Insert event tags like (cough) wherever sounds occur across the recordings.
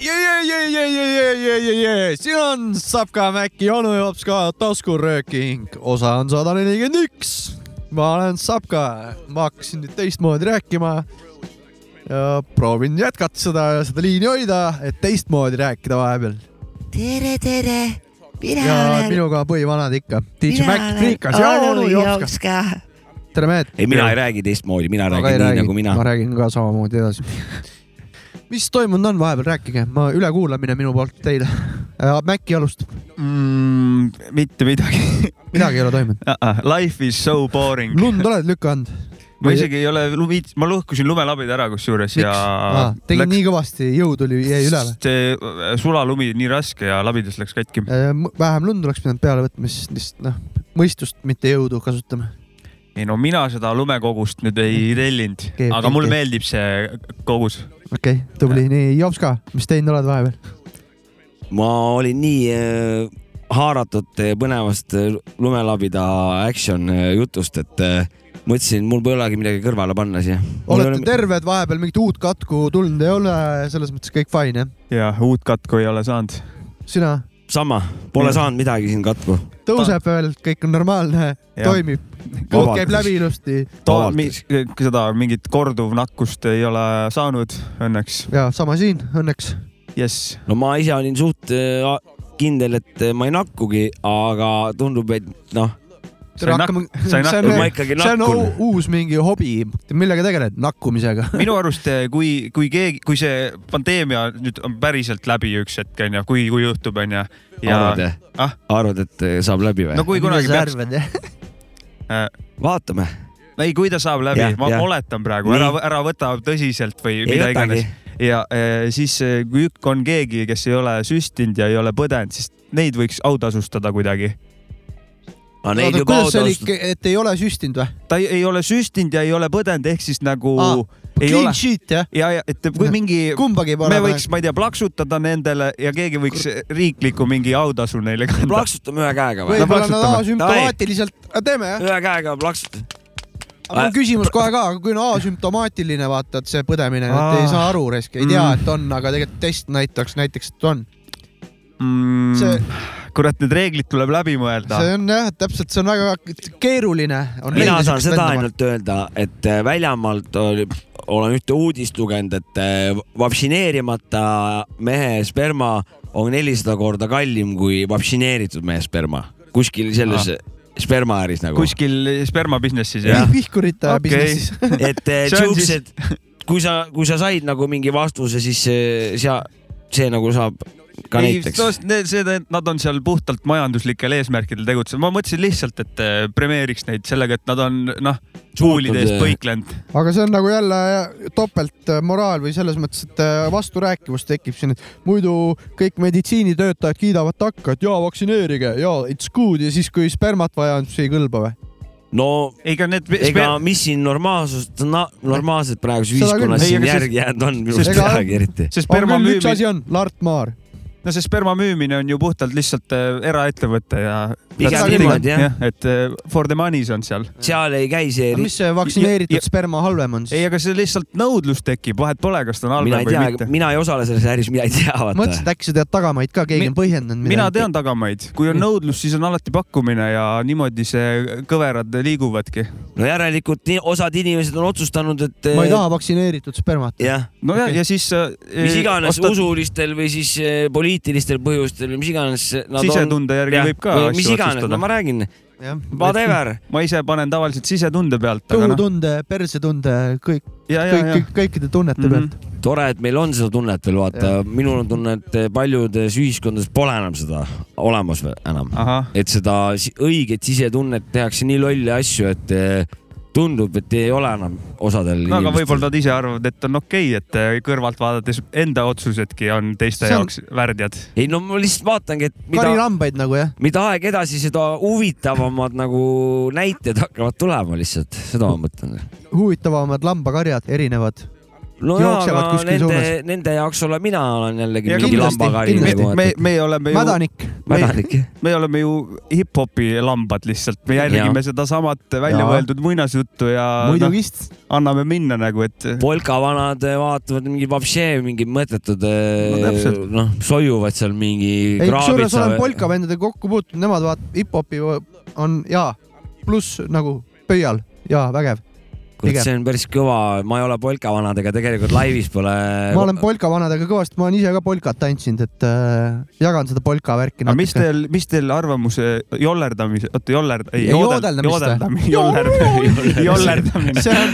yeah , yeah , yeah , yeah , yeah , yeah , yeah , yeah , siin on Sapka Mäkki , onu jops ka taskurööking , osa on sada nelikümmend üks . ma olen Sapka , ma hakkasin nüüd teistmoodi rääkima . ja proovin jätkata seda , seda liini hoida , et teistmoodi rääkida vahepeal . tere , tere , mina ja olen , minuga on põhivanad ikka . DJ mina Mäkk Friikas ja olen onu onu jops ka . jaoks ka . tere mehed . ei , mina ei räägi teistmoodi , mina Aga räägin ei nii räägi. nagu mina ma . räägin ka samamoodi edasi . mis toimunud on vahepeal , rääkige , ma ülekuulamine minu poolt teile . Äh, Maci alustab , mm, . mitte midagi . midagi ei ole (laughs) toimunud . Life is so boring . lund oled lükka andnud ? ma isegi ei ole , ma lõhkusin lumelabid ära kusjuures ja ah, . tegid läks... nii kõvasti , jõud oli , jäi üle või ? see äh, sulalumi nii raske ja labides läks katki . Äh, vähem lund oleks pidanud peale võtma , siis lihtsalt noh , mõistust , mitte jõudu kasutama . ei no mina seda lumekogust nüüd ei tellinud Keeb- , aga mulle keeb- meeldib see kogus . okei okay, , tubli , nii , Jops ka , mis teinud oled vahepeal ? ma olin nii äh, haaratud äh, põnevast äh, lumelabida action äh, jutust , et äh, mõtlesin , mul polegi midagi kõrvale panna siia . olete ole... ? terved vahepeal , mingit uut katku tulnud ei ole , selles mõttes kõik fine jah ? ja uut katku ei ole saanud . sina , sama , pole Jah. saanud midagi siin katku . tõuseb veel , kõik on normaalne , Jah. toimib , kood käib läbi ilusti Vabalt. seda mingit korduvnakkust ei ole saanud õnneks . ja sama siin õnneks . jess , no ma ise olin suht äh, a- kindel , et äh, ma ei nakkugi , aga tundub , et noh , Sa ei nak- sa see ei nakku- on, ma ikkagi see on nakkun u- . uus mingi hobi , millega tegeled , nakkumisega . minu arust , kui , kui keegi , kui see pandeemia nüüd on päriselt läbi üks hetk onju , kui , kui juhtub onju ja arvad või Ah? ? arvad , et äh, saab läbi või no ? kui kunagi peaks , peaks . vaatame . eh, ei , kui ta saab läbi Jah, , ma jah. oletan praegu , Nii. ära , ära võta tõsiselt või ei mida iganes võtagi . ja eh, siis , kui ük- on keegi , kes ei ole süstinud ja ei ole põdenud , siis neid võiks autasustada kuidagi . aga neid oota , juba kuidas see oli autost , ikka , et ei ole süstinud või ? ta ei, ei ole süstinud ja ei ole põdenud , ehk siis nagu Aa, ei Clean ole sheet jah ? ja , ja et kui mingi , kumbagi pole . me võiks , ma ei tea , plaksutada nendele ja keegi võiks riikliku mingi autasu neile kanda . plaksutame ühe käega või ? võib-olla nad plaksutame. asümptomaatiliselt , teeme jah . ühe käega plaksutame . aga Äh, mul on küsimus kohe ka , kui on asümptomaatiline , vaata , et see põdemine , et ei saa aru risk , ei tea , et on , aga tegelikult test näitaks näiteks , et on . see , Mm, kurat , need reeglid tuleb läbi mõelda . see on jah , täpselt , see on väga keeruline . mina saan seda ainult öelda , et äh, väljamaalt oli , olen ühte uudist lugenud , et äh, vaktsineerimata mehe sperma on nelisada korda kallim kui vaktsineeritud mehe sperma . kuskil selles spermaäris nagu . kuskil sperma business'is jah jah ? pihkurite Okei. business'is . et (laughs) äh, See on siuksed , kui sa , kui sa said nagu mingi vastuse , siis äh, sea- , see nagu saab ka ei , näiteks . see , nad on seal puhtalt majanduslikel eesmärkidel tegutsenud , ma mõtlesin lihtsalt , et eh, premeeriks neid sellega , et nad on noh , huulide eest Suutnud, eh, põiklenud . aga see on nagu jälle topeltmoraal või selles mõttes , et äh, vasturääkivus tekib siin , et muidu kõik meditsiinitöötajad kiidavad takka , et jaa , vaktsineerige ja it's good ja siis , kui spermat vaja on , siis ei kõlba või ? no ega need ega mis siin normaalsust , normaalset praeguses Seda küll. ühiskonnas Ei, siin aga siis- järgi jäänud on , minu sest- arust ei olegi eriti . see on sperma küll , üks müümine , asi on , Lart Maar . no see sperma müümine on ju puhtalt lihtsalt eh, eraettevõte ja . Pigem niimoodi, jah. et eh, for the money's on seal . seal ei käi see mis see vaktsineeritud Ja- ja, sperma halvem on ei , siis ? aga see lihtsalt nõudlus tekib , vahet pole , kas ta on mina halvem ei või tea , mitte . mina ei osale selles äris , mina ei tea , mõtlesin , vaata . et äkki sa tead tagamaid ka , Mi- keegi on põhjendanud midagi . mina tean tagamaid , kui on nõudlus , siis on alati pakkumine ja niimoodi see kõverad liiguvadki . no järelikult nii, osad inimesed on otsustanud , et . ma ei taha vaktsineeritud spermat . jah , nojah okay. , ja siis . äh, mis iganes Ostad... . usulistel või siis eh, poliitilistel põhjustel , mis iganes nad on . sisetunde järgi võib ka äh, mis asju iganes , no otsustada . ma räägin , kõhutunde , whatever . ma ise panen tavaliselt sisetunde pealt , aga noh . persetunde , kõik , ja , ja , ja kõik , kõikide tunnete Mhm. pealt . tore , et meil on seda tunnet veel vaata , minul on tunne , et äh, paljudes ühiskondades pole enam seda olemas veel enam , ahah , et seda si- õiget sisetunnet tehakse nii lolle asju , et eh, tundub , et ei ole enam osadel no aga võib-olla nad ise arvavad , et on okei okay, , et äh, kõrvalt vaadates enda otsusedki on teiste See on... on- jaoks värdjad . ei no ma lihtsalt vaatangi , et mida , karilambaid nagu jah ? mida aeg edasi , seda huvitavamad nagu näited hakkavad tulema lihtsalt , seda ma mõtlen . huvitavamad lambakarjad , erinevad . no jaa , Jooksevad aga kuskil nende suunas. , nende jaoks olen mina olen jällegi Ja mingi kindlasti, lambakari kindlasti. nagu me , me oleme ju , mädanik . mädanik . me oleme ju hip-hopi lambad lihtsalt , me järgime Jaa. sedasamat välja Jaa. mõeldud muinasjuttu ja noh , muidugist . anname minna nagu , et polka vanad eh, vaatavad mingi vapšee , mingi mõttetud No täpselt. , noh , soiuvad seal mingi . ei , kusjuures olen polkavendadega kokku puutunud , nemad vaatavad , hip-hopi on jaa , pluss nagu pöial , jaa , vägev . kurat , pigem. see on päris kõva , ma ei ole polka vanadega tegelikult laivis pole . ma olen polkavanadega kõvasti , ma olen ise ka polkat tantsinud , et äh, jagan seda polka värki aga mis . teil , mis teil arvamuse jollerdamise , oota jollerd- , ei Ja joodel- joodeldamist või? jodeldamine , jollerdamine , (laughs) jollerdamine . see on ,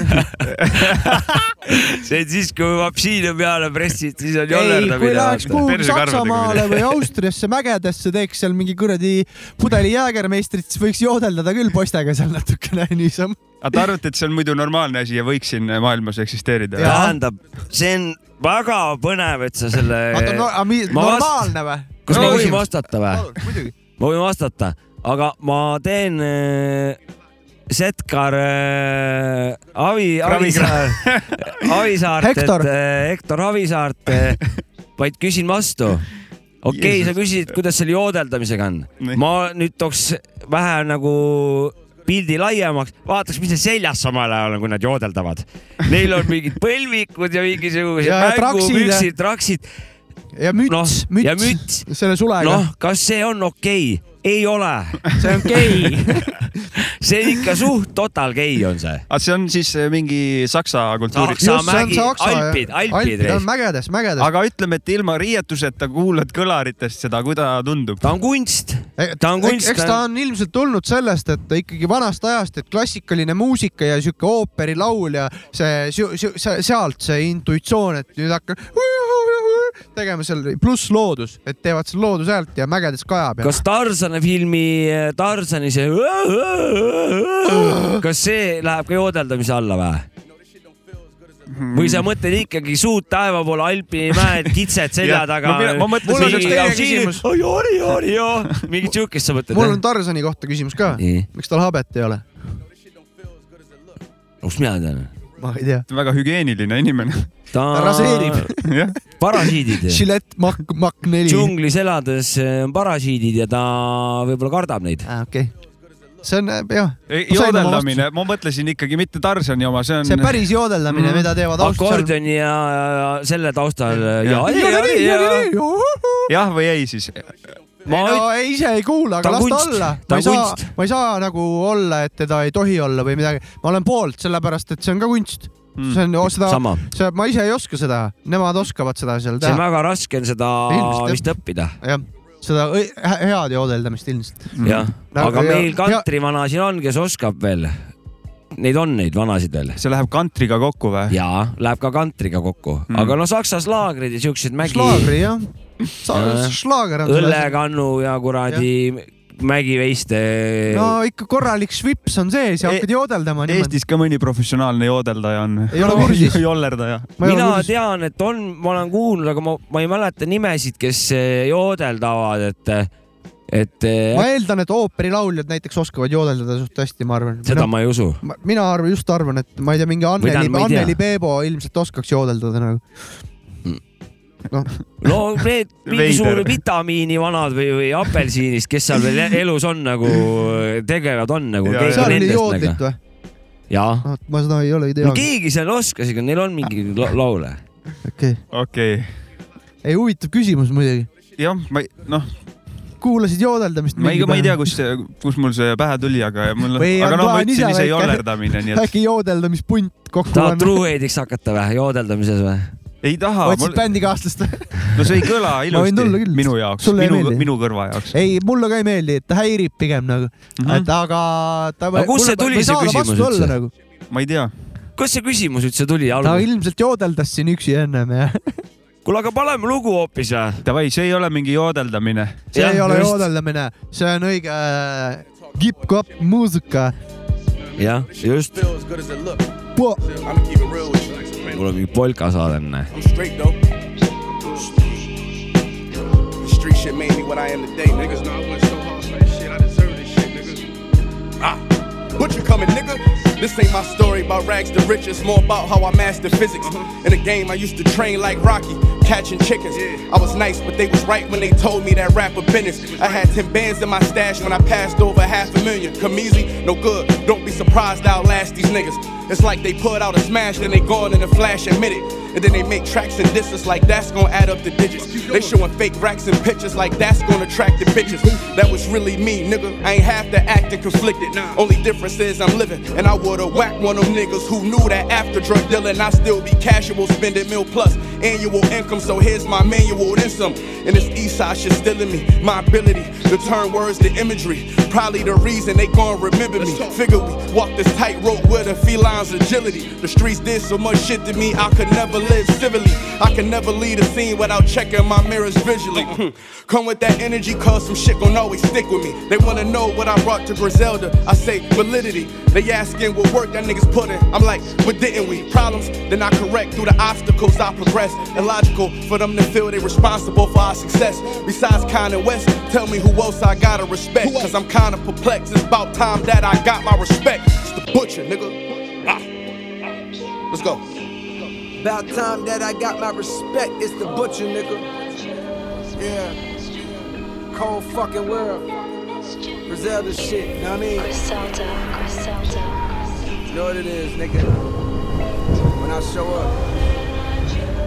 (laughs) see on siis , kui vapsiine peale pressid , siis (laughs) on nagu ei , kui läheks jollerdamine . kuhugi Persekarvadega Saksamaale või Austriasse mägedesse , teeks seal mingi kuradi pudeli jäägermeistrit , siis võiks joodeldada küll poistega seal natukene (laughs) niisama . aga te arvate , et see on muidu normaalne asi ja võiks siin maailmas eksisteerida või ? Jaa. tähendab , see on väga põnev , et sa selle . oota , no aga mi- ma vast- normaalne või ? kas ma no võin küsimus. vastata või ? muidugi . ma võin vastata , aga ma teen äh, Setkar äh, Avi , Avisaar , (laughs) Avisaart , Hektor. et äh, Hektor Avisaart äh, , vaid küsin vastu . okei okay, , sa küsisid , kuidas selle joodeldamisega on . Nii. ma nüüd tooks vähe nagu pildi laiemaks , vaataks , mis neil seljas samal ajal on , kui nad joodeldavad . Neil on mingid põlvikud ja mingisugused Ja- ja traksid ja- mängupüksid , traksid , ja noh müts , ja müts , müts selle sulega noh , kas see on okei okay? ? ei ole , see on gei . (laughs) see ikka suht total gei on see . aga see on siis eh, mingi saksa kultuuri , Saksa mägi , Alpid , Alpid reis . mägedes , mägedes . aga ütleme , et ilma riietuseta kuulad kõlaritest seda , kui ta tundub . ta on kunst , ta on kunst , E- eks ta on ilmselt tulnud sellest , et ikkagi vanast ajast , et klassikaline muusika ja sihuke ooperilaul ja see, see, see , sealt see intuitsioon , et nüüd hakkan tegema seal , pluss loodus , et teevad seal loodushäält ja mägedes kajab ja . kas Tarzani filmi , Tarzani (laughs) see , kas see läheb ka joodeldamise alla või ? Hmm. või sa mõtled ikkagi suud taeva poole , Alpi mäed , (laughs) kitsed selja Jah, taga ma pea- . ma mõtlesin- Mul on üks teine küsimus. mingit siukest sa mõtled mul on ? Tarzani kohta küsimus ka . nii , miks tal habet ei ole ? kus mina tean ? ma ei tea . väga hügieeniline inimene . ta Ta (laughs) raseerib. jah , parasiidid . Gillette Mach , Mach neli . džunglis elades eh, on parasiidid ja ta võib-olla kardab neid . Ah, okei , see on eh, jah , joodeldamine , ma mõtlesin ikkagi mitte Tarzani oma , see on . Mhm. see päris joodeldamine , mida teevad Austrias . akordioni ja ja selle taustal ja , jah või ei siis ? ma ei no ei, ise ei kuula , Ta aga on las ta kunst. olla . ma Ta on ei saa kunst. , ma ei saa nagu olla , et teda ei tohi olla või midagi . ma olen poolt , sellepärast et see on ka kunst . see on o- seda , Mm. sama , see , ma ise ei oska seda , nemad oskavad seda seal see on teha . väga raske on seda Ilmselt, jah. vist õppida , jah , seda õi- hä- head joodeldamist ilmselt . jah . Nagu aga ja- meil ja- kantrivana siin on , kes oskab veel . Neid on neid vanasid veel see läheb kantriga kokku või ? ja läheb ka kantriga kokku , Mm. aga no Saksas laagrid ja siuksed mägi , šlaagri jah , Jah. šlaager on selle asi. õllekannu ja kuradi mägiveiste . no ikka korralik švips on sees ja E- hakkad joodeldama niimoodi . Eestis ka mõni professionaalne joodeldaja on või ? Ei ole kursis. (laughs) jollerdaja . mina tean , et on , ma olen kuulnud , aga ma , ma ei mäleta nimesid , kes eh, joodeldavad , et , et eh, ma eeldan , et ooperilauljad näiteks oskavad joodeldada suht hästi , ma arvan . seda ma ei usu . Ma- mina arvan , just arvan , et ma ei tea , mingi Või Anneli tähendab, , ma ei tea. Mm. Anneli Peebo ilmselt oskaks joodeldada nagu . Noh. no need mingisugune (laughs) Veider. vitamiini vanad või , või apelsinist , kes seal (laughs) veel elus on nagu , tegevad on nagu Ja, . ja. seal oli joodlit või ? jaa , ma seda ei ole ei tea no . keegi seal oskas , ega neil on mingi la- laule . okei , okei , ei huvitav küsimus muidugi . jah , ma ei , noh , kuulasid joodeldamist ? ma ei , ma ei tea , kus , kus mul see pähe tuli , aga mul , Või aga on noh , ma plaan ütlesin ise ise väike- jollerdamine , nii et äkki joodeldamispunt kokku tahad panna ? truuheidriks hakata või , joodeldamises või ? ei taha , mul otsid , bändikaaslast või ? no see ei kõla tulla ilusti küll. minu jaoks , Sulle ei minu , meeldi? minu kõrva jaoks . ei , mulle ka ei meeldi , et ta häirib pigem nagu , et aga . Mhm. Aga kust see tuli, see küsimus üldse? Nagu. ma ei tea , kust see küsimus üldse tuli ta algul ? ilmselt joodeldas siin üksi ennem ja kuule , aga paneme lugu hoopis või ? davai , see ei ole mingi joodeldamine . (laughs) see Jah, ei ole just. joodeldamine , see on õige äh, kipp-kopp muusika . jah , just , Feel as good as it look. Puh. I'm keeping real with you. mul on mingi polka saade enne . I'm straight though. The street shit made me what I am today, niggas. Nah, I went so hard for this shit. I deserve this shit, niggas. Ah, what you coming, nigga? This ain't my story about rags to riches, more about how I mastered physics. In a game, I used to train like Rocky, catching chickens. I was nice, but they was right when they told me that rapper business. I had 10 bands in my stash when I passed over half a million. Come easy, no good. Don't be surprised I outlast these niggas. It's like they put out a smash, then they gone in a flash and mid it. And then they make tracks and disses like that's gonna add up to digits. They showing fake racks and pictures like that's gonna attract the bitches. That was really me, nigga. I ain't half the acting conflicted. Only difference is I'm living. And I would've whacked one of them niggas who knew that after drug dealing, I still be casual, spending mil plus annual income. So here's my manual, then some. And this east side shit still in me. My ability to turn words to imagery. Probably the reason they gon' remember me. Figure we walk this tightrope with a feline's agility. The streets did so much shit to me, I could never live civilly. I could never leave a scene without checking my mirrors (laughs) visually. Come with that energy, cause some shit gon' always stick with me. They wanna know what I brought to Griselda. I say validity. They asking what work that niggas put in. I'm like, but didn't we? Problems, then I correct through the obstacles I progress. Illogical for them to feel they responsible for our success. Besides Kanye West, tell me who else I gotta respect. Cause I'm kinda perplexed. It's about time that I got my respect. It's the butcher, nigga. Ah. Let's go. About time that I got my respect, it's the butcher, nigga. Yeah. Cold fucking world. Griselda shit, know what I mean? Griselda, Griselda, Griselda. You know what it is, nigga. When I show up.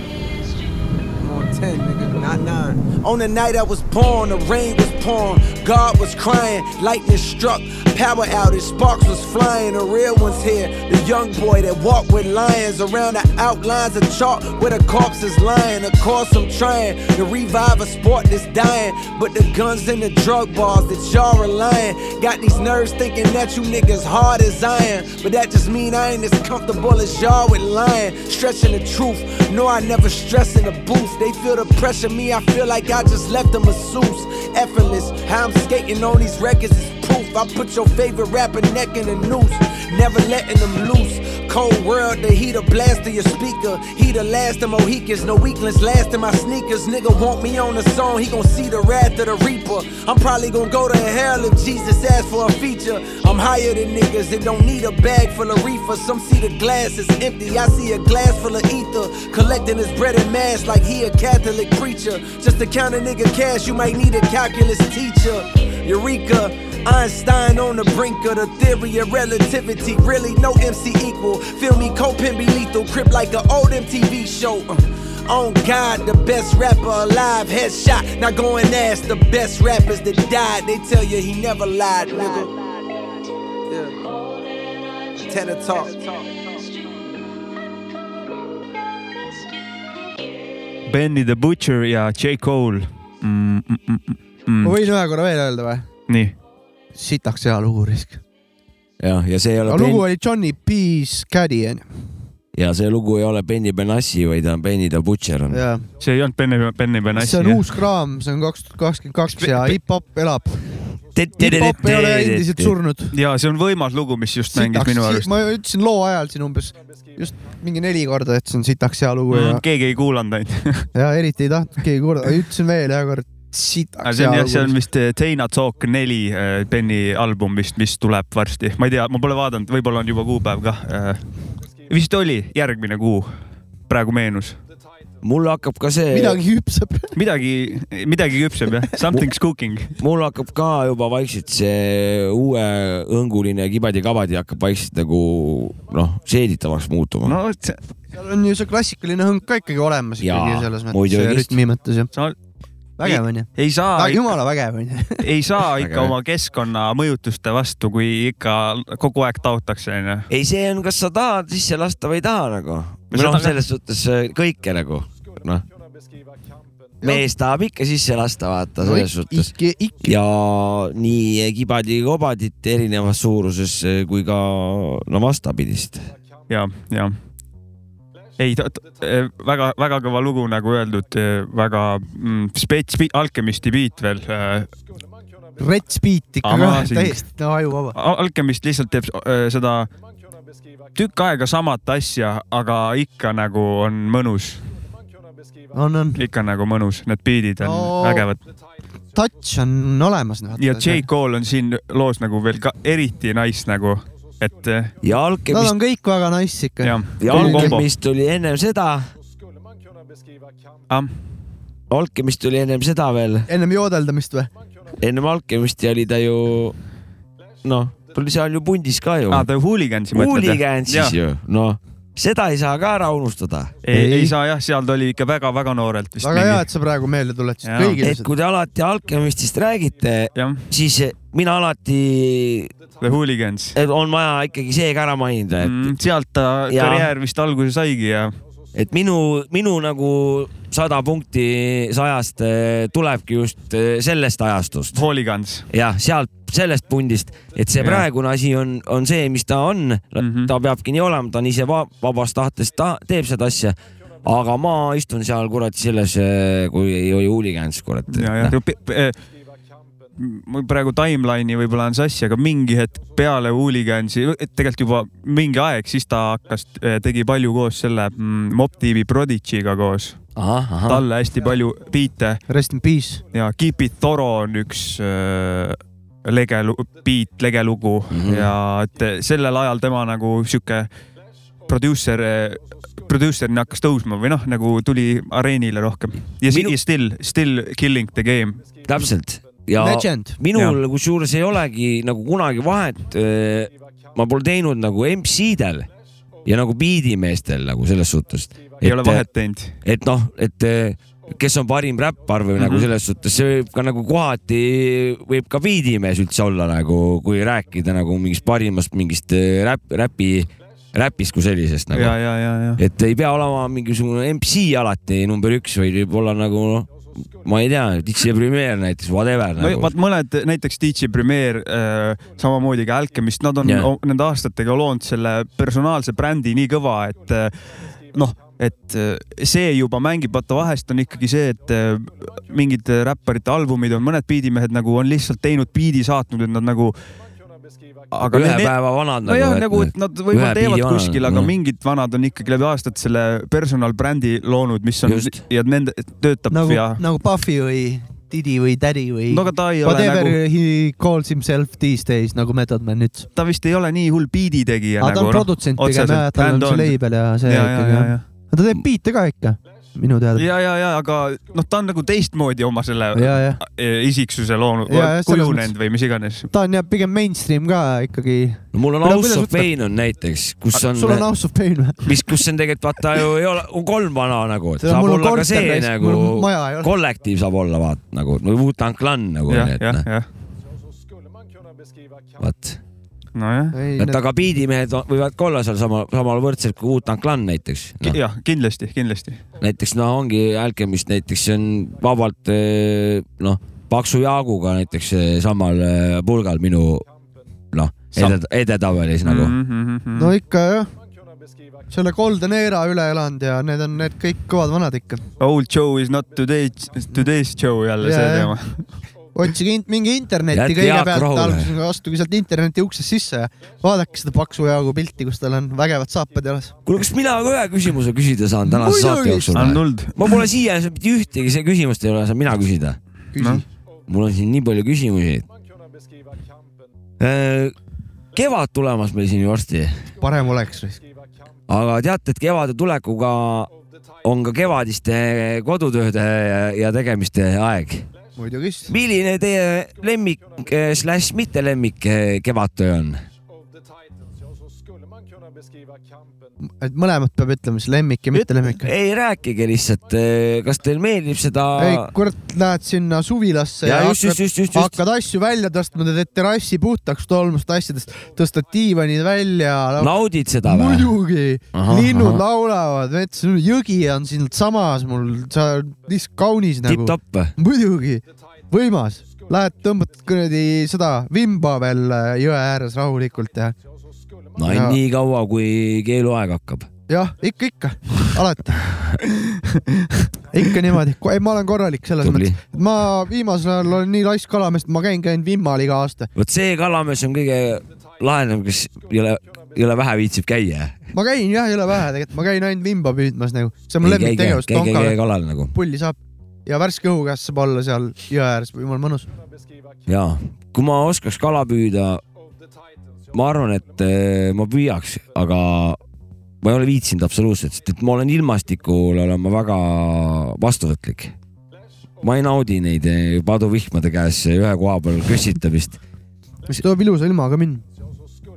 I'm on 10, nigga, not 9. On the night I was born, the rain was pouring. God was crying, lightning struck, power outage, sparks was flying. The real one's here, the young boy that walked with lions around the outlines of chalk where the corpse is lying. Of course, I'm trying to revive a sport that's dying, but the guns and the drug bars that y'all relying got these nerves thinking that you niggas hard as iron. But that just mean I ain't as comfortable as y'all with lying, stretching the truth. No, I never stress in the booth. They feel the pressure. Me, I feel like I just left them a masseuse. Effortless, how I'm skating on these records is proof. I put your favorite rapper neck in the noose, never letting them loose. Cold world, the heat a blast of your speaker. He the last of Mohicans, no weakness last in my sneakers. Nigga want me on the song, he gon' see the wrath of the reaper. I'm probably gon' go to hell if Jesus asked for a feature. I'm higher than niggas, it don't need a bag full of reefer. Some see the glass is empty, I see a glass full of ether. Collecting his bread and mass like he a Catholic preacher. Just to count a nigga cash, you might need a calculus teacher. Eureka, Einstein on the brink of the theory of relativity. Really, no MC equal. Feel me, Copin be lethal, crip like an old MTV show. Uh. On God, the best rapper alive, headshot. Now go and ask the best rappers that died. They tell you he never lied, nigga. Yeah. Tenor talk. Benny the Butcher ja J Cole mm, . Mm, mm, mm. ma võin ühe korra veel öelda või ? nii , sitaks hea lugu risk . jah , ja see ei ole aga lugu ben... , oli Johnny P's Caddy onju . ja see lugu ei ole Benny Benassi , vaid on Benny the Butcher on . jaa . see ei olnud Benny , Benny Benassi . see on uus kraam , see on kaks tuhat kakskümmend kaks ja hip-hop elab . hip-hop ei ole endiselt surnud . ja see on võimas lugu , mis just mängis minu sitaks , arust . ma ütlesin loo ajal siin umbes just mingi neli korda , et see on sitaks hea lugu Mhm. ja , keegi ei kuulanud ainult . ja eriti ei tahtnud keegi kuulata , ütlesin veel ühe korra , sitaks see on hea jah , see on lugu . vist eh, Teina Talk neli eh, Benny album vist , mis tuleb varsti , ma ei tea , ma pole vaadanud , võib-olla on juba kuupäev kah . vist oli järgmine kuu , praegu meenus . mul hakkab ka see , midagi hüpsab . midagi , midagi küpseb jah , something's cooking . mul hakkab ka juba vaikselt see uue õnguline kibadi-kabadi hakkab vaikselt nagu noh , seeditavaks muutuma no. . no see- seal on ju see klassikaline hõng ka ikkagi olemas Jaa, ikkagi selles mõttes , muidugi. rütmi mõttes ja sa vägev onju . ei saa , jumala vägev onju . ei saa Väga ikka hea. oma keskkonna mõjutuste vastu , kui ikka kogu aeg taotakse onju . ei , see on , kas sa tahad sisse lasta või ei taha nagu . seda noh , ka- selles suhtes kõike nagu , noh . mees tahab ikka sisse lasta , vaata selles suhtes . ikka , ikka . ja nii kibadi-kobadit erinevas suuruses eh, kui ka no vastapidist . ja , ja . ei , väga-väga kõva lugu , e, nagu öeldud , väga mm, spets , Alchemisti beat veel . rets beat ikka Ama- täiesti no, ajuvaba . Alkemist lihtsalt teeb öö, seda tükk aega samat asja , aga ikka nagu on mõnus , on , on , ikka nagu mõnus , need beat'id on Oo. vägevad . touch on olemas . noh, ja J Cole on siin loos nagu veel ka eriti nice nagu , et eh, ja Nad Alkemist , on kõik väga nice ikka . jah . ja Alkemist tuli ennem seda , Alkemist tuli ennem seda veel , ennem joodeldamist või ? ennem Alkemisti oli ta ju noh , ta oli seal ju pundis ka ju aa ,. Ah, ta Hooligansi mõtled jah? hooligan siis Jah. ju , noh , seda ei saa ka ära unustada . ei, Ei. ei saa jah , seal ta oli ikka väga-väga noorelt vist . väga hea , et sa praegu meelde tuletasid Jaa. kõigile et seda . kui te alati Alkemistist räägite , jah , siis mina alati , The Hooligans . on vaja ikkagi see ka ära mainida , et Mm, sealt ta Jaa. karjäär vist alguse saigi ja et minu , minu nagu sada punkti sajast eh, tulebki just eh, sellest ajastust . Hooligans . jah , sealt , sellest pundist , et see Jah. praegune asi on , on see , mis ta on mm , -hmm. Mhm. ta peabki nii olema , ta on ise va vabast tahtest ta teeb seda asja . aga ma istun seal kurat selles , kui ei ole huuligans , kurat . ja , ja Pe- pe- äh, mul praegu timeline'i võib-olla on sassi , aga mingi hetk peale Hooligansi , tegelikult juba mingi aeg , siis ta hakkas , tegi palju koos selle mm, Mobb Deepi Prodigy'ga koos . ahah , ahah , talle hästi palju biite Rest in peace . ja Keep It Thoro on üks äh, lege , beat , legelugu mm Mhm. -hmm. ja et sellel ajal tema nagu sihuke produusser , produusserina hakkas tõusma või noh , nagu tuli areenile rohkem ja Minu... Minu- still , still killing the game . täpselt ja Legend . minul kusjuures ei olegi nagu kunagi vahet . ma pole teinud nagu MC-del ja nagu biidimeestel nagu selles suhtes . ei ole vahet teinud . et noh , et eh, kes on parim räppar või mm -hmm. nagu Mhm. selles suhtes , see võib ka nagu kohati võib ka biidimees üldse olla nagu , kui rääkida nagu mingist parimast mingist eh, räpp , räpi , räpist kui sellisest nagu . ja , ja , ja , ja . et ei pea olema mingisugune MC alati number üks , vaid võib olla nagu noh , ma ei tea , DJ Premier näiteks , whatever no nagu . vaat mõned näiteks DJ Premier äh, , samamoodi ka Alchemist , nad on Jah. yeah. nende aastatega loonud selle personaalse brändi nii kõva , et äh, noh , et äh, see juba mängib , vaata vahest on ikkagi see , et äh, mingid räpparite albumid on , mõned biidimehed nagu on lihtsalt teinud biidi , saatnud , et nad nagu aga ühe need- päeva vanad nojah , et nagu need- et nad võib-olla ühe teevad piiri vanad, kuskil , aga jah. mingid vanad on ikkagi läbi aastate selle personalbrändi loonud , mis on Just. ja nende töötab nagu ja , nagu Puffy või Diddy või Daddy või no aga ta ei ole whatever nagu , nagu... he calls himself these days nagu Method Man ütles . ta vist ei ole nii hull biiditegija aga ta on nagu produtsent pigem otseselt jah , tal on bänd see on. label ja see ja , ja , ikkagi ja jah ., aga ta teeb biite ka ikka , minu teada . ja , ja , ja aga noh , ta on nagu teistmoodi oma selle ja , jah , eh, isiksuse loonud Ja, ja, , selles kujunenud või mis iganes . ta on jah pigem mainstream ka ikkagi . no mul on Mida- House kuidas of Pain on näiteks , kus on, sul on House of Pain või ? mis , kus on tegelikult vaata ju ei ole , on kolm vana nagu , et saab olla ka see nagu mul maja ei ole . kollektiiv saab olla vaata nagu , no Wu-Tang Clan nagu jah , onju , et jah , noh , jah , vaat . nojah , et aga biidimehed on- võivad ka olla seal sama , samal võrdselt kui Wu-Tang Clan näiteks noh. no, . jah , kindlasti , kindlasti . näiteks no ongi Alchemist näiteks see on vabalt eh, noh , paksu jaaguga näiteks eh, samal eh, pulgal minu noh , Sam- edet- , edetabelis nagu mm . Mm-hmm. no ikka jah , selle Golden Era üle elanud ja need on need kõik kõvad vanad ikka . Old show is not today , today's show jälle Ja, see ja. teema . otsige int, mingi interneti Jätke Jaak kõigepealt rahule. , alguses nagu astuge sealt interneti uksest sisse ja vaadake seda paksu jagu pilti , kus tal on vägevad saapad jalas . kuule , kas mina ka ühe küsimuse küsida saan tänase saate Muidugi. jooksul on või ? tuld . ma pole siiani saanud mitte ühtegi see küsimust ei ole saanud mina küsida . küsi Noh. . mul on siin nii palju küsimusi . kevad tulemas meil siin ju varsti , parem oleks . aga teate , et kevade tulekuga on ka kevadiste kodutööde ja tegemiste aeg . muidugi siis . milline teie lemmik eh, slaš mitte lemmik eh, kevadtöö on ? et mõlemat peab ütlema siis lemmik ja mitte lemmik . ei rääkige lihtsalt , kas teil meeldib seda ? ei , kurat , lähed sinna suvilasse ja, ja ja just , just , hakkad , just , just , just . hakkad asju välja tõstma , teed terrassi puhtaks tolmust asjadest , tõstad diivanid välja . naudid seda või ? muidugi , Ahah, linnud ahah. laulavad , mets , jõgi on siinsamas mul , sa oled lihtsalt kaunis nagu . tipp-topp või ? muidugi , võimas , lähed tõmbad kuradi seda vimba veel äh, jõe ääres rahulikult ja no Ja- ainult nii kaua , kui keeluaeg hakkab . jah , ikka , ikka , alati . ikka niimoodi , ei ma olen korralik selles Tubli. mõttes , et ma viimasel ajal olen nii laisk kalamees , et ma käin , käin vimmal iga aasta . vot see kalamees on kõige lahedam , kes ei ole , ei ole vähe viitsib käia . ma käin jah , ei ole vähe tegelikult , ma käin ainult vimba püüdmas nagu , see on mu ei käi , käi , lemmiktegevus , käi , käi tonkal kalal nagu pulli saab ja värske õhu käes saab olla seal jõe ääres , jumala mõnus . ja kui ma oskaks kala püüda , ma arvan , et eh, ma püüaks , aga ma ei ole viitsinud absoluutselt , sest et ma olen ilmastikule olen ma väga vastuvõtlik . ma ei naudi neid eh, paduvihmade käes ühe koha peal kössitamist . mis tuleb ilusa ilmaga minna .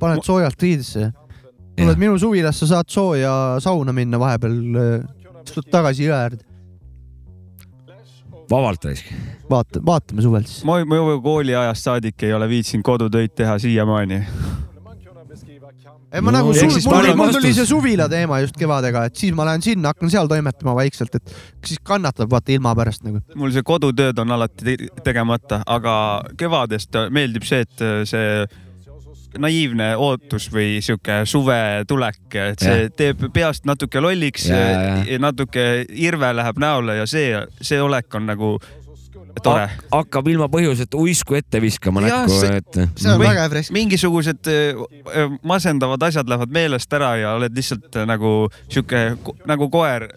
paned soojalt riidesse . tuled Jah. minu suvilasse , saad sooja sauna minna vahepeal , istud tagasi jõe äärde , vabalt raisk . vaata , vaatame suvel siis . ma , ma juba kooliajast saadik ei ole viitsinud kodutöid teha siiamaani . ei ma No, nagu ehk sul, siis mul, parim mul tuli vastus. see suvila teema just kevadega , et siis ma lähen sinna , hakkan seal toimetama vaikselt , et siis kannatab vaata ilma pärast nagu . mul see kodutööd on alati te tegemata , aga kevadest meeldib see , et äh, see naiivne ootus või sihuke suvetulek , et see teeb peast natuke lolliks Ja, ja, , natuke irve läheb näole ja see , see olek on nagu tore . hakkab ilma põhjuseta uisku ette viskama Jah, näkku , see- et see on Või- väga fresk . mingisugused öö, masendavad asjad lähevad meelest ära ja oled lihtsalt öö, nagu sihuke ko- nagu koer ,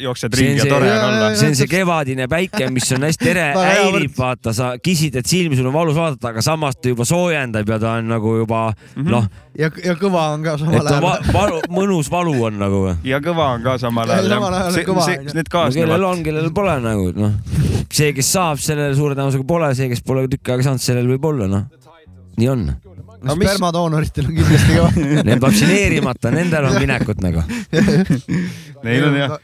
jooksed See on ringi ja see- tore Jaa, on olla jaa, . see on see kevadine päike , mis on hästi tere , (laughs) Väga hea häirib võrdlus. , vaata , sa kisid , et silmi sul on valus vaadata , aga samas ta juba soojendab ja ta on nagu juba noh , ja , ja kõva on ka et samal ta va Mhm. ajal . valu , mõnus valu on nagu . ja kõva on ka samal Ja ajal . samal ajal on kõva, on ju. Need kellel kaasnevad . on , kellel pole nagu noh , see , kes saab , sellel suure tõenäosusega pole , see , kes pole tükk aega saanud , sellel võib olla noh , nii on . aga mis- spermadoonoritel on kindlasti kõva . (laughs) Need vaktsineerimata , nendel on minekut nagu . Neil on jah ,.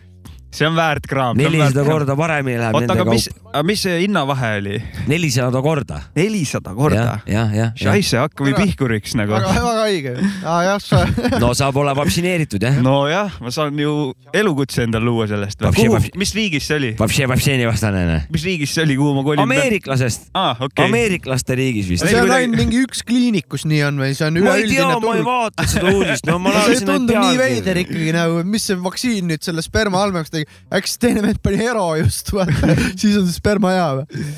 see on väärt kraam . nelisada . korda paremini läheb oota , nende aga mis kaup ., aga mis see hinnavahe oli ? nelisada korda . nelisada jah korda ?, jah , jah . Scheisse , hakkame Kurat. pihkuriks nagu . (laughs) väga , väga õige . aa jah , sa (laughs) no saab olla vaktsineeritud jah . nojah , ma saan ju elukutse endale luua sellest või ? Vapsi- kuhu vapsi- , mis riigis see oli ? Vapšee , Vapšeeni vastane . mis riigis see oli , kuhu ma kolin ? ameeriklasest , aa , okei . ameeriklaste riigis vist . see on kuidagi- ainult mingi üks kliinik , kus nii on või see on ma ei üleüldine , tea ma ei turg ? vaadanud seda uudist , no ma see lasin tundub nii veider . ikkagi nagu , mis see vaktsiin nüüd selle sperma halvemaks tegi , äkki see teine vend pani ero just , (laughs) siis on see sperma hea või ?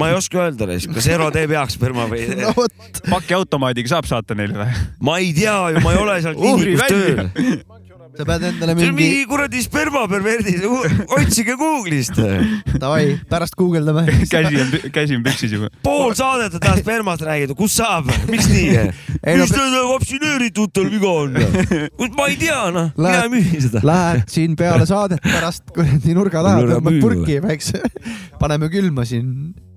ma ei oska öelda , kas Eero teeb heaks sperma või (laughs) no vot , pakiautomaadiga saab saata neile või ? ma ei tea ju , ma ei ole (laughs) seal Uuri kliinikus välja. tööl . sa pead endale see on mingi , mingi kuradi sperma perverdid , otsige Google'ist . davai , pärast guugeldame . (laughs) käsi on , käsi on püksis juba . pool saadet on täna spermast räägitud , kus saab , miks nii ? Ei no mis pe- teil vaktsineeritutel viga on ? ma ei tea noh , mina Lähed- ei mühi seda . Lähed siin peale saadet pärast (laughs) kuradi nurga taha , Nurga tõmbad püü- purki väikse , (laughs) paneme külma siin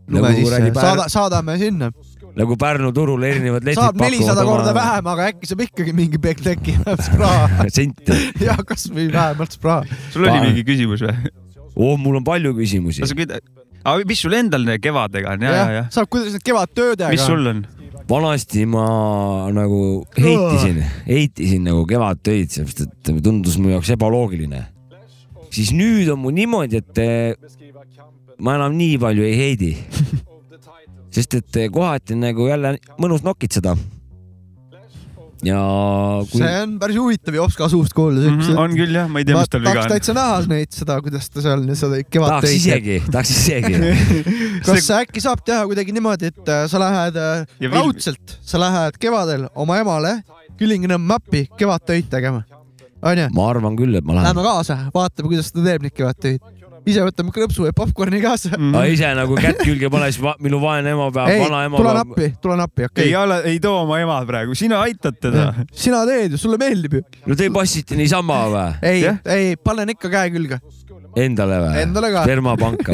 Nagu lume sisse kuradi , pär- saada , saadame sinna . nagu Pärnu turul erinevad letid saab nelisada korda vähem , aga äkki saab ikkagi mingi Big Techi (laughs) spraa . senti . jah , kasvõi vähemalt spraa . sul oli Pa- mingi küsimus või ? oh , mul on palju küsimusi sa . küd- , aga mis sul endal nende kevadega on ? ja , ja , ja . saab , kuidas need kevadtöödega . mis sul on ? vanasti ma nagu heitisin , heitisin nagu kevadtöid , sest et tundus mu jaoks ebaloogiline . siis nüüd on mul niimoodi , et eh, ma enam nii palju ei (laughs) heidi . sest et eh, kohati on nagu jälle mõnus nokitseda . ja kui see on päris huvitav jops ka suust kuulda siukseid Mhm, on küll jah , ma ei tea , ma mis tal viga tahaks on . täitsa näha neid seda , kuidas ta seal seda kevad Mm. tahaks isegi , tahaks (laughs) isegi . (laughs) kas see... äkki saab teha kuidagi niimoodi , et äh, sa lähed äh, Ja filmi- raudselt , sa lähed kevadel oma emale Küllingi-Nõmme appi kevadtöid tegema , onju . ma arvan küll , et ma lähen . Läheme kaasa , vaatame , kuidas ta teeb neid kevadtöid . ise võtame krõpsu ja popkorni kaasa . Mhm. aga ise nagu kätt külge pane , siis va- minu vaene ema peab , (laughs) ei , vanaema tulen peab . appi , tulen appi , okei ei ole , ei too oma ema praegu , sina aitad teda . okay. . sina teed ju , sulle meeldib ju . no te passite niisama või ? ei Jah. , ei , panen ikka käe külge , Endale või ? Endale ka. spermapanka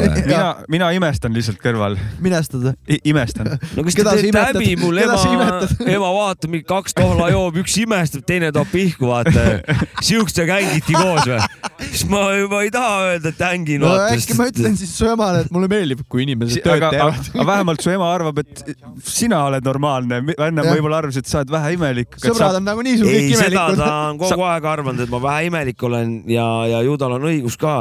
(laughs) või ? mina , mina imestan lihtsalt kõrval , minestada . imestan . no kas te Keda sa teete imetad? häbi , mul Keda ema sa imetad? , ema vaatab mind kaks tohla joob , üks imestab , teine toob pihku , vaata . siukestega hängiti koos või ? siis ma juba ei taha öelda , et hängin . no äkki ma ütlen siis su emale , et mulle meeldib , kui inimesed tööd aga , teevad . aga vähemalt su ema arvab , et sina oled normaalne , enne Jah. võib-olla arvas , et sa oled vähe imelik . sõbrad on nagu nagunii sul kõik ei , seda ta imelikud . on kogu aeg arvanud , et ma vähe imelik olen ja , ja ju tal on õigus ka ,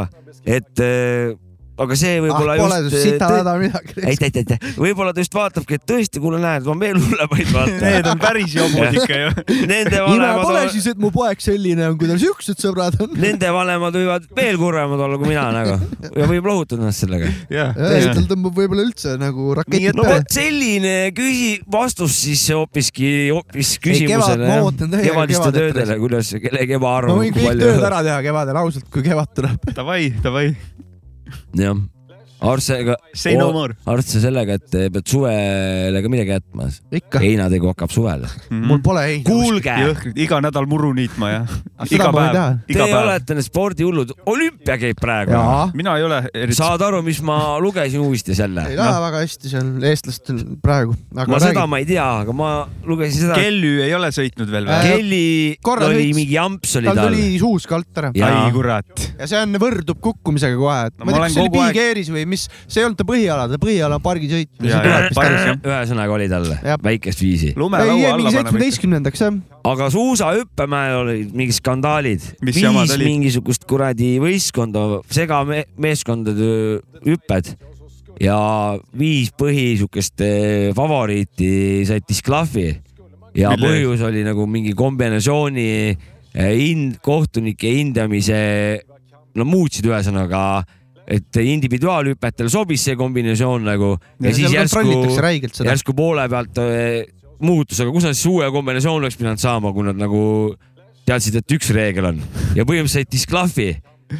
et eh, aga see ah võib-olla pole just . sita häda midagi . ei , ei , ei , ei , võib-olla ta just vaatabki , et tõesti , kuule , näed , ma veel hullemaid Need vaatan . on päris jobud ikka ju . Nende ime pole vanemad , siis , et mu poeg selline on , kui tal siuksed sõbrad on . nende vanemad võivad veel kurvemad olla kui mina nagu ja võib lohutada ennast sellega . tal tõmbab võib-olla üldse nagu Nii raketid et- no peale vot . selline küsi- , vastus siis hoopiski , hoopis kevad- küsimusele ma . ootan täiega kevadiste kevadet töödele , kuidas , kelle keva ma arvab , võin kõik tööd . ära teha kevadel ausalt , kui kevad tuleb . Davai , davai . jah , Arsega , Say no more . Arts sellega , et eh, pead suvele ka midagi jätma . ikka , heinategu hakkab suvel . mul pole ei . kuulge , jõhkrid , Mhm. iga nädal muru niitma ja Aga seda iga ma ei päev tea. , te iga päev . olete need spordihullud , olümpia käib praegu . jaa , mina ei ole eriti . saad aru , mis ma lugesin uudistes jälle ei ? lähe väga hästi seal eestlastel praegu , ma aga seda räägi . ma ei tea , aga ma lugesin seda , et Kellü ei ole sõitnud veel Äh, ? või Kelly korra oli sõits- mingi jamps oli tal tal . tuli suus kalt ära jaa. ai kurat . ja see on , võrdub kukkumisega kohe , et No ma ma ei tea , olen kas see oli kogu aeg- piikeeris või mis , see ei olnud ta põhiala , ta põhiala on pargisõit . Jaa, jaa. Pargis, jah. ühesõnaga oli tal Jah. väikest viisi , ei , lumelaua jäi alla mingi paneme ikka . seitsmeteistkümnendaks jah . aga suusahüppemäel olid mingid skandaalid . Mis jamad viis olid? mingisugust kuradi võistkonda , segameeskondade hüpped ja viis põhi siukest eh, favoriiti said disklahvi ja Mille põhjus oli nagu mingi kombinatsiooni eh, hind , kohtunike hindamise , no muutsid ühesõnaga , et individuaalhüpetel sobis see kombinatsioon nagu ja, ja siis järsku kontrollitakse räigelt seda . järsku poole pealt äh, muutus , aga kus nad siis uue kombinatsiooni oleks pidanud saama , kui nad nagu teadsid , et üks reegel on ja põhimõtteliselt disklahvi .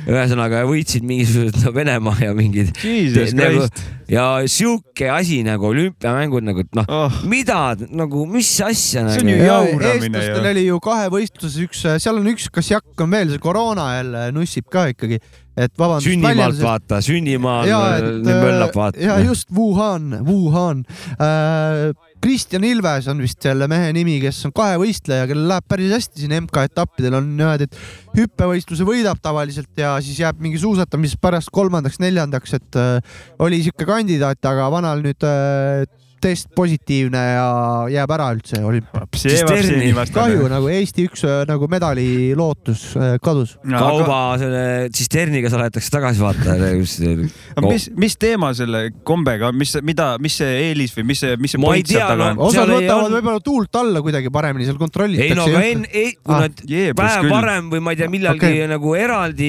ühesõnaga võitsid mingisugused no, Venemaa ja mingid Jesus nagu, Christ . ja sihuke asi nagu olümpiamängud nagu , et noh , oh , mida nagu , mis asja See on nagu ju- . jauramine eestlastel ju. oli ju kahe võistluses üks , seal on üks kassjakk on veel , see koroona jälle nussib ka ikkagi , et vabandust . sünnimaalt vaata , sünnimaal ja äh, et nii möllab äh, ja vaata . just Wuhan , Wuhan äh, . Kristjan Ilves on vist selle mehe nimi , kes on kahevõistleja , kellel läheb päris hästi siin MK-etappidel on niimoodi , et hüppevõistluse võidab tavaliselt ja siis jääb mingi suusatamises pärast kolmandaks-neljandaks , et äh, oli sihuke kandidaat , aga vanal nüüd äh, test positiivne ja jääb ära üldse olümpia . see Siis peab Terni. siin viimast . kahju nagu Eesti üks äh, nagu medali lootus äh, kadus . kauba selle tsisterniga saletakse tagasi (laughs) vaata . aga mis , mis teema selle kombega , mis , mida , mis see eelis või mis see , mis see Ma ei point seal tea, taga on no- ? noh, osad Seal ei võtavad olnud- võib-olla tuult alla kuidagi paremini , seal kontrollitakse . ei no aga enne , ei , kui Ah, nad jeebus päev küll. varem või ma ei tea , millalgi Okei. nagu eraldi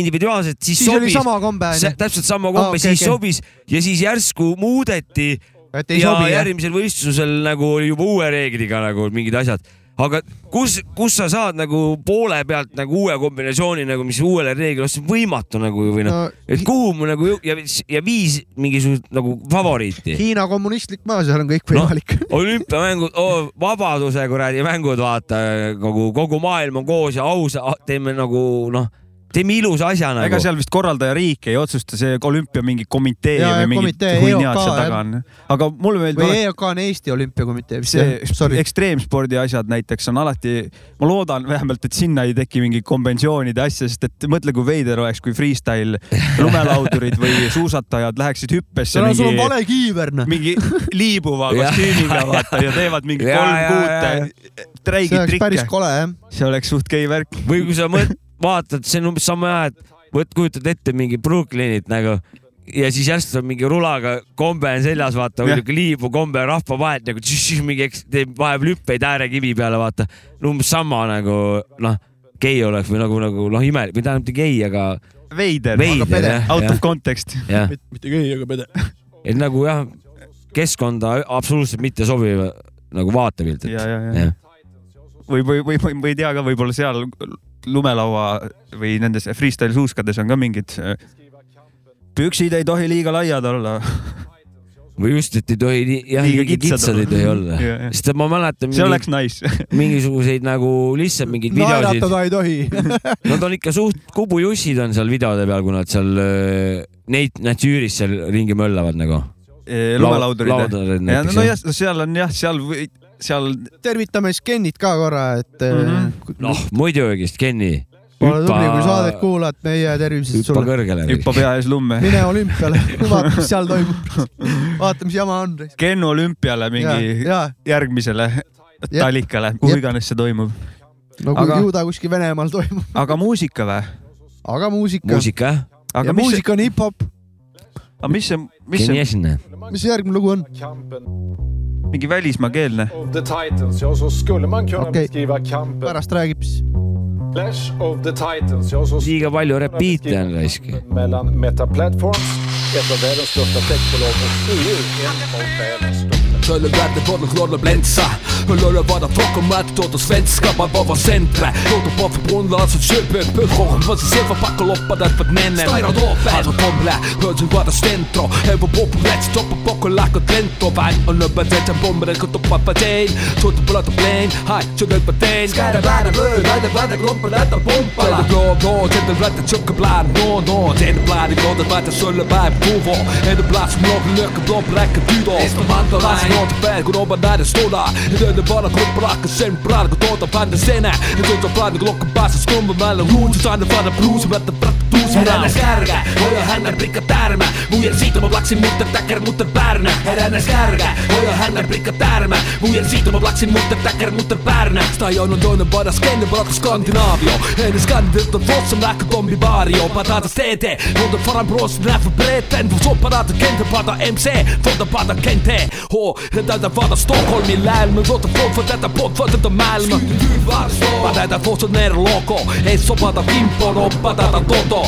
individuaalselt , siis siis oli sobis . sama kombe onju . täpselt sama Aa, kombe , okei, siis okei. sobis ja siis järsku muudeti et ei ja sobi jah . järgmisel võistlusel nagu oli juba uue reegliga nagu mingid asjad . aga kus , kus sa saad nagu poole pealt nagu uue kombinatsiooni nagu , mis uuele reeglile , see on võimatu nagu või noh , et kuhu mu nagu jõu- ja , ja viis mingisugust nagu favoriiti . Hiina kommunistlik maa , seal Noh, on kõik võimalik no. . (laughs) olümpiamängud oh, , vabaduse kuradi mängud , vaata kogu , kogu maailm on koos ja ausa , teeme nagu noh , teeme ilusa asja ega nagu . seal vist korraldaja riik ei otsusta , see olümpia mingi komitee Jaa, või jah, mingi komitee, huinjad EOK, seal jah. taga on . aga mulle meeldib või alati EOK on Eesti Olümpiakomitee vist jah , see sorry . ekstreemspordi asjad näiteks on alati , ma loodan vähemalt , et sinna ei teki mingi konventsioonide asja , sest et mõtle , kui veider oleks , kui freestyle lumelaudurid või (laughs) suusatajad läheksid hüppesse seal on , sul on mingi , vale kiiver noh . (laughs) mingi liibuva Jah. kostüümiga vaata ja teevad mingi Jaa, kolm jaa, kuute see treigit oleks päris trikke . kole jah . see oleks suht gei värk . või kui sa mõt- , vaatad , see on umbes sama hea , et võt- , kujutad ette mingi Brooklynit nagu ja siis järsku tuleb mingi rulaga kombe on seljas , vaata , Jah. muidugi liibu kombe rahva vahelt nagu tšš, mingi eks- teeb , vaheb lüppeid äärekivi peale , vaata . no umbes sama nagu noh , gei oleks või nagu , nagu noh , imelik või tähendab mitte gei , aga veider . veider pere. jah , Out jah of , context . jah , mitte keegi , aga pede . et nagu jah , keskkonda absoluutselt mitte sobiv nagu vaatepilt , ja , et ja , ja jah . või , või , või , või , või ei tea ka , võib-olla seal lumelaua või nendes freestyle suuskades on ka mingid . püksid ei tohi liiga laiad olla . või just , et ei tohi nii , jah , Liiga liiga kitsad kitsad ei olla. tohi olla (laughs) Jah, jah. sest ma mäletan see mingi- oleks nice . (laughs) mingisuguseid nagu lihtsalt mingeid videosid , naeratada ei tohi . (laughs) nad on ikka suht kubujussid on seal videode peal , kui nad seal öö, neid natüüris seal ringi möllavad nagu . lumelaudurid . ja näiteks no jah Äh, jah , seal on jah , seal , seal tervitame Skenit ka korra , et mm . Mhm. -hmm. noh , muidugi , Kenny . ole tubli , kui saadet kuulad , meie tervised hüppa sulle . kõrgele . hüppa pea ees lumme . (laughs) mine (laughs) olümpiale , vaata , mis seal toimub . vaata , mis jama on . Kennu olümpiale mingi jaa , järgmisele Jep. talikale , kuhu Jep. iganes see toimub . no kui Aga- ju ta kuskil Venemaal toimub , aga muusika või ? aga muusika . muusika jah , ja aga mis , muusika on hip-hop , aga mis see , mis see geniaalne . mis järgmine lugu on ? Kampen mingi välismaakeelne , of the Titans, ja så skulle man kunna Okej. beskriva kampen. pärast räägib siis . Clash of the Titans, ja så liiga palju repeat'e on raisk . mellan Meta Platforms, ett av världens största techbolag och EU, en av världens största. Töölönvärde pornoklorna blänsa Hörlurar vara bakom allt åt oss svenskar Man bara var centre Låter bara förvånade alltså köpet Börschocken för sig själva backar loppar därför att männen Stajrar åpen Alltså tomle Hörseln vara stentro Evo populärt stoppa bakom lack och lento Vän och nubben sätter bomber Den kan toppa partin Tårta på lata plain Haj, kör nu på den Skärra värda bröd Värda värda klompa lätta bomba Lätta blå blå Tänder rätta tjocka blad Nå nå Tänder blad i glada värda Sölleberg Bovo Ändå blad som låg Löka blå bräcker du då Nästa mandalain Snart päin kun oman näiden stoda Ja töiden vana kuppalaakka sen praan kun tuota pääntä senä Ja tuota pääntä klokka päässä skummamällä Ruutus aina vana blues Mättä prakka tuus Heränäs kärkä Hoja hännän prikka tärmä Mujen siitä mä plaksin mutta täkär mutta pärnä Heränäs kärkä Hoja hännän prikka tärmä Mujen siitä mä plaksin mutta täkär mutta pärnä Stai on on toinen vada skenne palata skandinaavio Ennen skandinavio Vossam lähkö tombi vaario Patata stete Mutta faran bros näfä breten Vos opparata kente pata MC Fota pata kente H Ja täältä vada Stockholmin lälmä Vota fot för detta pott för detta mälmä Syyn varstoo Mä täältä fossan ner loko Ei sopata kimppoon Oppatata toto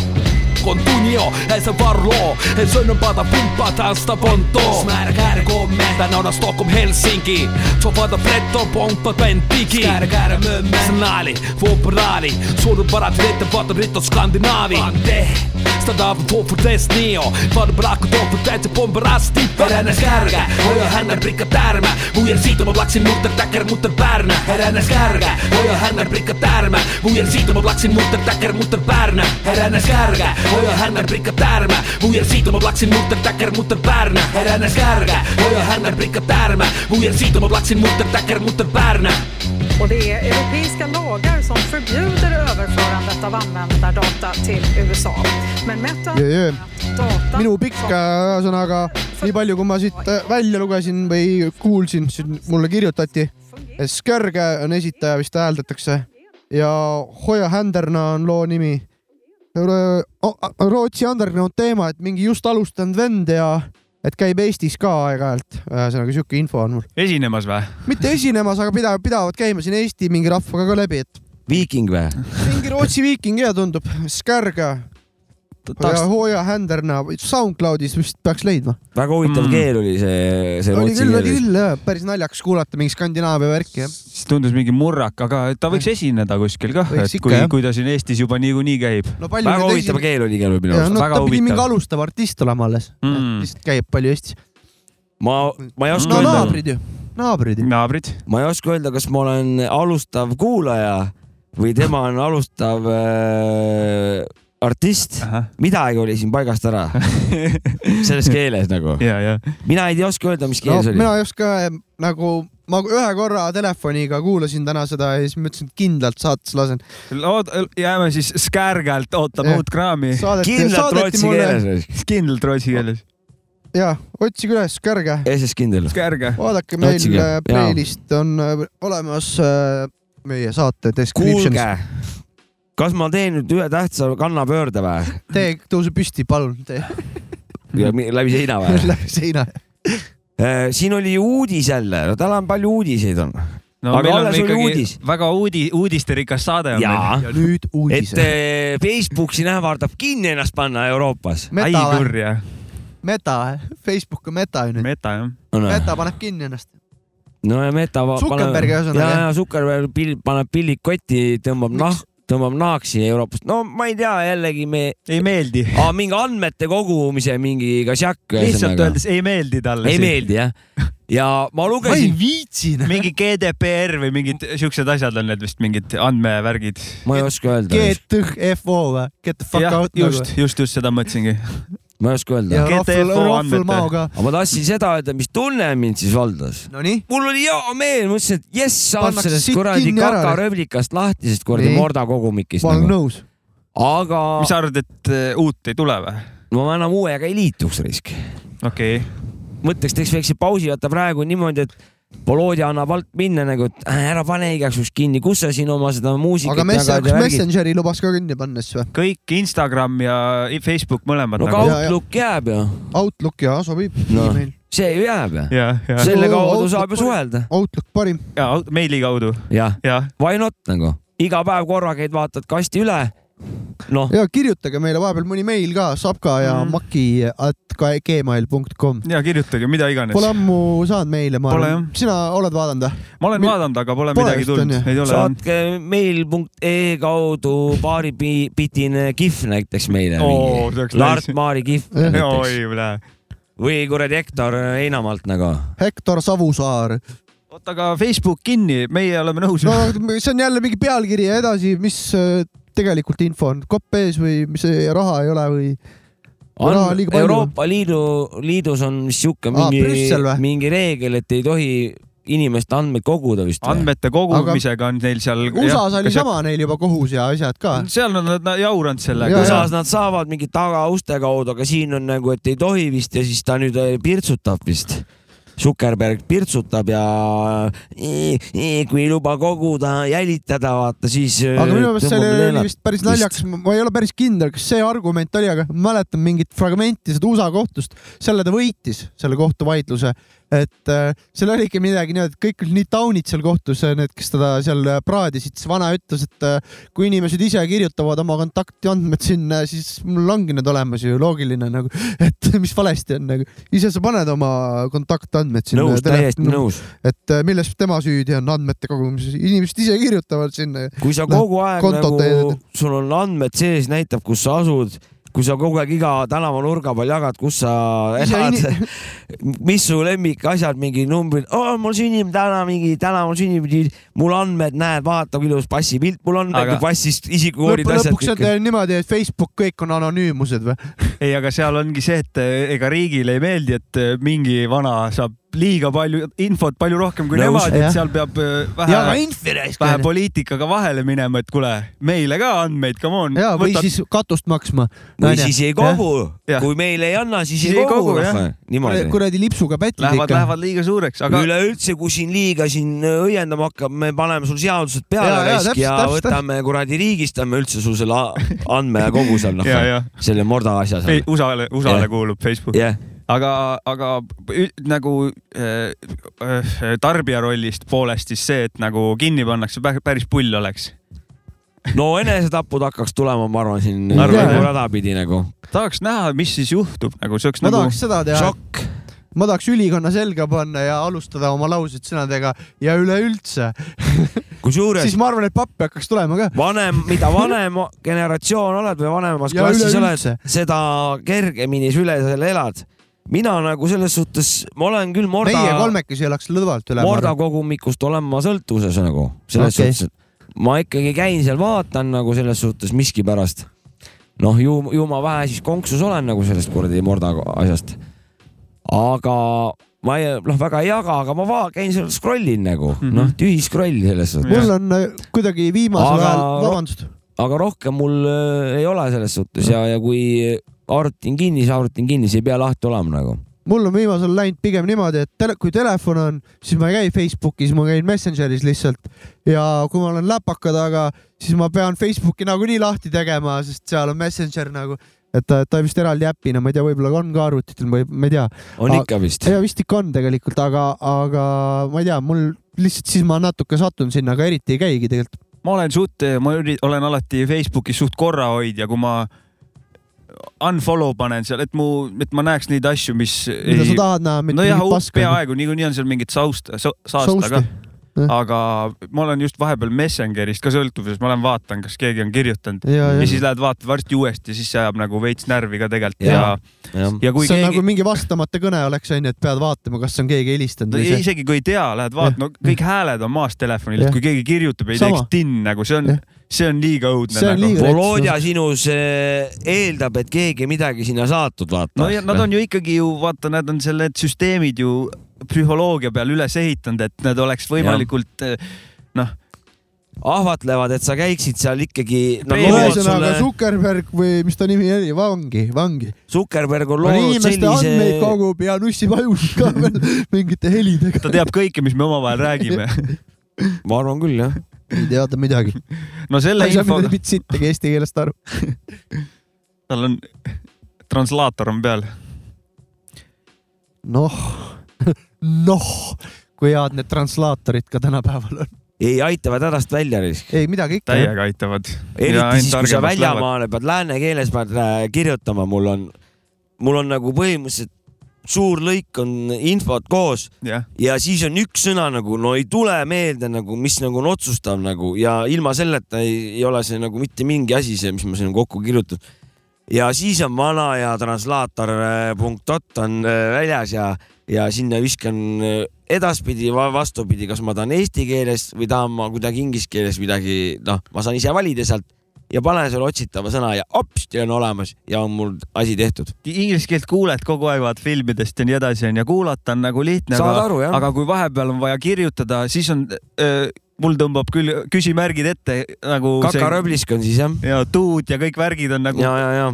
Kontunio, ei e se e varlo Ei sönnön pata pumppaa tästä pontoa Smärä käärä komme Tänne on Stockholm Helsinki Sofata fretto pomppa pentiki Käärä käärä mömme Snali, vuopraali Suorun parat vettä vaatta ritto skandinaavi Ante Stadav två för test neo Vad brak och tåg för tätt bombar asti Heränäs kärkä Hoja hännän prikka tärmä Mujer siitä mä plaksin mutta täkär mutta pärnä Heränäs kärkä Hoja hännän prikka tärmä Mujer siitä mä plaksin mutta täkär mutta pärnä Heränäs kärkä Hoja hännän prikka tärmä Mujer siitä mä plaksin mutta täkär mutta pärnä Heränäs kärkä Hoja hännän prikka tärmä Mujer siitä mä plaksin mutta täkär mutta pärnä Och det är europeiska lagar som förbjuder överförandet av användardata till USA. Men Meta Jö, jö. data minu pikk äh, ühesõnaga , nii palju , kui ma siit äh, välja lugesin või kuulsin , mulle kirjutati , Skörge on esitaja , vist hääldatakse ja Hoia Händerna on loo nimi . Rootsi underground teema , et mingi just alustanud vend ja et käib Eestis ka aeg-ajalt , ühesõnaga sihuke info on mul . esinemas või ? mitte esinemas , aga pidavad , pidavad käima siin Eesti mingi rahvaga ka läbi , et viiking või ? mingi Rootsi viiking ja tundub , Skörge ja Hoia Händerna , SoundCloudis vist peaks leidma . väga huvitav Mm. keel oli see , see oli rootsi küll , oli keel . küll jah , päris naljakas kuulata mingi Skandinaavia värki jah . siis tundus mingi murrak , aga ta võiks esineda kuskil kah , Võiks et ikka, kui jah. , kui ta siin Eestis juba niikuinii käib . no palju väga huvitav keel oli igal juhul minu ja, arust , no, väga ta pidi mingi huvitav . alustav artist olema alles Mm. mm. , lihtsalt käib palju Eestis . ma , ma ei oska no öelda , naabrid ju , naabrid ju . naabrid , ma ei oska öelda , kas ma olen alustav kuulaja või tema on alustav äh, artist . midagi oli siin paigast (laughs) ära selles keeles nagu . ja , ja mina ei tea- oska öelda , mis no keeles oli mina . ei oska eh, nagu , ma ühe korra telefoniga kuulasin täna seda ja siis ma ütlesin , et kindlalt saates lasen . Lood, jääme siis skärgalt ootame Jah. uut kraami , saadeti , kindlalt saadeti rootsi mulle , keeles , kindlalt rootsi keeles . jaa , otsige üles , Skärge . eesest kindel . skärge , vaadake , meil Otsige, eh, jaa. playlist on eh, olemas eh, meie saate kuulge description'is ., kas ma teen nüüd ühe tähtsa kannapöörde või ? tee , tõuse püsti , palun , tee ja mi- läbi seina või ? (laughs) läbi seina . siin oli uudis jälle , no täna on palju uudiseid on . no Aga meil on alles oli ikkagi uudis. väga uudi- , uudisterikas saade on jaa meil ., ja nüüd et uudised . eh, Facebook siin ähvardab kinni ennast panna Euroopas . ai meta või ? kurja , meta , Facebook on meta ju nüüd . meta jah . meta paneb kinni ennast . no ja Meta . Zuckerberg ühesõnaga, ja , jah. ja Zuckerberg pill, paneb pillid kotti , tõmbab nahk , tõmbab nahksi Euroopast . no ma ei tea , jällegi me , ei (laughs) meeldi , mingi andmete kogumise mingi kasjak . lihtsalt . öeldes ei meeldi talle ei . meeldi jah . ja ma ma ei lugesin , (laughs) viitsi . mingi GDPR või mingid siuksed asjad on need vist mingid andmevärgid . ma ei oska öelda , GTFO või ? äh, Get the fuck jah out , nagu- just , just , just seda mõtlesingi . ma ei oska öelda ja . GTFO rohvel , rohvel andmete. maoga . aga ma tahtsin seda öelda , mis tunne mind siis valdas . Nonii , mul oli hea meel , ma ütlesin , et jess , saab Pannakse sellest sitt kuradi kinni ära, jah. kakaröövlikast lahti , sellest kuradi Nii. mordakogumikist ma olen nagu . nõus . aga mis sa arvad , et äh, uut ei tule või ? ma enam uuega ei liituks risk okei okay. , mõtteks teeks väikse pausi , vaata praegu on niimoodi , et Volodja annab alt minna nagu , et äh, ära pane igaks juhuks kinni , kus sa siin oma seda muusikat aga Messenger , kas Messengeri lubas ka kinni panna siis või ? kõik Instagram ja Facebook mõlemad no aga nagu . Outlook jääb ju , Outlook ja sobib no. Noh. email . see ju jääb ju , ja , ja , selle Oo, kaudu Outlook saab ju parim. suhelda , Outlook parim . ja out- meili kaudu . jah , jah , why not nagu , iga päev korra käid , vaatad kasti üle , noh , ja kirjutage meile vahepeal mõni meil ka , sapka ja mm. Mhm. maki at ka- gmail.com . ja kirjutage mida iganes . Pole ammu saanud meile , ma Pole, arvan . sina oled vaadanud või ? ma olen Mi- vaadanud , aga pole Pole midagi vist, on ju? tulnud , ei ole . saatke mail.ee E kaudu paaripitine kihv näiteks meile Oo, see mingi oleks . Lart nice. Maari kihv Jah. oi näiteks üle . või kuradi Hektor Heinamaalt nagu . Hektor Savusaar . oota , aga Facebook kinni , meie oleme nõus no no. . (laughs) see on jälle mingi pealkiri ja edasi , mis äh, tegelikult info on , kopp ees või mis see raha ei ole või ? Raha on liiga palju. Euroopa Liidu , liidus on vist sihuke Aa, mingi Brüssel või? , mingi reegel , et ei tohi inimeste andmeid koguda vist või ? andmete kogumisega on neil seal . USA-s oli . sama neil juba kohus ja asjad ka . seal on nad jauranud Jaa, sellega . jaa. USA-s nad saavad mingi tagauste kaudu , aga siin on nagu , et ei tohi vist ja siis ta nüüd eh, pirtsutab vist . Zuckerberg pirtsutab ja eh, eh, kui ei luba koguda , jälitada , vaata siis . äh, aga minu meelest see oli- oli vist päris naljakas , ma ei ole päris kindel , kas see argument oli , aga ma mäletan mingit fragmenti seda USA kohtust , selle ta võitis , selle kohtuvaidluse . et äh, seal oligi midagi niimoodi , et kõik olid nii taunid seal kohtus , need , kes teda seal äh, praadisid , siis vana ütles , et äh, kui inimesed ise kirjutavad oma kontaktiandmed sinna , siis mul ongi need olemas ju , loogiline nagu , (laughs) et mis valesti on nagu . ise sa paned oma kontaktandmed sinna . nõus , täiesti . nõus . et äh, milles tema süüdi on andmete kogumises , inimesed ise kirjutavad sinna kui sa Noh, kogu aeg kontot nagu täidad. , sul on andmed sees , näitab , kus sa asud , kui sa kogu aeg iga tänavanurga peal jagad , kus sa Ise elad , (laughs) mis su lemmikasjad , mingi numbrid oh, , mul sünnib täna mingi , täna mul sünnib , mul andmed , näed , vaata , kui ilus passipilt mul on , Aga- passist isikukoodid , lõppude lõpuks on asjad . teil niimoodi , et Facebook kõik on anonüümused või ? (laughs) ei , aga seal ongi see , et eh, ega riigile ei meeldi , et eh, mingi vana saab liiga palju infot , palju rohkem kui Nõus. nemad , Jah. et seal peab äh, vähe , vähe poliitikaga vahele minema , et kuule , meile ka andmeid , come on . ja , või siis katust maksma . või siis ei kogu , Jah. kui meile ei anna , siis ei kogu , jah. niimoodi . kuradi lipsuga pätid Lähevad , ikka . lähevad liiga suureks , aga üleüldse , kui siin liiga siin õiendama hakkab , me paneme sul seadused peale Jaa, jaa, raisk täpselt, ja täpselt. võtame kuradi , riigistame üldse (laughs) su selle a- andmekogu seal , noh ja , ja selle morda asja Fe- seal . USA-le , USA-le Jah. kuulub Facebook , jah , aga , aga ü- nagu äh, äh, tarbija rollist poolest siis see , et nagu kinni pannakse , päris pull oleks . no enesetapud hakkaks tulema , ma arvan , siin Arvad, nagu jah? radapidi nagu . tahaks näha , mis siis juhtub , nagu see oleks ma nagu tahaks seda teha , šokk , ma tahaks ülikonna selga panna ja alustada oma lauseid sõnadega ja üleüldse , siis (laughs) kusjuures ma arvan , et pappi hakkaks tulema ka . vanem , mida vanem generatsioon oled või vanemas Ja klassis oled üleüldse. , seda kergemini sa üle selle elad . mina nagu selles suhtes , ma olen küll meie morda , kolmekesi elaks lõdvalt üle . morda kogumikust olen ma sõltuvuses nagu selles Okei. okay. suhtes , et ma ikkagi käin seal , vaatan nagu selles suhtes miskipärast . noh , ju , ju ma vähe siis konksus olen nagu sellest kuradi morda asjast . aga ma ei , noh , väga ei jaga , aga ma va- , käin seal , scroll in nagu mm -hmm. , noh , tühi scroll selles suhtes . mul on äh, kuidagi viimasel Aga- ajal , vabandust , aga rohkem mul äh, ei ole selles suhtes ja , ja kui arvutin kinni , siis arvutin kinni , see ei pea lahti olema nagu . mul on viimasel ajal läinud pigem niimoodi , et tele, kui telefon on , siis ma ei käi Facebookis , ma käin Messengeris lihtsalt ja kui ma olen läpaka taga , siis ma pean Facebooki nagunii lahti tegema , sest seal on Messenger nagu , et ta, ta vist eraldi äpina , ma ei tea , võib-olla on ka arvutitel , ma ei , ma ei tea . on Aga- ikka vist . ja vist ikka on tegelikult , aga , aga ma ei tea , mul lihtsalt siis ma natuke satun sinna , aga eriti ei käigi tegelikult . ma olen suht , ma üri- olen alati Facebookis suht korrahoidja , kui ma unfollow panen seal , et mu , et ma näeks neid asju , mis mida ei sa tahad näha , mitte nojah , mingit paska . peaaegu niikuinii on seal mingit sausta , saasta Sousti. ka Jah. . aga ma olen just vahepeal Messengerist ka sõltuvuses , ma olen vaatan , kas keegi on kirjutanud ja , ja ja siis lähed vaatad varsti uuesti , siis see ajab nagu veits närvi ka tegelikult ja, Jaa. ja , jah , ja kui see on keegi nagu mingi vastamata kõne oleks onju , et pead vaatama , kas on keegi helistanud no või ei, see . isegi kui ei tea , lähed vaatad , no kõik hääled on maas telefonil , Jah. et kui keegi kirjutab , ei Sama. teeks tinn nagu see on Jah. , see on liiga õudne See on nagu liiga- Volodja sinus äh, eeldab , et keegi midagi sinna saatud , vaata . no ja nad on ju ikkagi ju vaata , nad on selle süsteemid ju psühholoogia peal üles ehitanud , et nad oleks võimalikult eh, noh , ahvatlevad , et sa käiksid seal ikkagi . ühesõnaga Zuckerberg või mis ta nimi oli , vangi , vangi . Zuckerberg on on loonud inimeste andmeid sellise , kogub ja nussib ajusid (laughs) ka veel mingite helidega . ta teab kõike , mis me omavahel räägime . (laughs) ma arvan küll jah . ei tea ta midagi . no ta selle ei saa infoga midagi , mitte sittagi eesti keelest (laughs) aru . tal on , translaator on peal . noh , (laughs) noh , kui head need translaatorid ka tänapäeval on . ei , aitavad hädast välja risk . ei midagi ikka . täiega aitavad . eriti siis , kui sa väljamaale pead , lääne keeles pead äh, kirjutama , mul on , mul on nagu põhimõtteliselt suur lõik on infot koos jah , ja siis on üks sõna nagu no ei tule meelde nagu , mis nagu on otsustav nagu ja ilma selleta ei, ei ole see nagu mitte mingi asi , see , mis ma siin kokku kirjutan . ja siis on vana ja translaator.ot on äh, väljas ja , ja sinna viskan äh, edaspidi va- vastupidi , kas ma tahan eesti keeles või tahan ma kuidagi inglise keeles midagi , noh , ma saan ise valida sealt ja panen selle otsitava sõna ja hopsti on olemas ja on mul asi tehtud . inglise keelt kuuled kogu aeg , vaat filmidest ja nii edasi onju , kuulata on nagu lihtne , Saad aga aru, jah. , aga kui vahepeal on vaja kirjutada , siis on , mul tõmbab küll küsimärgid ette nagu . kakaröblisk on siis jah ja tuud ja kõik värgid on nagu ja , ja , ja .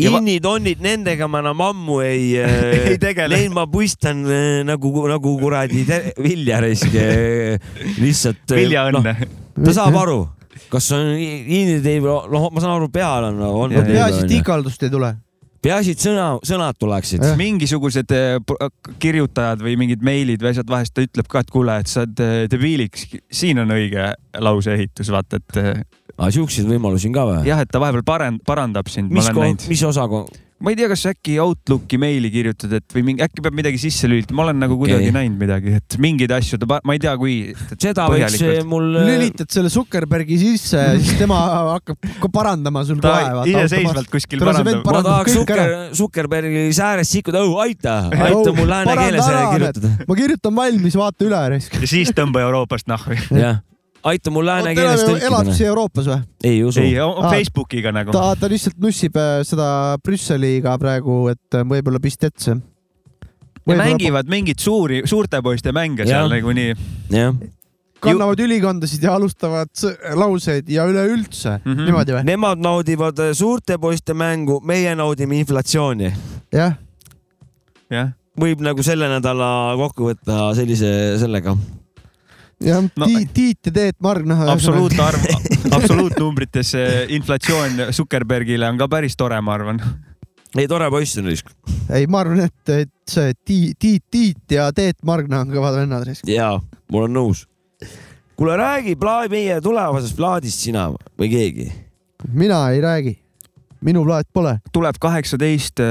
Ja va- innitonnid , nendega ma enam ammu ei (laughs) äh, Ei tegele. Neid ma puistan äh, nagu , nagu kuradi te- vilja raisk . lihtsalt . viljaõnne . ta saab aru , kas on i- inniteible , noh , ma saan aru , peal on , on Ja- peaasi , et teible . ikaldust ei tule . peaasi , et sõna , sõnad tuleksid . Jah. mingisugused eh, pro- kirjutajad või mingid meilid või asjad vahest ta ütleb ka , et kuule , et sa oled eh, debiiliks , siin on õige lauseehitus , vaata , et eh, aga Ah, siukseid võimalusi on ka või ? jah , et ta vahepeal parend- , parandab sind , ma mis olen koht näinud ,. mis osakond ? ma ei tea , kas äkki Outlooki meili kirjutad , et või mingi , äkki peab midagi sisse lülitama , ma olen nagu Okei. kuidagi näinud midagi , et mingeid asju ta , ma ei tea , kui seda võiks eh, Põhjalikult. mul . lülitad selle Zuckerbergi sisse ja siis tema hakkab ka parandama sul ta kohe . iseseisvalt kuskil tule, sa pead parandab . ma parandab tahaks kõik ära. Zucker , Zuckerbergi säärest sikkuda , aita , aita mul lääne keeles eh, kirjutada . ma kirjutan valmis , vaata üle raisk . (laughs) ja siis tõmba Euroopast nahvi . jah , aita mul lääne keeles elab tõlkida siis . Euroopas või ? ei usu . ei , on Aa. Facebookiga nagu . ta , ta lihtsalt nussib äh, seda Brüsseliga praegu , et äh, võib-olla pistetse . ja mängivad mingeid suuri , suurte poiste mänge seal nagu Jah. nagunii jah , kannavad ülikondasid ja alustavad s- lauseid ja üleüldse mm -hmm. Mhm. niimoodi või ? nemad naudivad eh, suurte poiste mängu , meie naudime inflatsiooni . jah , jah , võib nagu selle nädala kokku võtta sellise , sellega . jah no, , No- Tiit , Tiit ja Teet Marg , noh . absoluutarv , (laughs) absoluutnumbrites eh, inflatsioon Zuckerbergile on ka päris tore , ma arvan . ei , tore poiss on risk . (laughs) ei , ma arvan , et , et see Tiit , Tiit , Tiit ja Teet Margna on kõvad vennad , jaa , ma olen nõus . kuule , räägi pla- , meie tulevasest plaadist sina või keegi . mina ei räägi , minu plaat pole . tuleb kaheksateist äh,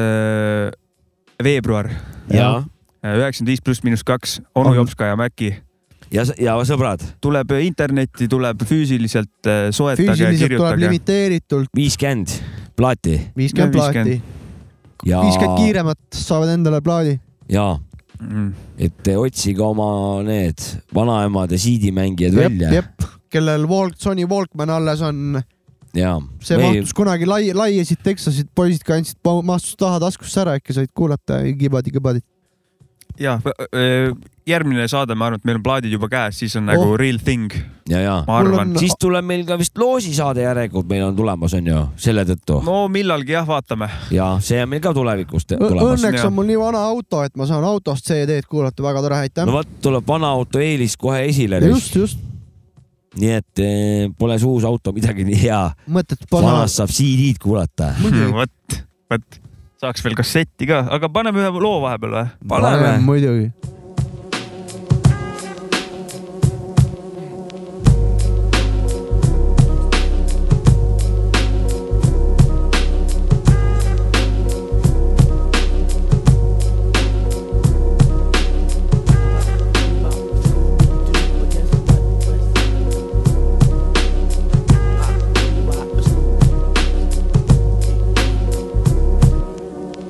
veebruar , ja , üheksakümmend viis pluss miinus kaks , onu On- Jopska ja Mäki . ja , ja sõbrad , tuleb äh, internetti , tuleb füüsiliselt eh, soetage ja füüsiliselt tuleb kirjutage . limiteeritult viiskümmend plaati viiskümmend No 50. plaati , ja , viiskümmend kiiremat saavad endale plaadi . ja et eh, otsige oma need vanaemade siidimängijad jep , välja jep , kellel Walk , Sony Walkman alles on , ja . see mahtus kunagi lai- , laiesid Texasid , poisid kandsid , mahtus taha taskusse ära , äkki said kuulata kibadi-kibadit . ja , äh, järgmine saade , ma arvan , et meil on plaadid juba käes , siis on nagu Oh. real thing , ja , ja ma Mul arvan on- . siis tuleb meil ka vist loosisaade järelikult meil on tulemas , on ju , selle tõttu no. no millalgi jah , vaatame . ja see on meil ka tulevikus te- tulemas . Õnneks jah. on mul nii vana auto , et ma saan autost CD-d kuulata , väga tore , aitäh no . vot , tuleb vana auto eelis kohe esile . just , just , nii et eh, pole see uus auto midagi nii hea , mõtet panna . vanast saab CD-d kuulata . muidugi , vot , vot saaks veel kassetti ka , aga paneme ühe loo vahepeal või ? paneme . muidugi .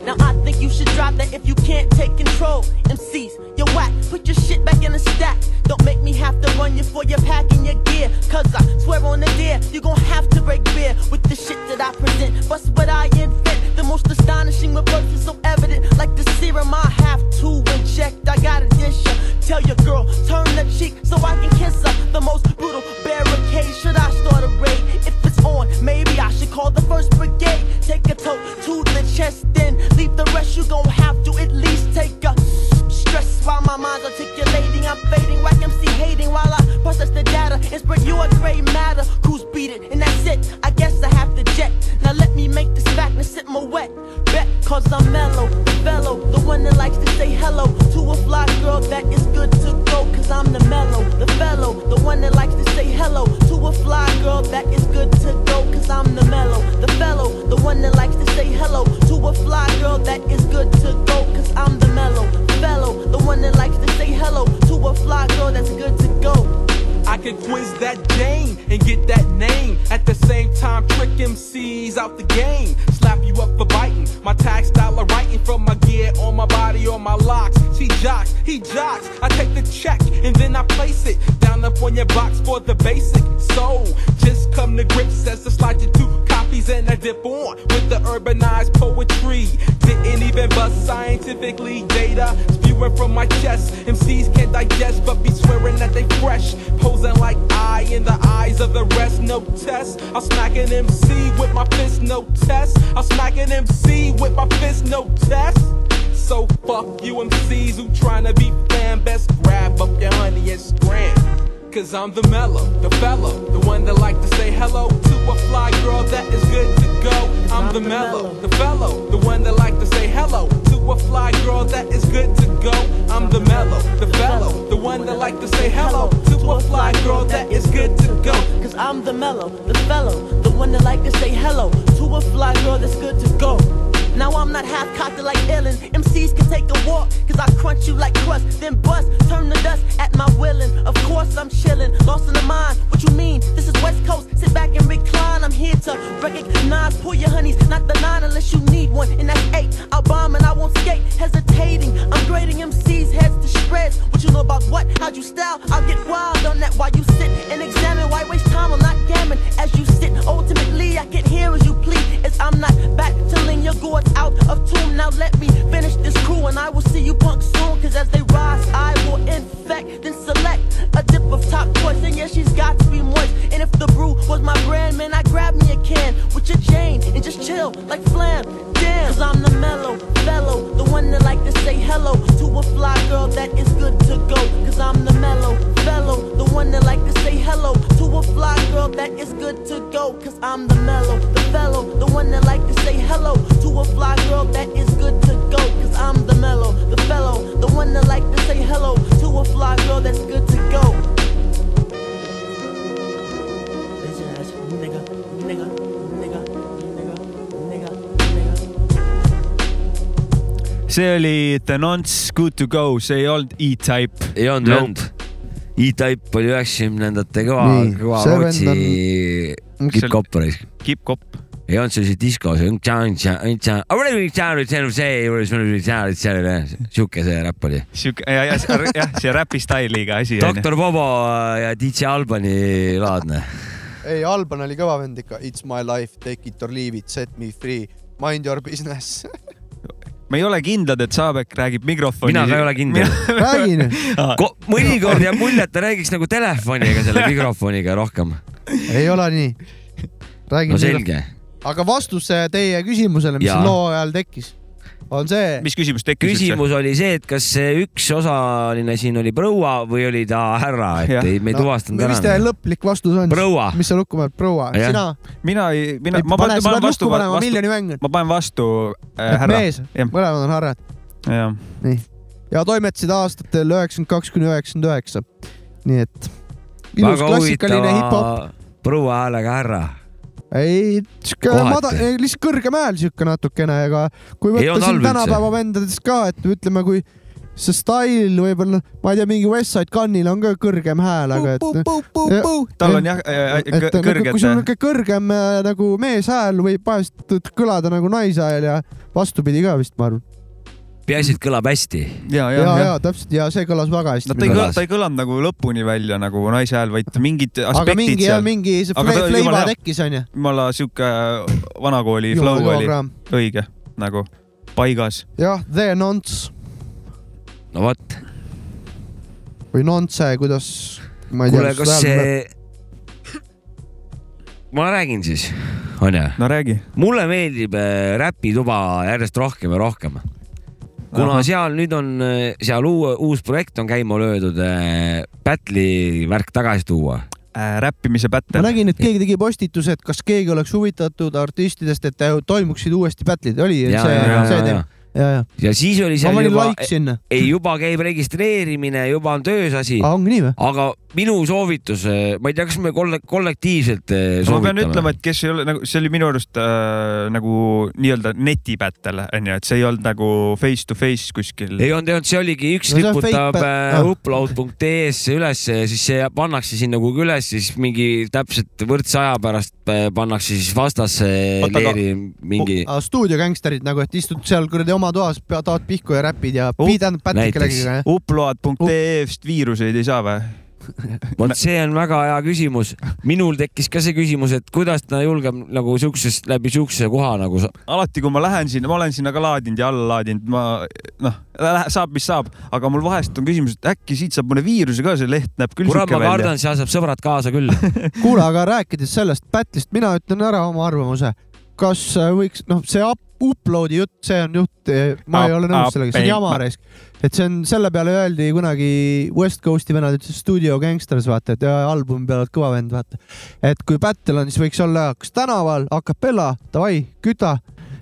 Now I think you should drop that if you can't take control. MCs, you're whack. Put your shit back in the stack. Don't make me have to run you for your pack and your gear. Cause I swear on the dear, you're gonna have to break beer with the shit that I present. Bust what I invent. The most astonishing reverse is so evident. Like the serum I have to inject. I gotta dish her. Tell your girl, turn the cheek so I can kiss her. The most brutal barricade should cause I'm mellow, fellow, the one that likes to say hello to a fly girl that is good to go, cause I'm the mellow, the fellow, the one that likes to say hello to a fly girl that is good to go, cause I'm the mellow, the fellow, the one that likes to say hello to a fly girl that is good to go, cause I'm the mellow, fellow, the one that likes to say hello to a fly girl that's good to go. I could quiz that Jane and get that name. At the same time, trick MCs out the game. Slap you up for biting. My tag style of writing from my gear on my body on my locks. She jocks, he jocks. I take the check and then I place it down up on your box for the basic. So just come to grips as I slide you two copies and I dip on with the urbanized poetry. Didn't even bust scientifically data spewing from my chest. MCs can't digest but be swearing that they fresh. Posing like I in the eyes of the rest, no test. I'll smack an MC with my fist, no test. I'll smack an MC with my fist, no test. So fuck you MCs who tryna be fam, best grab up your honey and scram. Cause I'm the mellow, the fellow, the one that like to say hello to a fly girl that is good to go. I'm the mellow, the fellow, the one that like to say hello to a fly girl that is good to go. I'm the mellow, the fellow, the one that like to say hello to a fly girl that is good to go. Cause I'm the mellow, the fellow, the one that like to say hello to a fly girl that's good to go. Now I'm not half cocked like Ellen. MCs can take a walk, cause I crunch you like crust, then bust, turn to dust at my willing. Of course I'm chillin', lost in the mind. What you mean? This is West Coast, sit back and recline. I'm here to recognize, pull your honeys, not the nine unless you need one. And that's eight. I'll bomb and I won't skate, hesitating. I'm grading MCs, heads to shreds. What you know about what? How'd you style? I'll get wild on that while you sit and examine. Why waste time? I'm not gammon as you sit. Ultimately, I can hear as you plead, as I'm not battling your gourd out of tune. Now let me finish this crew and I will see you punk soon. Cause as they rise, I will infect, then select a dip of top choice. And yeah, she's got to be moist. And if the brew was my brand, man, I grab me a can with your Jane and just chill like flam. Damn, cause I'm the mellow fellow, the one that like to say hello to a fly girl that is good to go. Cause I'm the mellow fellow, the one that like to say hello to a fly girl that is good to go. Cause I'm the mellow, the fellow, the one that like to say hello to a fly girl that is good to go. Cause I'm the mellow, the fellow, the one that like to say hello to a fly girl that's good to go. Bitch ass nigga, nigga, nigga, nigga, nigga, see oli The Nonce Good To Go , see ei olnud E-Type . ei olnud , ei olnud . E-Type oli üheksakümnendate kõva Nii, , kõva see Rootsi vend on- kipp-kopp oli . kipp-kopp . ei olnud sellise disko , see on Ah, siuke see räpp oli . sihuke , ja , ja see- jah , see räpi stailiga asi . doktor Bobo ja DJ Albani laadne . ei , Alban oli kõva vend ikka . It's my life , take it or leave it , set me free , mind your (laughs) business . me ei ole kindlad , et Saabek räägib mikrofoni . Mina ka ei ole kindel. (laughs) räägin . mõnikord jääb mulje , et ta räägiks nagu telefoniga selle (laughs) mikrofoniga rohkem . ei ole nii . räägin . no selge . aga vastus teie küsimusele , mis Jaa. siin loo ajal tekkis , on see . mis küsimus küsimus oli see , et kas see üks osaline siin oli proua või oli ta härra , et ei , me ei tuvastanud mis teie ära . lõplik vastus on ? Proua. mis sa lukku paned , proua ? Jah. sina ? mina ei , mina Ei , ma pane, panen , sa pead ma panen vastu , lukku panema, vastu, miljonimäng on. ma panen vastu äh, Äh, härra . mees , mõlemad on härrad . jah . nii , ja toimetasid aastatel üheksakümmend kaks kuni üheksakümmend üheksa . nii et ilus klassikaline hip-hop .. proua häälega härra . ei , sihuke Kohati. madal , lihtsalt kõrgem hääl sihuke natukene , aga kui Ei võtta olnud siin halb tänapäeva vendadest ka , et ütleme , kui see stail võib-olla , ma ei tea , mingi Westside Gunnil on ka kõrgem hääl , aga et . tal on jah äh, et kõ- nagu, kui sul on kõrged . niisugune kõrgem äh, nagu meeshääl , võib vahest kõlada nagu naishääl ja vastupidi ka vist , ma arvan . peaasi , et kõlab hästi . ja , ja ja ,, ja täpselt ja see kõlas väga hästi no ta ei kõla , ta ei kõlanud nagu lõpuni välja nagu naise hääl , vaid mingid aspektid mingi- jah, seal . mingi see fle- fleiva tekkis, onju. . jumala sihuke äh, vanakooli Jumala flow oli programm. õige nagu paigas . jah , The Nonce no vot . või Nonce , kuidas , ma ei tea . kuule , kas see , ma räägin siis , onju . no räägi . mulle meeldib äh, räpituba järjest rohkem ja rohkem . kuna Ahah. Aha. seal nüüd on , seal uue , uus projekt on käima löödud äh, , battle'i värk äh, tagasi tuua . äh, räppimise battle . ma nägin , et keegi tegi postituse , et kas keegi oleks huvitatud artistidest , et äh, toimuksid uuesti battle'id , oli Ja, see ja, , ja, see ja. teema ? ja , ja . ja siis oli seal ma panin juba like sinna . ei , juba käib registreerimine , juba on töös asi . ongi nii või ? aga minu soovitus , ma ei tea , kas me kolle- , kollektiivselt eh, ma pean ütlema , soovitame . et kes ei ole nagu , see oli minu arust äh, nagu nii-öelda netibattle onju , et see ei olnud nagu face to face kuskil . ei olnud , ei olnud , see oligi , üks No see on liputab fake bat- äh, ah. upload.ee-sse ülesse ja siis see pannakse sinna kuhugi üles , siis mingi täpselt võrdse aja pärast eh, pannakse siis vastasse Oota, aga- leeri mingi . stuudiogängsterid nagu , et istud seal kuradi oma toas , taod pihku ja räpid ja piidanud pätid kellegagi , jah ? upload.ee-st viiruseid ei saa või ? vot see on väga hea küsimus . minul tekkis ka see küsimus , et kuidas ta julgeb nagu siuksest , läbi siukse koha nagu sa- alati , kui ma lähen sinna , ma olen sinna ka laadinud ja alla laadinud , ma noh , saab , mis saab , aga mul vahest on küsimus , et äkki siit saab mõne viiruse ka , see leht näeb küll kurat , ma siuke välja kardan ,. seal saab sõbrad kaasa küll . (laughs) kuule , aga rääkides sellest battle'ist , mina ütlen ära oma arvamuse . kas äh, võiks , noh , see up- upload'i jutt , see on jutt , ma ei Up- ole nõus sellega , see on up- jama raisk . et see on , selle peale öeldi kunagi West Coast'i vennad ütlesid Studio Gangsters , vaata , et jaa, albumi peal oled kõva vend , vaata . et kui battle on , siis võiks olla kas tänaval , a capella , davai , küta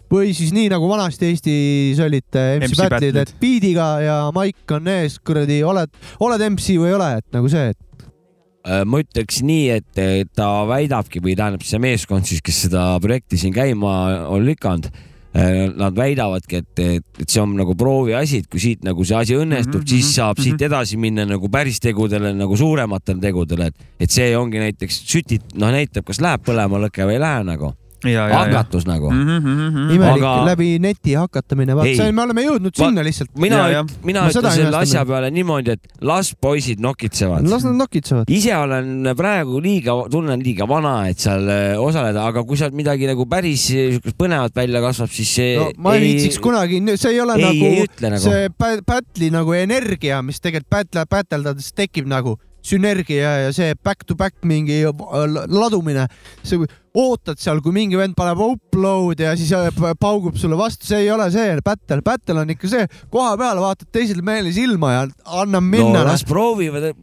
või siis nii nagu vanasti Eestis olid äh, MC, MC MC battle'id , battle'id. et beat'iga ja maik on ees , kuradi , oled , oled MC või ei ole , et nagu see , et Äh, ma ütleks nii , et eh, ta väidabki või tähendab see meeskond siis , kes seda projekti siin käima on lükanud . Nad väidavadki , et , et see on nagu prooviasi , et kui siit nagu see asi Mhm, õnnestub mm , -hmm, siis saab mm -hmm. siit edasi minna nagu päris tegudele nagu suurematele tegudele , et , et see ongi näiteks sütit , noh , näitab , kas läheb põlema lõke või ei lähe nagu . ja, ja. hakatus nagu mm . -hmm. imelik aga... läbi neti hakatamine , vaat Ei. see , me oleme jõudnud Va- sinna lihtsalt . mina , mina ütlen selle asja . peale niimoodi , et las poisid nokitsevad . las nad nokitsevad . ise olen praegu liiga , tunnen liiga vana , et seal äh, osaleda , aga kui sealt midagi nagu päris äh, siukest põnevat välja kasvab , siis see no ma ei viitsiks kunagi , see ei ole ei- nagu, ei ütle nagu. see bä- battle'i nagu energia , mis tegelikult battle , battle'dades tekib nagu sünergia ja see back to back mingi äh, ladumine , see ootad seal , kui mingi vend paneb upload ja siis äh, pa- paugub sulle vastu , see ei ole see battle , battle on ikka see , koha peal vaatad teisele mehele silma ja anna minna noh. no, . las proovivad .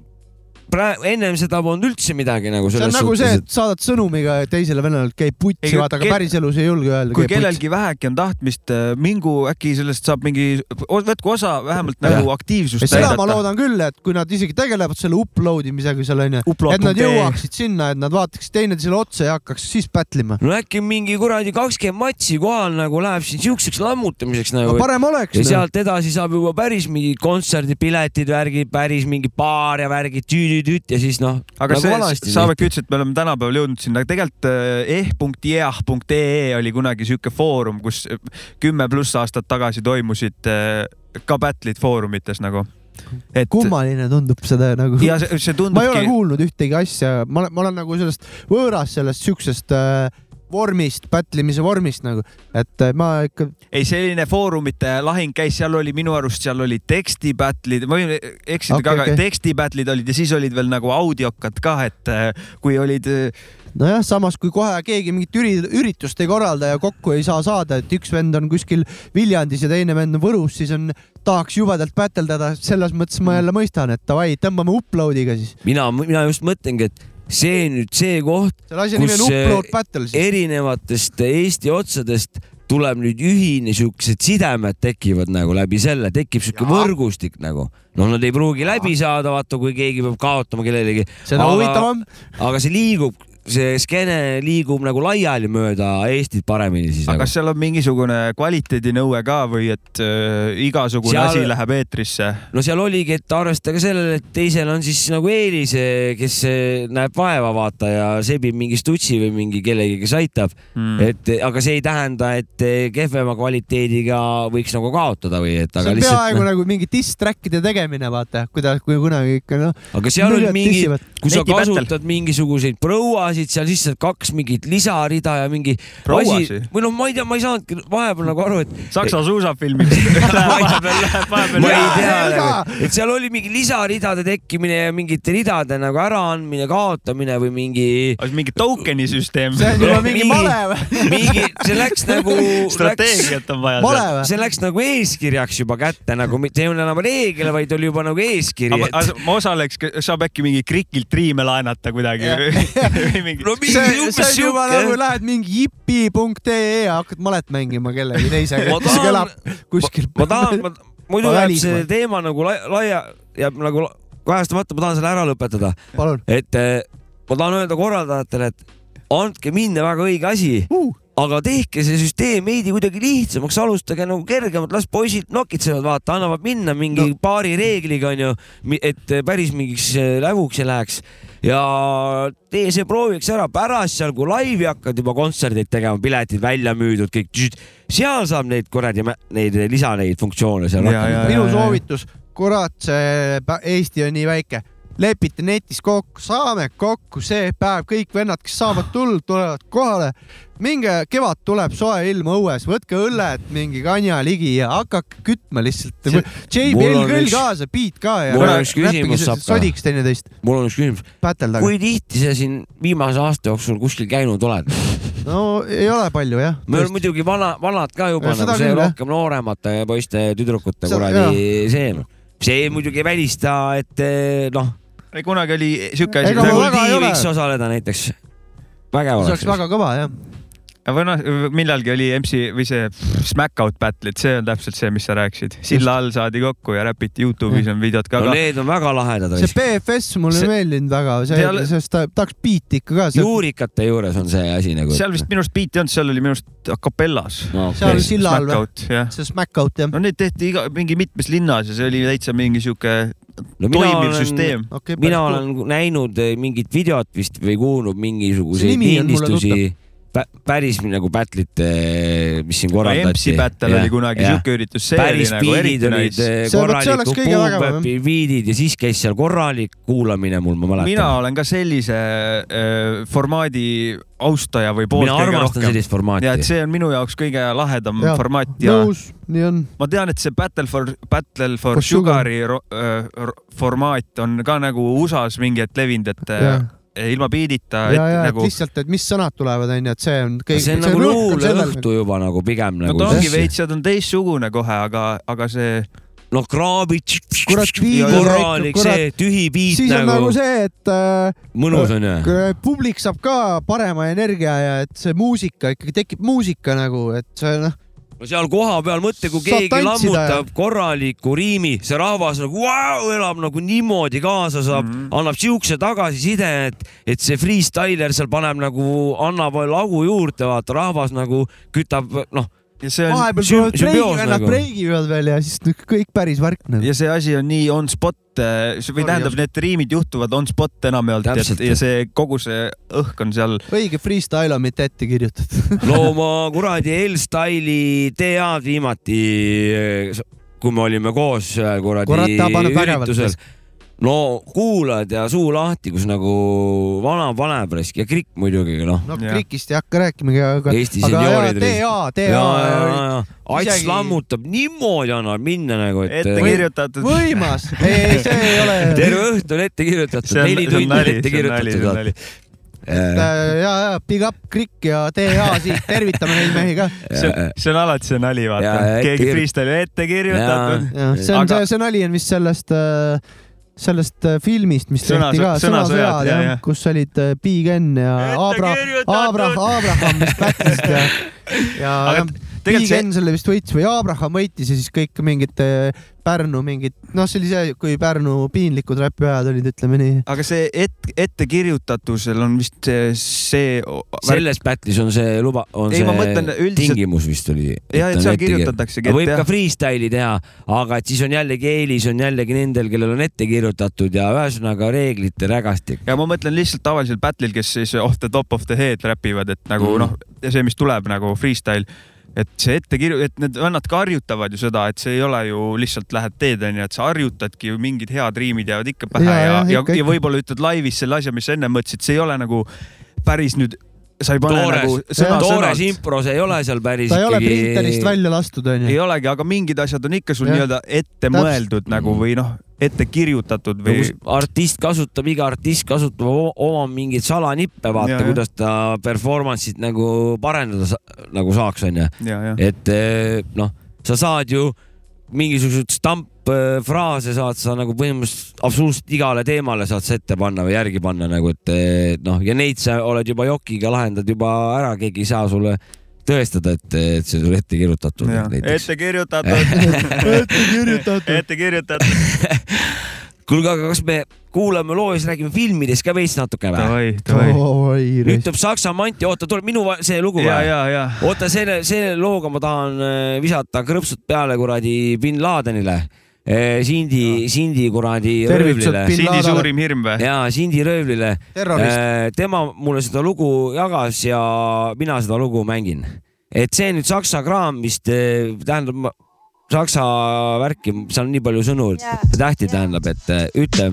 praegu , ennem seda polnud üldse midagi nagu see on selles nagu suhtes see ,, et saadad sõnumiga teisele venelale , et käib putsi , Ei, vaata , aga ke- päriselus ei julge öelda . (laughs) kui kellelgi vähegi on tahtmist , mingu äkki sellest saab mingi , võtku osa vähemalt nagu aktiivsust seda ma loodan küll , et kui nad isegi tegelevad selle upload imisega seal onju , Upload et nad punkt ee. jõuaksid sinna , et nad vaataksid teineteisele otsa ja hakkaks siis battle ima . no äkki mingi kuradi kakskümmend matsi kohal nagu läheb siin siukseks lammutamiseks nagu . No parem oleks, ja noh. sealt edasi saab juba päris mingi kontserdipiletid , värgid , päris mingi baar ja värgid tüüdüüdüüt ja siis noh . aga nagu see , Saavek ütles , et me oleme tänapäeval jõudnud sinna , tegelikult eh, eh.jeah.ee E oli kunagi sihuke foorum , kus äh, kümme pluss aastat tagasi toimusid eh, ka battle'id foorumites nagu . et kummaline tundub seda nagu . Ja see- see ma tundubki- ei ole kuulnud ühtegi asja , ma olen , ma olen nagu sellest võõras sellest siuksest äh, vormist , battle imise vormist nagu , et äh, ma ikka ei , selline foorumite lahing käis , seal oli minu arust , seal oli teksti battle'id , ma võin Okei, eksida okay, ka , aga okei. okay. teksti battle'id olid ja siis olid veel nagu audiokad ka , et eh, kui olid eh, nojah , samas kui kohe keegi mingit üri- , üritust ei korralda ja kokku ei saa saada , et üks vend on kuskil Viljandis ja teine vend on Võrus , siis on , tahaks jubedalt bateldada , selles mõttes ma jälle mõistan , et davai , tõmbame upload'iga siis . mina , mina just mõtlengi , et see nüüd see koht , Selle asja nimi on upload battle siis. erinevatest Eesti otsadest tuleb nüüd ühine , siuksed sidemed tekivad nagu läbi selle , tekib siuke võrgustik nagu . no nad ei pruugi läbi saada , vaata kui keegi peab kaotama kellelegi . Seda nagu huvitavam. . aga see liigub , see skeene liigub nagu laiali mööda Eestit paremini siis aga nagu . kas seal on mingisugune kvaliteedinõue ka või et eh, igasugune Seal- seal... asi läheb eetrisse ? no seal oligi , et arvestage sellele , et teisel on siis nagu eelis , kes eh, näeb vaeva , vaata ja sebib mingi stutsi või mingi kellegi , kes aitab mm. . et aga see ei tähenda , et eh, kehvema kvaliteediga võiks nagu kaotada või et see aga on lihtsalt noh. peaaegu . nagu mingi diss-track'ide tegemine , vaata , kuidas , kui kunagi ikka noh . aga seal oli mingi , kui sa kasutad mingisuguseid prouasid seal , siis saad kaks mingit lisarida ja mingi Prouasi? asi või noh , ma ei tea , ma ei saanudki vahepeal nagu aru , et . Saksa (laughs) suusafilmiks vahepeal läheb , vahepeal ma ei läheb . tea , et seal oli mingi lisaridade tekkimine ja mingite ridade nagu äraandmine , kaotamine või mingi . mingi token'i süsteem . see on juba mingi male või ? mingi , see läks nagu . Strateegiat on vaja Male seal. või? see läks nagu eeskirjaks juba kätte nagu , mitte ei olnud enam reegel , vaid oli juba nagu eeskiri . aga aga ma osaleks , saab äkki mingi krikilt striime laenata kuidagi Jah. no see, see on juba nagu lähed mingi jipi.ee ja hakkad malet mängima kellegi teisega Ma , kes tahan- elab kuskil . ma tahan , ma muidu Ma jääb välismaal. see teema nagu lai- laia , jääb nagu la- kajastamata , ma tahan selle ära lõpetada . et eh, ma tahan öelda korraldajatele , et andke minna väga õige asi uh. aga tehke see süsteem veidi kuidagi lihtsamaks , alustage nagu kergemalt , las poisid nokitsevad , vaata , annavad minna mingi no. paari reegliga onju , et eh, päris mingiks eh, läguks ei läheks ja tee see prooviks ära , pärast seal , kui laivi hakkad juba kontserdeid tegema , piletid välja müüdud , kõik , seal saab neid kuradi , neid eh, lisa neid funktsioone seal rakendada. minu soovitus , kurat , see pä- Eesti on nii väike , lepite netis kokku , saame kokku see päev , kõik vennad , kes saavad tulla , tulevad kohale . minge , kevad tuleb soe ilm õues , võtke õlled , mingi kanja ligi ja hakake kütma lihtsalt . mul JBL on grill üks- kaasa , beat ka ja . mul on üks küsimus , saab ka . sodiks teineteist . mul on üks küsimus . Päteldage. kui tihti sa siin viimase aasta jooksul kuskil käinud oled ? no ei ole palju jah . me oleme muidugi vana , vanad ka juba Ja , seda nagu see küll, jah. rohkem nooremate poiste ja tüdrukute Sa- kuradi see . see muidugi ei välista , et eh, noh . kunagi oli Nagu siuke asi Ega mul väga ei ole. võiks osaleda näiteks . vägev see oleks oleks . väga kõva jah . või noh , millalgi oli MC või see Smack Out Battle'id , see on täpselt see , mis sa rääkisid . silla all saadi kokku ja räpiti Youtube'is on videod ka . no need on väga lahedad . see BFS mulle See- ei meeldinud väga , Seal- see , sest ta tahaks beat'i ikka ka . juurikate juures on see asi nagu . seal vist minu arust beat'i ei olnud , seal oli minu arust a capellas no, . seal oli silla all või? ? see Smack Out jah . no neid tehti iga , mingi mitmes linnas ja see oli täitsa mingi sihuke no, toimiv olen... süsteem . okay, mina olen näinud eh, mingit videot vist või kuulnud See mingisuguseid nimi on mulle lindistusi , päris nagu battle'it , mis siin korraldati . MC Battle oli kunagi sihuke üritus, see oli päris nagu beat'id eriti olid nice. eh, See- vot see oleks korralikud kõige vägevam, jah. puupäppi beat'id ja siis käis seal korralik kuulamine mul , ma mäletan . mina olen ka sellise äh, formaadi austaja või poolt Mina armastan sellist formaati. ja et see on minu jaoks kõige lahedam ja, formaat ja nõus , nii on . ma tean , et see Battle for , Battle for For Sugar. Sugari ro, äh, ro- formaat on ka nagu USA-s mingi hetk levinud , et Jah. yeah. ilma biidita , ja , ja et nagu... nagu lihtsalt , et mis sõnad tulevad , onju , et see on see, kõik . see on nagu luuleõhtu juba nagu pigem no nagu . ta ongi veits , ta on teistsugune kohe , aga , aga see . no kraabid . kurat , korralik see tühi siis beat on nagu, nagu nagu . see , et äh, . Mõnus on, jah? publik saab ka parema energia ja et see muusika ikkagi tekib muusika nagu , et see noh , no seal kohapeal mõtle , kui Saad keegi tantsida lammutab korraliku riimi , see rahvas nagu vau, elab nagu niimoodi kaasa saab mm , -hmm. annab siukse tagasiside , et , et see freestyler seal paneb nagu , annab lagu juurde , vaata rahvas nagu kütab , noh . vahepeal tulevad nagu. breigivennad breigivad veel ja siis nüüd kõik päris värk nagu . ja see asi on nii on spot eh, see- või Sorry, tähendab , need riimid juhtuvad on spot enamjaolt ja, Täpselt. ja see kogu see õhk on seal . õige freestyle on mitte ette kirjutatud . looma kuradi L-Style'i TA-d viimati , kui me olime koos ühel Kurat, kuradi ta paneb vägevalt üritusel siis. . no kuulad ja suu lahti , kus nagu vana paneb risk ja krikk muidugi , noh . no Krikist ei hakka rääkimagi , aga . Eesti senioorid . TA , TA . Ats Isegi- lammutab , niimoodi annab minna nagu , et . Ette kirjutatud. võimas , ei , ei see ei ole . (laughs) terve õhtu on ette kirjutatud , See on- see neli on tundi on nali, ette see on nali, see on kirjutatud nali. . Äh, ja , ja big up Krikk ja TA siit , tervitame neid mehi ka . see on- see on alati see nali , vaata Ja, ja, , ette keegi kirju- freestyle'i ette kirjutatud . jah , see on aga... see , see nali on vist sellest , sellest äh, filmist , mis Sõna- tehti ka , sõ- Sõnasõjad sõnasõjad, jah, jah jah. , kus olid äh, Big N ja Abra , Abra , Abraham vist pättisid ja , ja Aga jah, tegelikult Big see- N selle vist võitis või Abraham võitis ja siis kõik mingid äh, Pärnu mingid , noh , see oli see , kui Pärnu piinlikud räpiajad olid , ütleme nii . aga see et, ettekirjutatusel on vist see, see selles battle'is on see luba , on Ei, see ma mõtlen üldiselt- tingimus vist oli . Jah, et seal kirjutataksegi, et võib jah. ka freestyle'i teha , aga et siis on jällegi eelis on jällegi nendel , kellel on ette kirjutatud ja ühesõnaga reeglite rägastik . ja ma mõtlen lihtsalt tavalisel battle'il , kes siis off the top of the head räpivad , et nagu Mhm. mm. noh , see , mis tuleb nagu freestyle , et see ettekirju- , et need vennad ka harjutavad ju seda , et see ei ole ju lihtsalt lähed teed onju , et sa harjutadki ju mingid head riimid jäävad ikka pähe Jaa, ja , ja jah, , ja, ikka, ja ikka. võib-olla ütled laivis selle asja , mis sa enne mõtlesid , see ei ole nagu päris nüüd , sa ei pane nagu toores , toores sõna-sõnalt impro , see ei ole seal päris ta ei ole ikkagi- printerist välja lastud , onju ei . olegi , aga mingid asjad on ikka sul Jah. nii-öelda ette Täpselt. mõeldud nagu või noh , ette kirjutatud no või Mhm. kus artist kasutab , iga artist kasutab o- oma mingeid salanippe , vaata Ja, ja. kuidas ta performance'it nagu parendada sa- nagu saaks , onju Ja, ja. . et eh, noh , sa saad ju mingisugused stamp , äh, fraase saad sa nagu põhimõtteliselt absoluutselt igale teemale saad sa ette panna või järgi panna nagu , et eh, noh , ja neid sa oled juba jokiga lahendad juba ära , keegi ei saa sulle tõestada , et , et see sulle ette kirjutatud . (laughs) ette kirjutatud . kirjutatud . ette kirjutatud . kuulge , aga kas me kuulame loo ja siis räägime filmidest ka veits natuke või ? nüüd tuleb Saksa manti , oota , tuleb minu va- see lugu ja , ja , ja . oota , selle , selle looga ma tahan äh, visata krõpsud peale kuradi bin Ladenile . Sindi , Sindi kuradi . Tervitused bin Sindi Ladenile. suurim hirm või? jaa , Sindi röövlile . (laughs) Terrorist. Äh, tema mulle seda lugu jagas ja mina seda lugu mängin . et see nüüd saksa kraam vist äh, tähendab ma- saksa värki , seal on nii palju sõnu , tähti tähendab , et äh, ütle ,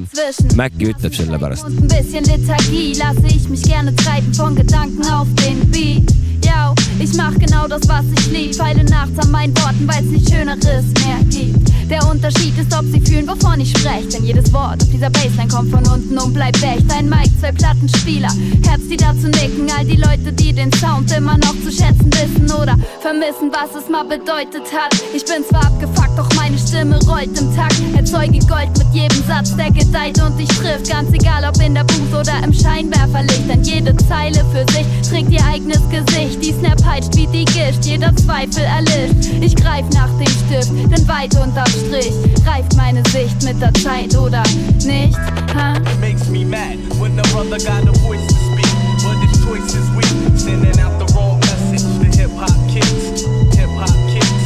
Maci ütleb selle pärast . Ein bisschen Lethargie lasse ich mich gerne treiben von Gedanken auf den Beat. Ja, ich mach genau das, was ich lieb. Feile nachts an meinen Worten, weil's nicht Schöneres mehr gibt. Der Unterschied ist, ob sie fühlen, wovon ich sprech. Denn jedes Wort auf dieser Baseline kommt von unten und bleibt echt. Ein Mic, zwei Plattenspieler, Herz, die dazu nicken. All die Leute, die den Sound immer noch zu schätzen wissen oder vermissen, was es mal bedeutet hat. Ich bin zwar abgefuckt, doch meine Stimme rollt im Takt. Erzeuge Gold mit jedem Satz, der gedeiht und ich trifft. Ganz egal, ob in der Booth oder im Scheinwerferlicht. Denn jede Zeile für sich trägt ihr eigenes Gesicht. Die Snap peitscht wie die Gischt, jeder Zweifel erlischt. Ich greif nach dem Stift, denn weit unterm Strich reift meine Sicht mit der Zeit oder nicht. Ha? It makes me mad when the brother got a voice to speak, but his choice is weak. Sending out the wrong message to hip hop kids, hip hop kids,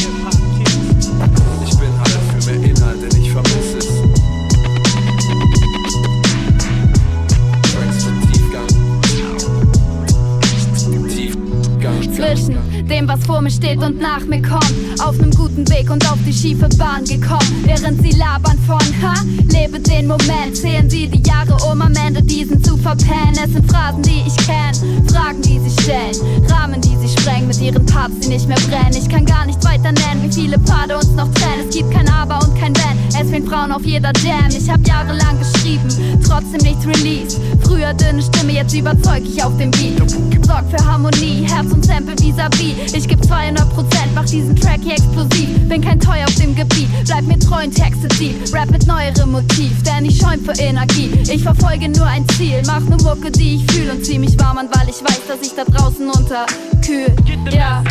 hip hop kids. Ich bin alle für mehr Inhalte, ich vermisse es. Tracks mit Tiefgang. Tiefgang. zwischen dem, was vor mir steht und nach mir kommt. Auf nem guten Weg und auf die schiefe Bahn gekommen. Während sie labern von, ha, lebe den Moment. Sehen sie die Jahre um am Ende diesen zu verpennen. Es sind Phrasen, die ich kenn, Fragen, die sie stellen. Rahmen, die sie sprengen mit ihren Parts, die nicht mehr brennen. Ich kann gar nicht weiter nennen, wie viele Pfade uns noch trennen. Es gibt kein Aber und kein Wenn. Es fehlen Frauen auf jeder Jam. Ich hab jahrelang geschrieben, trotzdem nichts released. Früher dünne Stimme, jetzt überzeug ich auf dem Beat. Sorg für Harmonie, Herz und Sample vis-à-vis. Ich geb 200 Prozent, mach diesen Track hier explosiv. Bin kein Teuer auf dem Gebiet, bleib mir treu und texte deep. Rap mit neuerem Motiv, denn ich schäum für Energie. Ich verfolge nur ein Ziel, mach ne Mucke, die ich fühle und zieh mich warm an, weil ich weiß, dass ich da draußen unterkühl. Ja.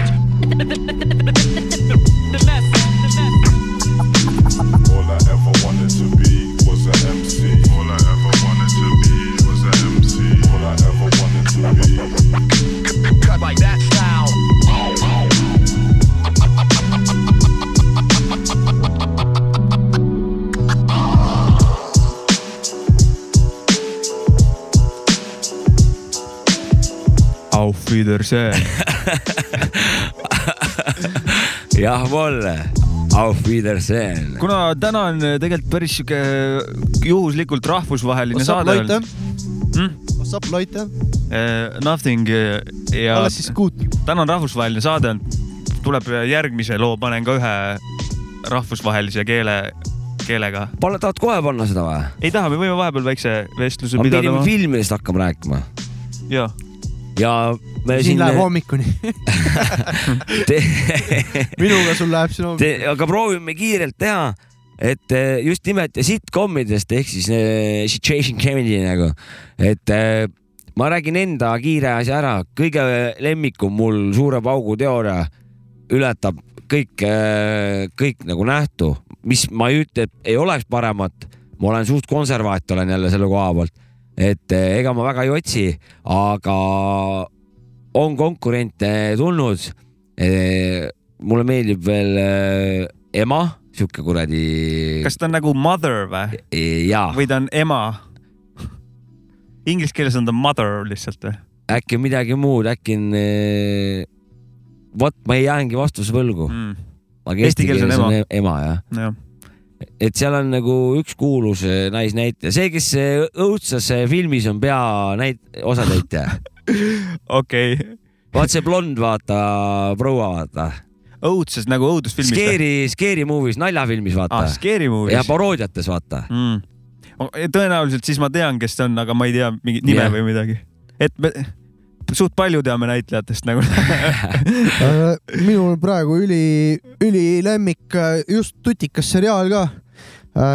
All I ever wanted to be was an MC. All I ever wanted to be was an MC. All I ever wanted to be. Cut like that style. Auf Wiedersehen . (laughs) jah , Volle , auf Wiedersehen . kuna täna on tegelikult päris sihuke juhuslikult rahvusvaheline What's up , saade Loite olnud . Hmm? What's up , Loite ? Eh, Nothing eh, ja . Alles siis kuut . täna on rahvusvaheline saade olnud . tuleb järgmise loo , panen ka ühe rahvusvahelise keele , keelega . Pole , tahad kohe panna seda või ? ei taha , me võime vahepeal väikse vestluse me pidada pidime . filmidest hakkama rääkima ja , ja me siin siin . läheb hommikuni . (laughs) (laughs) minuga sul läheb siin hommikuni . aga proovime kiirelt teha , et eh, just nimelt sitcomidest ehk siis eh, situation comedy nagu , et eh, ma räägin enda kiire asja ära , kõige lemmikum mul suure paugu teooria ületab kõik , kõik nagu nähtu , mis ma ei ütle , et ei oleks paremat , ma olen suht konservaat , olen jälle selle koha pealt , et eh, ega ma väga ei otsi , aga on konkurente tulnud . mulle meeldib veel eh, ema , sihuke kuradi . kas ta on nagu mother või ? jaa , või ta on ema ? Inglise keeles on ta mother lihtsalt või ? äkki on midagi muud , äkki on . vot ma jäängi vastuse võlgu mm. . aga eesti keeles on ema, ema jah . jah . et seal on nagu üks kuulus eh, naisnäitleja , see , kes eh, õudses eh, filmis on peanäit- , osatäitja (laughs) okei . vaat see blond , vaata , proua , vaata . õudses nagu õudusfilmis või? Scary , Scary Movies , naljafilmis , vaata Ah, Scary Movies. ja paroodiates , vaata mm. . tõenäoliselt siis ma tean , kes ta on , aga ma ei tea mingit nime Jah. yeah. või midagi . et me , suht palju teame näitlejatest (laughs) nagu Äh, minul praegu üli , ülilemmik äh, just tutikas seriaal ka .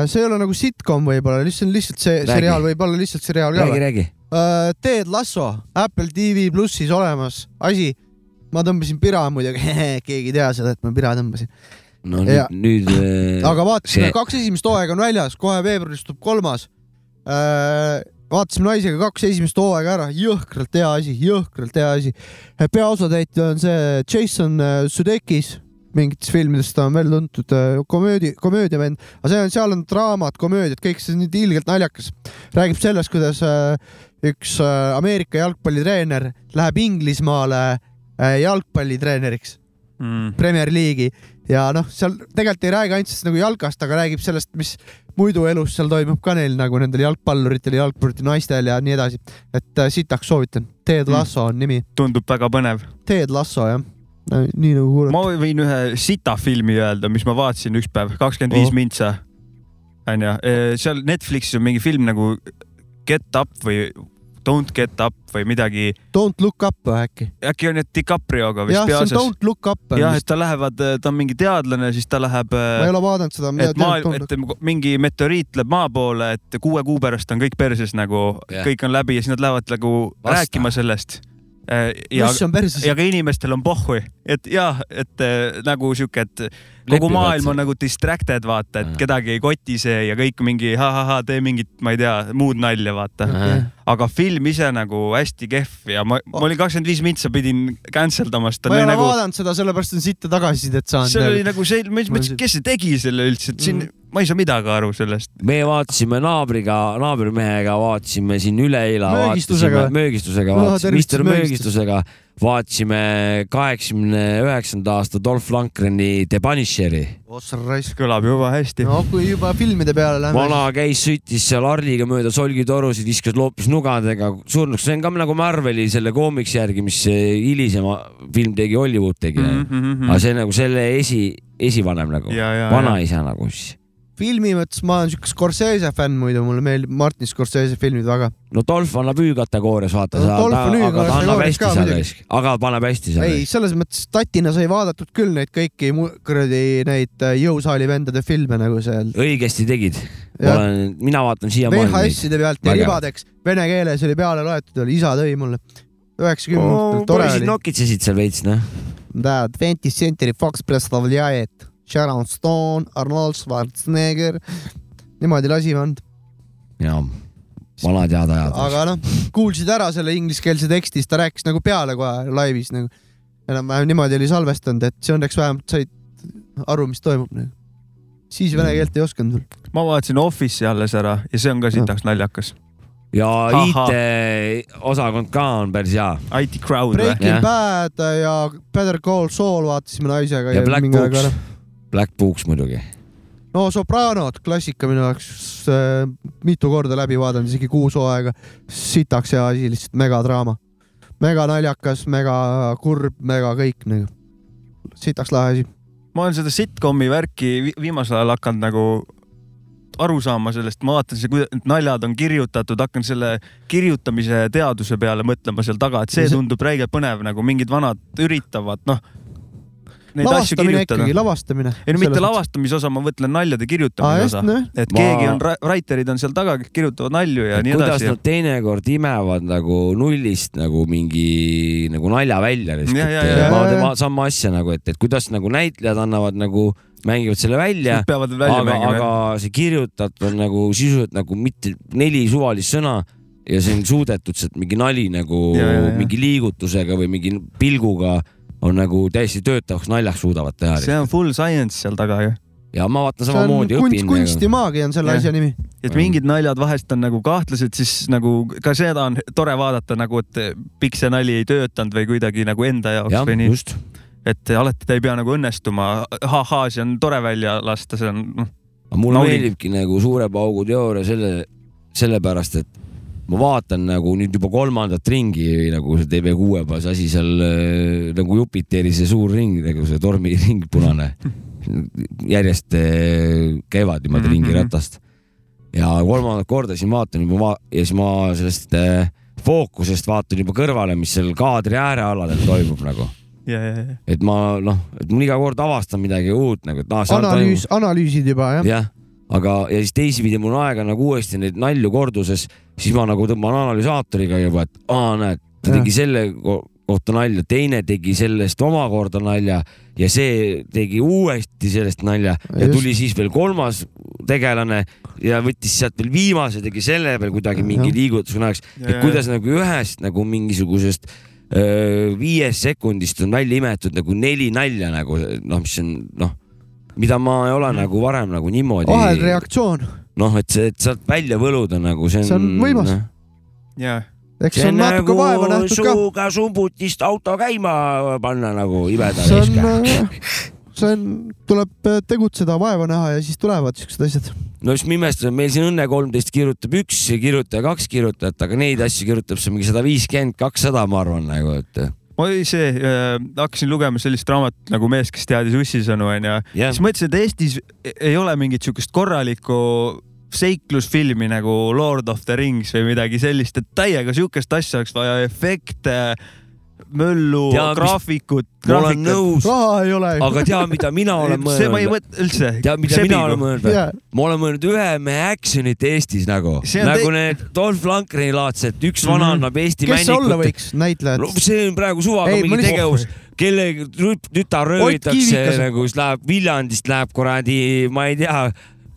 see ei ole nagu sitcom võib-olla , lihtsalt , lihtsalt see Räägi. seriaal võib olla lihtsalt seriaal ka . Räägi, räägi. . Ted Lasso , Apple TV plussis olemas , asi . ma tõmbasin pira muidugi , (laughs) keegi ei tea seda , et ma pira tõmbasin . no Ja- nüüd , nüüd . eh, aga vaatasime see... , kaks esimest hooaega on väljas , kohe veebruaris tuleb kolmas . vaatasime naisega kaks esimest hooaega ära , jõhkralt hea asi , jõhkralt hea asi . peaosatäitja on see Jason äh, Sudeikis , mingites filmides ta on veel tuntud äh, komöödi , komöödiavend , aga see on , seal on draamat , komöödiad , kõik see on nii ilgelt naljakas . räägib sellest , kuidas äh, üks äh, Ameerika jalgpallitreener läheb Inglismaale äh, jalgpallitreeneriks mm. . Premier League'i ja noh , seal tegelikult ei räägi ainult sellest nagu jalkast , aga räägib sellest , mis muidu elus seal toimub ka neil nagu nendel jalgpalluritel , jalgpallurite naistel ja nii edasi . et äh, sitaks soovitan , Mm. Ted Lasso on nimi , tundub väga põnev . Ted Lasso jah , nii nagu kuulad . ma võin ühe sita filmi öelda , mis ma vaatasin üks päev , kakskümmend viis Oh. mintsa . onju , seal Netflixis on mingi film nagu Get Up või Don't Get Up või midagi . Don't look up või äkki ? äkki on need DiCaprioga vist jah , see on Don't look up . jah , et ta lähevad , ta on mingi teadlane , siis ta läheb . ma ei ole vaadanud seda , ma et maailm , tean , et et mingi meteoriit läheb maa poole , et kuue kuu pärast on kõik perses nagu Jah. yeah. , kõik on läbi ja siis nad lähevad nagu Vasta. Vasta. rääkima sellest . ja Mis on perses? ja ka inimestel on pohhui , et jah , et eh, nagu sihuke , et kogu Lepivad maailm seal. on nagu distracted , vaata , et kedagi ei koti see ja kõik mingi ha-ha-ha , tee mingit , ma ei tea , muud nalja , vaata Okei. . aga film ise nagu hästi kehv ja ma , ma olin kakskümmend viis mintsa , pidin cancel damast . nagu- ma ei ole vaadanud seda , sellepärast on sitta tagasisidet saanud . seal oli nagu see , ma Mm. mõtlesin , kes see tegi selle üldse , et siin ma ei saa midagi aru sellest . meie vaatasime naabriga , naabrimehega vaatasime siin üleeila . Möögistusega või? möögistusega Ah, vaatasime , tervitus Mister Möögistus. Möögistusega vaatasime kaheksakümne üheksanda aasta Dolph Lundgreni The Punisheri . ossa raisk . kõlab juba hästi . no kui juba filmide peale vana läheme . käis , sõitis seal Harliga mööda solgitorusid , viskas loopis nugadega surnuks , see on ka nagu Marveli selle koomiksi järgi , mis see hilisema film tegi , Hollywood tegi mm . -hmm. aga see nagu selle esi , esivanem nagu , Mhm, Ja, ja, vanaisa nagu siis . filmi mõttes ma olen siuke Scorsese fänn muidu , mulle meeldib Martin Scorsese filmid väga . no Dolph annab Ü-kategoorias , vaata No sa , Dolph ta on , aga ta annab Ü-kategoorias hästi ka seal muidugi. raisk , aga paneb hästi seal ei , raisk . selles mõttes tatina sai vaadatud küll neid kõiki mu- kuradi neid äh, jõusaali vendade filme nagu seal õigesti tegid . Jah. ma olen , mina vaatan siiamaani . VHS-ide pealt ja . ribadeks vene keeles oli peale loetud , oli isa tõi mulle üheksakümnendatel , tore poisid oli . nokitsesid seal veits , noh . Da , Twenty Century Fox Preslavljajet , Sharon Stone , Arnold Schwarzenegger , niimoodi lasime and- . jaa , vanad head ajad . aga noh , kuulsid ära selle ingliskeelse teksti , siis ta rääkis nagu peale kohe laivis nagu . enam-vähem niimoodi oli salvestanud , et see õnneks vähemalt said aru , mis toimub nagu. . siis vene keelt ei osanud veel . ma vaatasin Office'i alles ära ja see on ka sitaks naljakas . Ah. ja Ahah. IT-osakond ka on päris hea . IT Crowd Breaking ? Bad ja Better Call Saul vaatasime naisega . ja Black Books , Black Books muidugi . no Sopranod , klassika minu jaoks äh, mitu korda läbi vaadanud , isegi kuus hooaega . sitaks hea asi , lihtsalt megadraama . mega naljakas , mega kurb , mega kõik nagu . sitaks lahe asi . ma olen seda sitcomi värki vi- viimasel ajal hakanud nagu aru saama sellest , ma vaatan see , kuidas need naljad on kirjutatud , hakkan selle kirjutamise teaduse peale mõtlema seal taga , et see tundub räige põnev nagu mingid vanad üritavad , noh . Neid asju lavastamine kirjutada ikkagi ,. lavastamine . ei no mitte . lavastamise osa , ma mõtlen naljade kirjutamise Aa, just, osa nojah. , et Ma- keegi on , writer'id on seal taga , kes kirjutavad nalju ja nii kuidas edasi nad . teinekord imevad nagu nullist nagu mingi nagu nalja välja Ja, ja, lihtsalt ja, . ma ja, ja. teen sama asja nagu , et , et kuidas nagu näitlejad annavad nagu , mängivad selle välja Nad . peavad veel välja aga , mängima, aga see kirjutatud on nagu sisuliselt nagu mitte neli suvalist sõna ja see on suudetud sealt mingi nali nagu Ja, ja, ja. mingi liigutusega või mingi pilguga on nagu täiesti töötavaks naljaks suudavad teha . see on full science seal taga ju . ja ma vaatan see on samamoodi , kunst , õpin . nagu. kunstimaagia on selle Jah. asja nimi . et mingid naljad vahest on nagu kahtlased , siis nagu ka seda on tore vaadata nagu , et miks see nali ei töötanud või kuidagi nagu enda jaoks Jah, või nii just. . et alati ta ei pea nagu õnnestuma , ahhaa , see on tore välja lasta , see on noh . aga mulle Naudin. meeldibki nagu suure paugu teooria selle , sellepärast , et ma vaatan nagu nüüd juba kolmandat ringi nagu see TV6 peal see asi seal äh, nagu Jupiteri see suur ring nagu see tormiring punane järjest äh, käivad niimoodi Mhm. mm -hmm. ringi ratast ja kolmandat korda siin vaatan juba va ja siis ma sellest äh, fookusest vaatan juba kõrvale , mis seal kaadri äärealadel toimub nagu . ja , ja , ja . (laughs) et ma noh , et ma iga kord avastan midagi uut nagu , et noh , seal analüüs , analüüsid juba jah ja. ? jah , aga , ja siis teisipidi mul on aega nagu uuesti neid nalju korduses , siis ma nagu tõmban analüsaatoriga juba , et aa , näed , ta tegi selle ko- kohta nalja , teine tegi sellest omakorda nalja ja see tegi uuesti sellest nalja ja Just. tuli siis veel kolmas tegelane ja võttis sealt veel viimase , tegi selle veel kuidagi mingi Jah. liigutusega naljaks , Ja, et ja, kuidas nagu ühest nagu mingisugusest öö, viiest sekundist on välja imetud nagu neli nalja nagu noh , mis on noh , mida ma ei Mm. ole nagu varem nagu vahel niimoodi reaktsioon , noh , et see , et sealt välja võluda nagu see on . see on võimas . Ah. jaa . eks on natuke vaeva nähtud ka . suuga sumbutist auto käima panna nagu imeda see raisk . on , äh, see on , tuleb äh, tegutseda , vaeva näha ja siis tulevad siuksed asjad . no siis ma imestan , meil siin Õnne kolmteist kirjutab üks kirjutaja , kaks kirjutajat , aga neid asju kirjutab seal mingi sada viiskümmend , kakssada , ma arvan nagu , et oi see äh, , hakkasin lugema sellist raamatut nagu Mees , kes teadis ussisõnu onju Jah. yeah. . siis mõtlesin , et Eestis ei ole mingit siukest korralikku seiklusfilmi nagu Lord of the Rings või midagi sellist , et täiega siukest asja oleks vaja , efekte , möllu Tead, , mis- graafikut . ma olen nõus. raha ei ole aga tea , mida (laughs) mina olen mõelnud ? see ma ei mõtle üldse . tea , mida Sebigu. mina olen mõelnud või Jaa. ? ma olen mõelnud ühe mehe action'it Eestis nagu , See on nagu tei- need Dolph Lankrini laadsed , üks vana annab Eesti Mhm. kes see olla männikut . võiks , näitlejad No ? see on praegu Ei, suvaga ei, ma mingi lihtsalt- tegevus , kelle tüt- tütar röövitakse Kiivikas. nagu , siis läheb Viljandist läheb kuradi , ma ei tea ,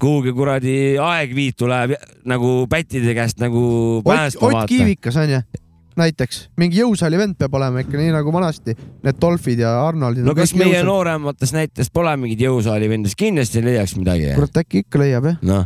kuhugi kuradi Aegviitu läheb nagu pättide käest nagu Ott , päästma Ott . Kiivikas onju , näiteks mingi jõusaali vend peab olema ikka nii nagu vanasti , need Dolphid ja Arnoldid . no kas meie . nooremates näites pole mingeid jõusaali vendas , kindlasti leiaks midagi . kurat , äkki ikka leiab jah ? noh ,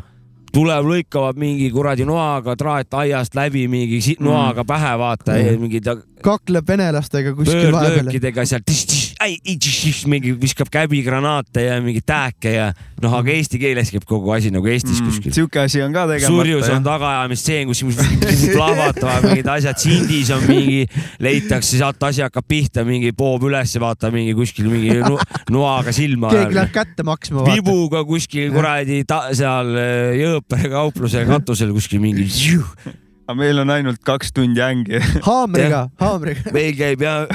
tuleb , lõikavad mingi kuradi noaga traat aiast läbi mingi si- noaga pähe , vaata mm. , mingid kakleb venelastega kuskil vahepeal . pöördlöökidega seal tš- tš- ai- i- tš- tš- mingi viskab käbigranaate ja mingeid tähke ja noh , aga eesti keeles käib kogu asi nagu Eestis mm. kuskil . siuke asi on ka tegemata . surjus on tagaajamistseen , kus plahvatavad mingid asjad , sindis on mingi , leitakse sealt asi hakkab pihta , mingi poob ülesse , vaata mingi kuskil mingi nu- noaga silma . keegi läheb kätte maksma . vibuga kuskil kuradi ta- seal äh, Jõõpere kaupluse katusel kuskil mingi . aga meil on ainult kaks tundi ängi . haamriga , haamriga . meil käib ja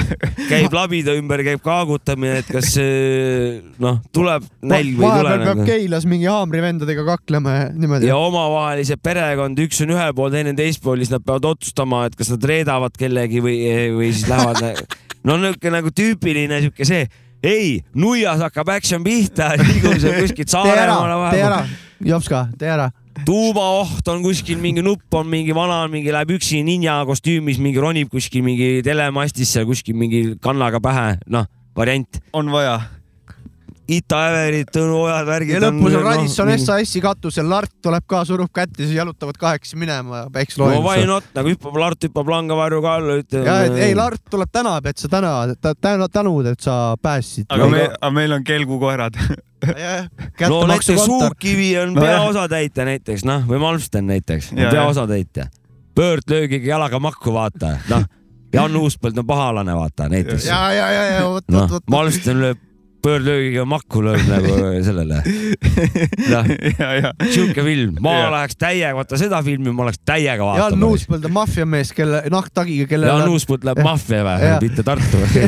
käib labida ümber , käib kaagutamine , et kas äh, noh , tuleb nälg või ei vahepeal tule peab nagu . Keilas mingi haamrivendadega kaklema ja niimoodi ja . omavahelise perekond , üks on ühel pool , teine teisel pool , siis nad peavad otsustama , et kas nad reedavad kellegi või , või siis lähevad . no niisugune nagu tüüpiline niisugune see , ei , nuias hakkab action pihta , (laughs) liigume seal kuskilt tee ära Saaremaale , tee ära vahepeal ., Jopska , tee ära . tuumaoht on kuskil , mingi nupp on mingi vana , mingi läheb üksi ninja kostüümis , mingi ronib kuskil mingi telemastis seal kuskil mingi kannaga pähe , noh , variant . on vaja . Ita Everit , Tõnu Ojad , värgid . noh, ja lõpus on Radisson . SAS-i katusel , Lart tuleb ka , surub kätt ja siis jalutavad kahekesi minema ja päiks no loeb . why not , nagu hüppab , Lart hüppab langevarju ka alla , ütleb . ja et ei , Lart tuleb tänab , et sa täna , täna tänud , et sa päästsid . aga me , aga meil on kelgukoerad . no näiteks Suukivi on No jah. peaosatäitja näiteks , noh , või Malmsten näiteks , Jaa, jah. peaosatäitja . pöördlöögiga jalaga makku , vaata , noh . Jaan Uuspõld on pahalane , vaata näiteks . ja , ja , ja , ja vot , vot , noh vot ., Malmsten lööb pöördlöögiga makku lööb (laughs) nagu sellele . noh , sihuke film , ma Jaa. läheks täiega , vaata seda filmi ma oleks täiega Jaan vaatama . Uuspõld on maffiamees , kelle , nahktagiga , kellel Jaan Uuspõld läheb maffia või Jah. , mitte (laughs) Tartu või ?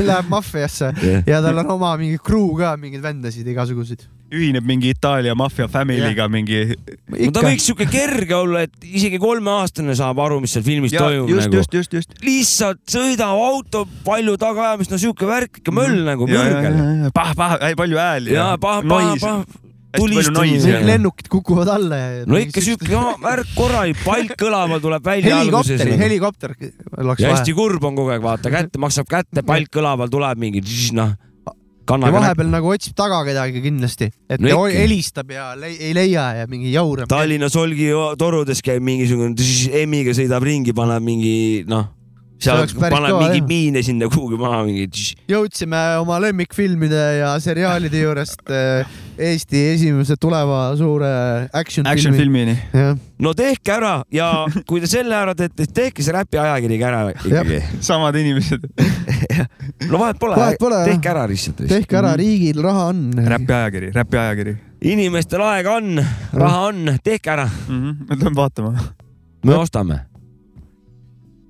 (laughs) Läheb maffiasse Jah. ja tal on oma mingi crew ka , mingeid vendasid igasuguseid . ühineb mingi Itaalia maffia family'ga mingi . no ta võiks sihuke kerge olla , et isegi kolmeaastane saab aru , mis seal filmis Jaa, toimub just, nagu . just, just, just. . lihtsalt sõidab auto palju tagaajamist , no sihuke värk ikka Mhm. möll nagu mürgel . pah , pah , palju hääli . ja pah , pah , pah , tulistamine . lennukid kukuvad alla ja . no ikka sihuke no, värk korralik , palk kõlama tuleb välja alguses . helikopter , helikopter oleks ja vaja hästi . kurb on kogu aeg , vaata kätte maksab kätte , palk kõlaval tuleb mingi tš- ja noh , kannaga näpp . vahepeal nagu otsib taga kedagi kindlasti , et No no ikka. helistab ja le ei leia ja mingi jaurab . Tallinna solgi torudes käib mingisugune tš- emiga sõidab ringi , paneb mingi noh , See seal oleks päris paneb kõva, mingi jah. miine sinna kuhugi maha , mingi tš- jõudsime oma lemmikfilmide ja seriaalide juurest eh, Eesti esimese tuleva suure action, Action filmini . jah , no tehke ära ja (laughs) kui te selle ära teete , siis tehke see räpi ajakiri ka ära ikkagi . samad (laughs) inimesed . no vahet pole, Vahet pole, jah. tehke ära lihtsalt . Mhm. tehke ära , riigil raha on . räpi ajakiri , räpi ajakiri . inimestel aega on , raha on , tehke ära , me tuleme vaatama . me ostame .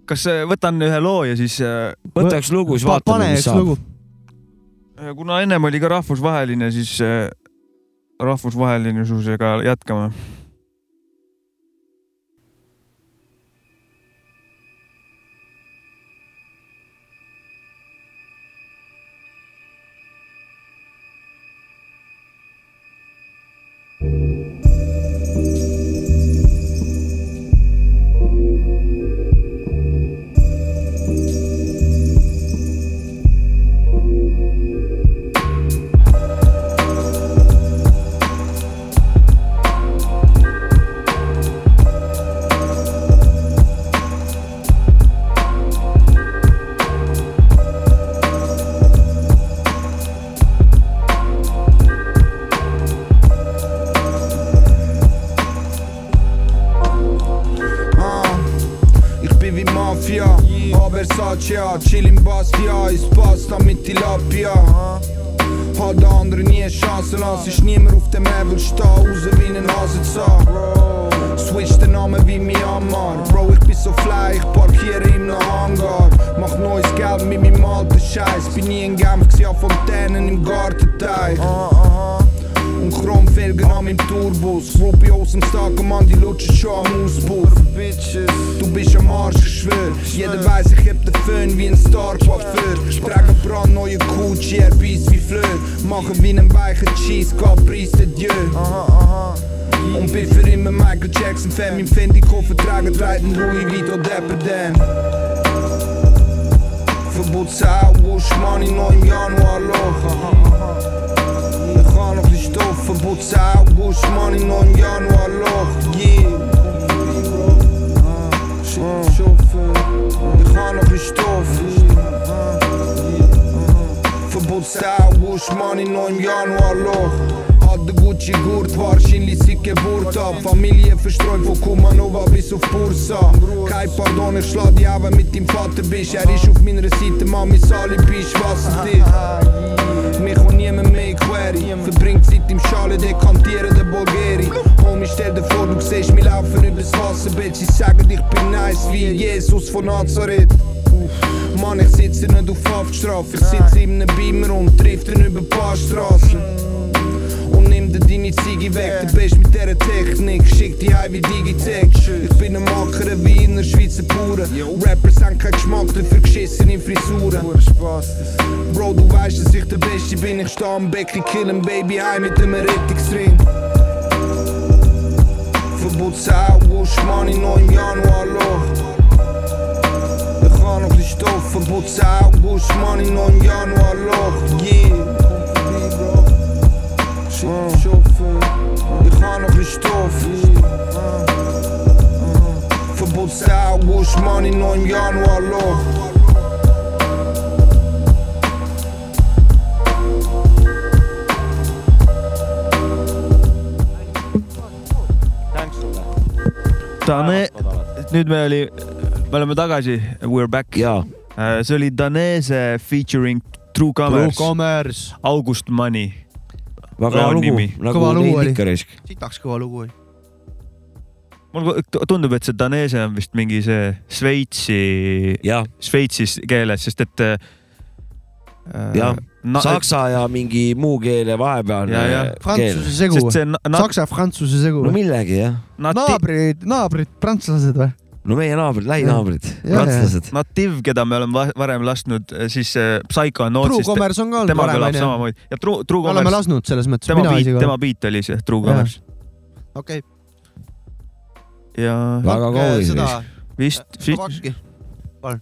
kas äh, võtan ühe loo ja siis äh, Võta üks lugu, siis Pa- vaatame, pane mis üks saab. lugu. . Äh, kuna ennem oli ka rahvusvaheline , siis äh, rahvusvahelisusega jätkame . Ich bin wie Mafia, aber Satya Chill im Bastia, ist Pasta mit Tilapia Hat der andere nie eine Chance, lass ich niemand auf dem Level stehen, raus wie ein Hasenzahn Switch den Namen wie Myanmar Bro, ich bin so fly, ich parkiere im Hangar Mach neues Geld mit meinem alten Scheiß Bin nie in Genf, gsi an Fontänen im Gartenteich und Chromfelgen an meinem Tourbus. Ruby aus dem Stag, Mann, die lutschen schon am Auspuff. Du bist am Arsch, ich schwör. Jeder weiß, ich heb den Föhn wie ein Star-Coiffeur. Ich trage brandneue Gucci, er beißt wie Fleur. Mache wie einen weichen Cheese, gab Preis de Dieu. Und bin für immer Michael Jackson-Fan. Mein Fendi-Koffer trage dreiten Louis Vito Depperdam. Verbot Sauerwurst, Mann, in neuem Januar Loch. Ich kann noch nicht stoff, Verbot Sauerwurst, Mann, in neuem Januar Loch. Yeah. Ah, Shit, Schoffe. Ich kann noch nicht stoff. Verbot Sauerwurst, Mann, in neuem Januar Loch. Hat der Gucci Gurt, wahrscheinlich seit Geburt ab. Familie verstreut von Kumanova bis auf Bursa. Kein Pardon, ich schlag die Augen mit dem Vater bist. Er ist auf meiner Seite, Mann, mein Alibi ist wasserdicht. Mich kommt niemand mehr in Query. Verbringt Zeit im Schale, dekantieren der Bulgari. Homie, stell dir vor, du siehst mich laufen übers Wasser, Bitch. Sie sagen, ich bin nice wie Jesus von Nazareth. Mann, ich sitze nicht auf Haftstrafe. Ich sitze in einem Beamer und trifft ihn über ein paar Straßen. Und nimm dir deine Ziege weg, du bist mit dieser Technik. Schick die heim wie Digitech. Ich bin ein Macker wie in der Schweizer Bauern. Rappers haben keinen Geschmack, dafür geschissen in Frisuren. Bro, du weißt, dass ich der Beste bin. Ich steh am Becken, killen Baby heim mit dem Rettungsring. Verbot Sauerwurst, Mann, in neuem Januar Loch. Ich kann noch nicht stoff, Verbot Sauerwurst, Mann, in neuem Januar Loch. Yeah. Shit, Schopfen. Ich kann noch nicht stoff. Uh, Verbot Sauerwurst, Mann, in neuem Januar Loch. Dane , nüüd me oli , me oleme tagasi , we are back . see oli Danese featuring True Commerce . True Commerce . August Money . Väga hea lugu, nagu Kõva lugu oli. Niilikõrisk. sitaks kõva lugu oli . mulle tu- tundub , et see Danese on vist mingi see Šveitsi , Šveitsis keeles , sest et äh, jah na- , saksa ja mingi muu keele Ja, ja. vahepealne keel . Prantsuse segu või ? saksa-prantsuse segu no või ? millegi jah . naabrid , naabrid , prantslased või ? no meie naabrid , lähinaabrid , Jah, jah. prantslased . Nativ , keda me oleme va- varem lasknud , siis äh, Psycho on True Commerce on ka olnud tema varem, kõlab onju. samamoodi ja True , True Me Commerce . oleme lasknud selles mõttes, tema mina beat isegi , olen. tema beat oli see True Jah. Commerce . okei , ja . Väga Andke kaunis seda- vist. vist , Slovakki . palun .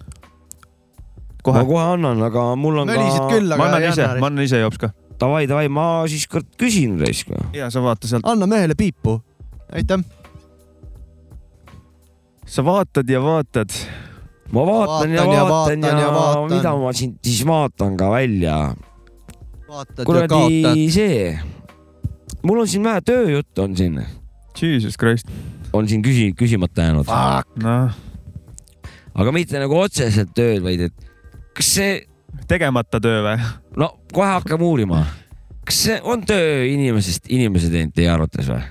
kohe . ma kohe annan , aga mul on Mölisid ka . küll, aga Ma annan ei ise, anna, ma annan ise jops ka . Davai , davai , ma siis kord küsin raisk . ja sa vaata sealt . anna mehele piipu . aitäh . sa vaatad ja vaatad . ma vaatan ja Vaatan ja vaatan vaatan ja ja vaatan. mida ma siin siis vaatan ka välja . vaatad ja kaotad . kuradi see , mul on siin vähe tööjutt on siin . Jesus Christ . on siin küsi- , küsimata jäänud . noh , aga mitte nagu otseselt tööd , vaid et kas see . tegemata töö või ? no kohe hakkame uurima . kas see on töö inimesest inimese teinud teie arvates või ?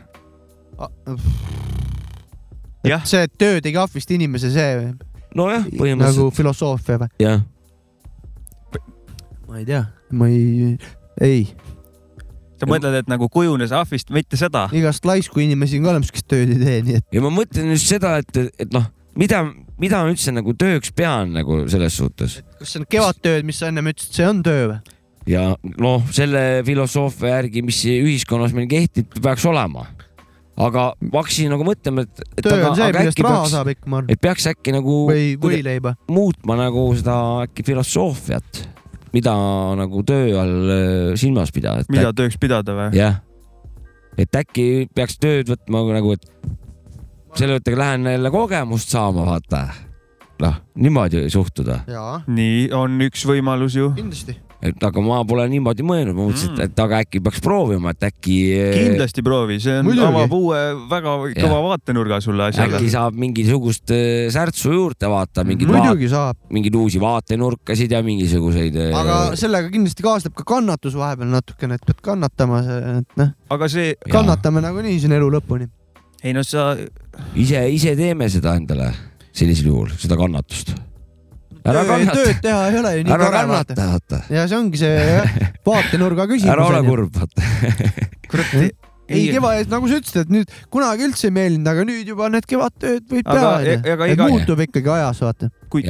see et töö tegi ahvist inimese , see . nojah , nagu põhimõtteliselt . filosoofia või ? jah . ma ei tea , ma ei , ei . sa mõtled , et nagu kujunes ahvist , mitte seda ? igast laisku inimesi on ka olemas , kes tööd ei tee , nii et ja ma mõtlen just seda , et , et noh , mida , mida ma üldse nagu tööks pean nagu selles suhtes kas see on kevadtööd , mis sa ennem ütlesid , see on töö või ? ja noh , selle filosoofia järgi , mis ühiskonnas meil kehtib , peaks olema . aga ma hakkasin nagu mõtlema , et , et töö on see , aga millest äkki raha peaks- saab ikka , ma arvan . et peaks äkki nagu Või- võileiba muutma nagu seda äkki filosoofiat , mida nagu töö all äh, silmas pidada . mida tööks pidada või ? jah , et äkki peaks tööd võtma nagu , et selle võttega lähen jälle kogemust saama , vaata . noh , niimoodi suhtuda , jaa , nii on üks võimalus ju . kindlasti . et aga ma pole niimoodi mõelnud , ma mõtlesin mm. , et aga äkki peaks proovima , et äkki . äh, kindlasti proovi , see on , Muidugi. avab uue väga kõva vaatenurga sulle asjale . äkki saab mingisugust äh, särtsu juurde vaata , mingeid Muidugi saab. , mingeid uusi vaatenurkasid ja mingisuguseid . äh, aga sellega kindlasti kaasneb ka kannatus vahepeal natukene , et pead kannatama , et noh , aga see . kannatame nagunii siin elu lõpuni . ei no sa . ise , ise teeme seda endale sellisel juhul , seda kannatust . ära kannata , tööd teha ei ole ju nii ära tore kannata , kannata . vaata . ja see ongi see jah, vaatenurga küsimus . ära ole . kurb , vaata . (laughs) ei , keva , nagu sa ütlesid , et nüüd kunagi üldse ei meeldinud , aga nüüd juba need kevadtööd võib Aga- teha e- aga . et iga- muutub ikkagi ajas , vaata . kui ,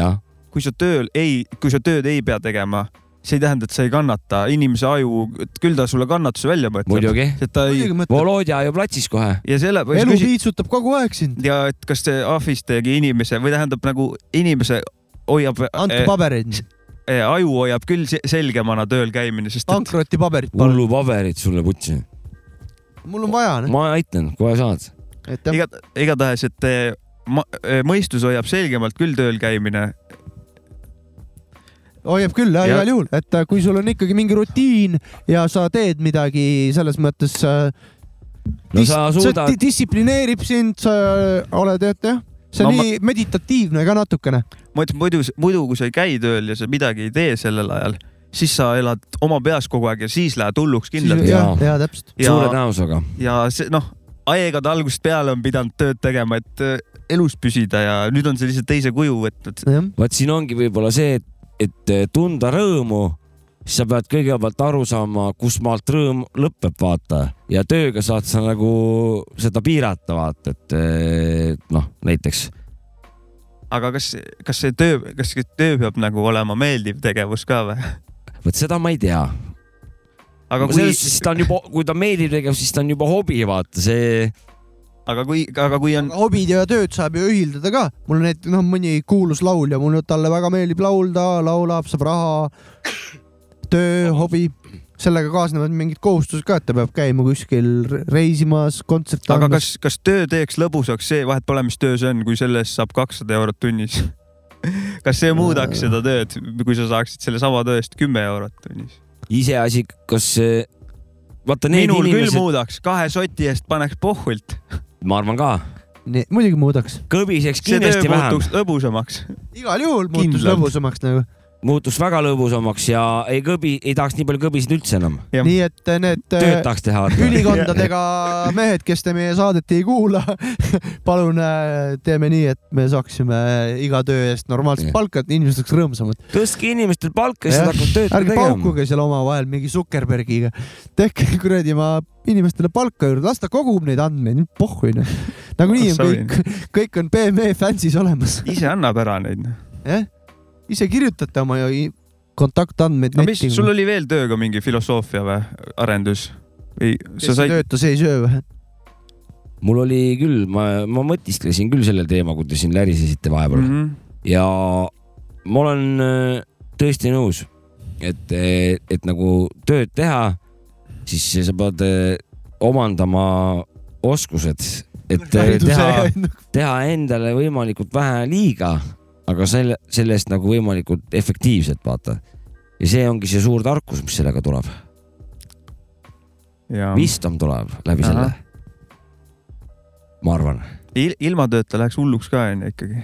kui sa tööl ei , kui sa tööd ei pea tegema , see ei tähenda , et sa ei kannata , inimese aju , küll ta sulle kannatuse välja mõtleb . Muidugi. ta ei . Volodja ju platsis kohe . ja selle . elu piitsutab kogu aeg sind . ja et kas see ahvis tegi inimese või tähendab nagu inimese hoiab . andke pabereid . aju hoiab küll se- selgemana tööl käimine , sest et pankrotipaberit palun . hullu paberit sulle putsin . mul on vaja , noh. ma aitan , kohe saad . iga , igatahes , et eh, ma- eh, mõistus hoiab selgemalt küll tööl käimine . hoiab küll jah , Ja- igal juhul , et äh, kui sul on ikkagi mingi rutiin ja sa teed midagi selles mõttes äh, no sa dis- suudad see di- distsiplineerib sind , sa äh, oled , et jah , see No on ma- nii meditatiivne ka natukene . ma ütlen muidu , muidu kui sa ei käi tööl ja sa midagi ei tee sellel ajal , siis sa elad oma peas kogu aeg ja siis lähed hulluks kindlalt . jah , jaa , täpselt . Ja- suure tõenäosusega . ja see noh , aegade algusest peale on pidanud tööd tegema , et eh, elus püsida ja nüüd on see lihtsalt teise kuju võtnud . vaat siin ongi võib-olla see , et , et eh, tunda rõõmu , siis sa pead kõigepealt aru saama , kus maalt rõõm lõpeb , vaata . ja tööga saad sa nagu seda piirata , vaata , et eh, noh , näiteks aga kas , kas see töö , kas see töö peab nagu olema meeldiv tegevus ka või ? vot seda ma ei tea . aga kui... selles suhtes , siis ta on juba , kui ta meeldib tegema , siis ta on juba hobi , vaata see . aga kui , aga kui on . hobid ja tööd saab ju ühildada ka , mul on näiteks noh , mõni kuulus laulja , mul talle väga meeldib laulda , laulab , saab raha , töö , hobi , sellega kaasnevad mingid kohustused ka , et ta peab käima kuskil re- reisimas , kontserte aga andmas. kas , kas töö teeks lõbusaks see , vahet pole , mis töö see on , kui selle eest saab kakssada eurot tunnis ? (laughs) kas see muudaks seda tööd , kui sa saaksid sellesama töö eest kümme eurot tunnis ? iseasi , kas see , vaata need minul inimesed... küll inimesed , muudaks , kahe soti eest paneks pohhult . ma arvan ka , Ne- muidugi muudaks . kõbiseks see töö kindlasti vähem muutuks lõbusamaks . igal juhul muutus Kindlalt. lõbusamaks nagu . muutuks väga lõbusamaks ja ei kõbi , ei tahaks nii palju kõbisid üldse enam . nii et need äh, Tööd tahaks teha, vaata. ülikondadega mehed , kes te meie saadet ei kuula , (laughs) palun äh, teeme nii , et me saaksime eh, iga töö eest normaalset palka , et inimesed oleks rõõmsamad . tõstke inimestel palka , siis Jah. nad hakkavad tööd ka ärge tegema . paukuge seal omavahel mingi Zuckerbergiga , tehke (laughs) kuradi oma inimestele palka juurde , las ta kogub neid andmeid , pohhui noh . nagunii on Sorry. kõik , (laughs) kõik on BMW fänsis olemas , ise annab ära neid . noh. jah . ise kirjutate oma ju i- kontaktandmeid no mis , netti. noh. sul oli veel tööga mingi filosoofia või arendus ? ei , sa kes ei said , tööta , see ei söö või ? mul oli küll , ma , ma mõtisklesin küll selle teema , kui te siin lärisesite vahepeal mm Mhm. -hmm. ja ma olen äh, tõesti nõus , et , et nagu tööd teha , siis sa pead äh, omandama oskused , et äh, Hariduse teha ja- , teha endale võimalikult vähe liiga , aga selle , sellest nagu võimalikult efektiivselt , vaata . ja see ongi see suur tarkus , mis sellega tuleb . Jaa. wisdom tuleb läbi Ahah. selle . ma arvan . ilma tööta läheks hulluks ka onju ikkagi .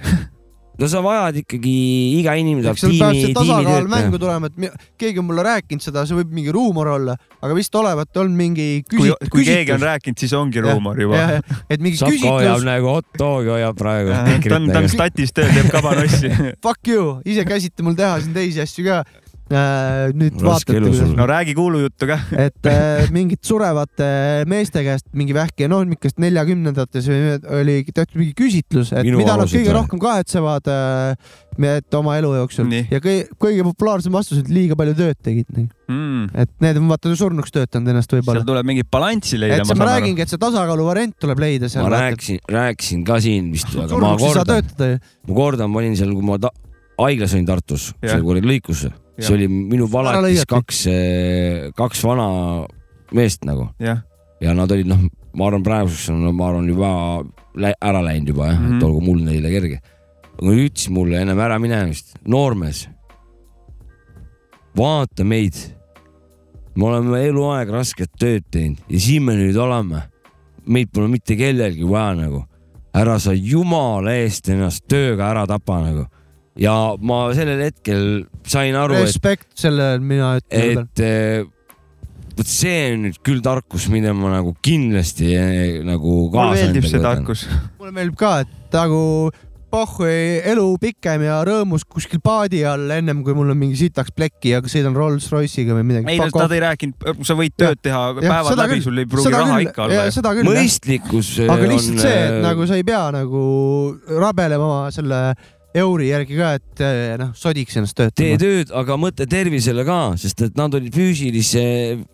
no sa vajad ikkagi , iga inimene eks saab seal peab see tiimi , tasakaal tiimi mängu tulema , et mi- keegi on mulle rääkinud seda , see võib mingi ruumor olla , aga vist olevat olnud mingi kui küsi- ,, kui küsitlus . keegi on rääkinud , siis ongi Jah, ruumor juba jah, . jah. et mingi Sapko hoiab küsitlus , nagu hot dog'i hoiab praegu . nagu. ta on , ta on statis tööl , teeb kabanossi . (laughs) fuck you , ise käsite mul teha siin teisi asju ka . nüüd Raske vaatate , elu sul. kuidas . No räägi kuulujuttu ka. (laughs) et äh, mingid surevate meeste käest mingi vähki anonimikest neljakümnendates või- oli tehtud mingi küsitlus , et Minu mida nad arvasid kõige või? rohkem kahetsevad äh, et oma elu jooksul Nii. ja kõi- kõige populaarsem vastus , et liiga palju tööd tegid . Mm. et need on vaata surnuks töötanud ennast võib-olla seal . tuleb mingit balanssi leida et , see , ma . räägingi , et see tasakaalu variant tuleb leida seal . ma rääkisin , rääkisin ka siin vist , aga surnuks ma ei saa kordan , töötada ju . ma kordan , ma olin seal , kui ma ta- haiglas olin Tartus , Jah. seal kuradi lõikus , Jah. see oli minu Ära valatis lõigati. kaks , kaks vana meest nagu Jah. ja nad olid noh , ma arvan , praeguseks on , ma arvan juba lä- ära läinud juba jah , Mhm. et olgu mul neile kerge . aga nad ütlesid mulle ennem äraminemist , noormees , vaata meid , me oleme eluaeg rasket tööd teinud ja siin me nüüd oleme . meid pole mitte kellelgi vaja nagu , ära sa jumala eest ennast tööga ära tapa nagu ja ma sellel hetkel sain aru , et respekt selle , mina ütlen . et eh, vot see on nüüd küll tarkus , mida ma nagu kindlasti eh, nagu kaasa . meeldib see tarkus. . mulle meeldib ka , et nagu pohhu elu pikem ja rõõmus kuskil paadi all , ennem kui mul on mingi sitaks plekki ja sõidan Rolls-Royce'iga või midagi . ei , nad ei rääkinud , sa võid tööd teha päevad läbi , sul ei pruugi raha ikka olla . seda küll . mõistlikkus aga eh, lihtsalt on, see , et eh, nagu sa ei pea nagu rabelema oma selle euri järgi ka , et eh, noh , sodiks ennast tee töötama . tööd , aga mõtle tervisele ka , sest et nad olid füüsilise ,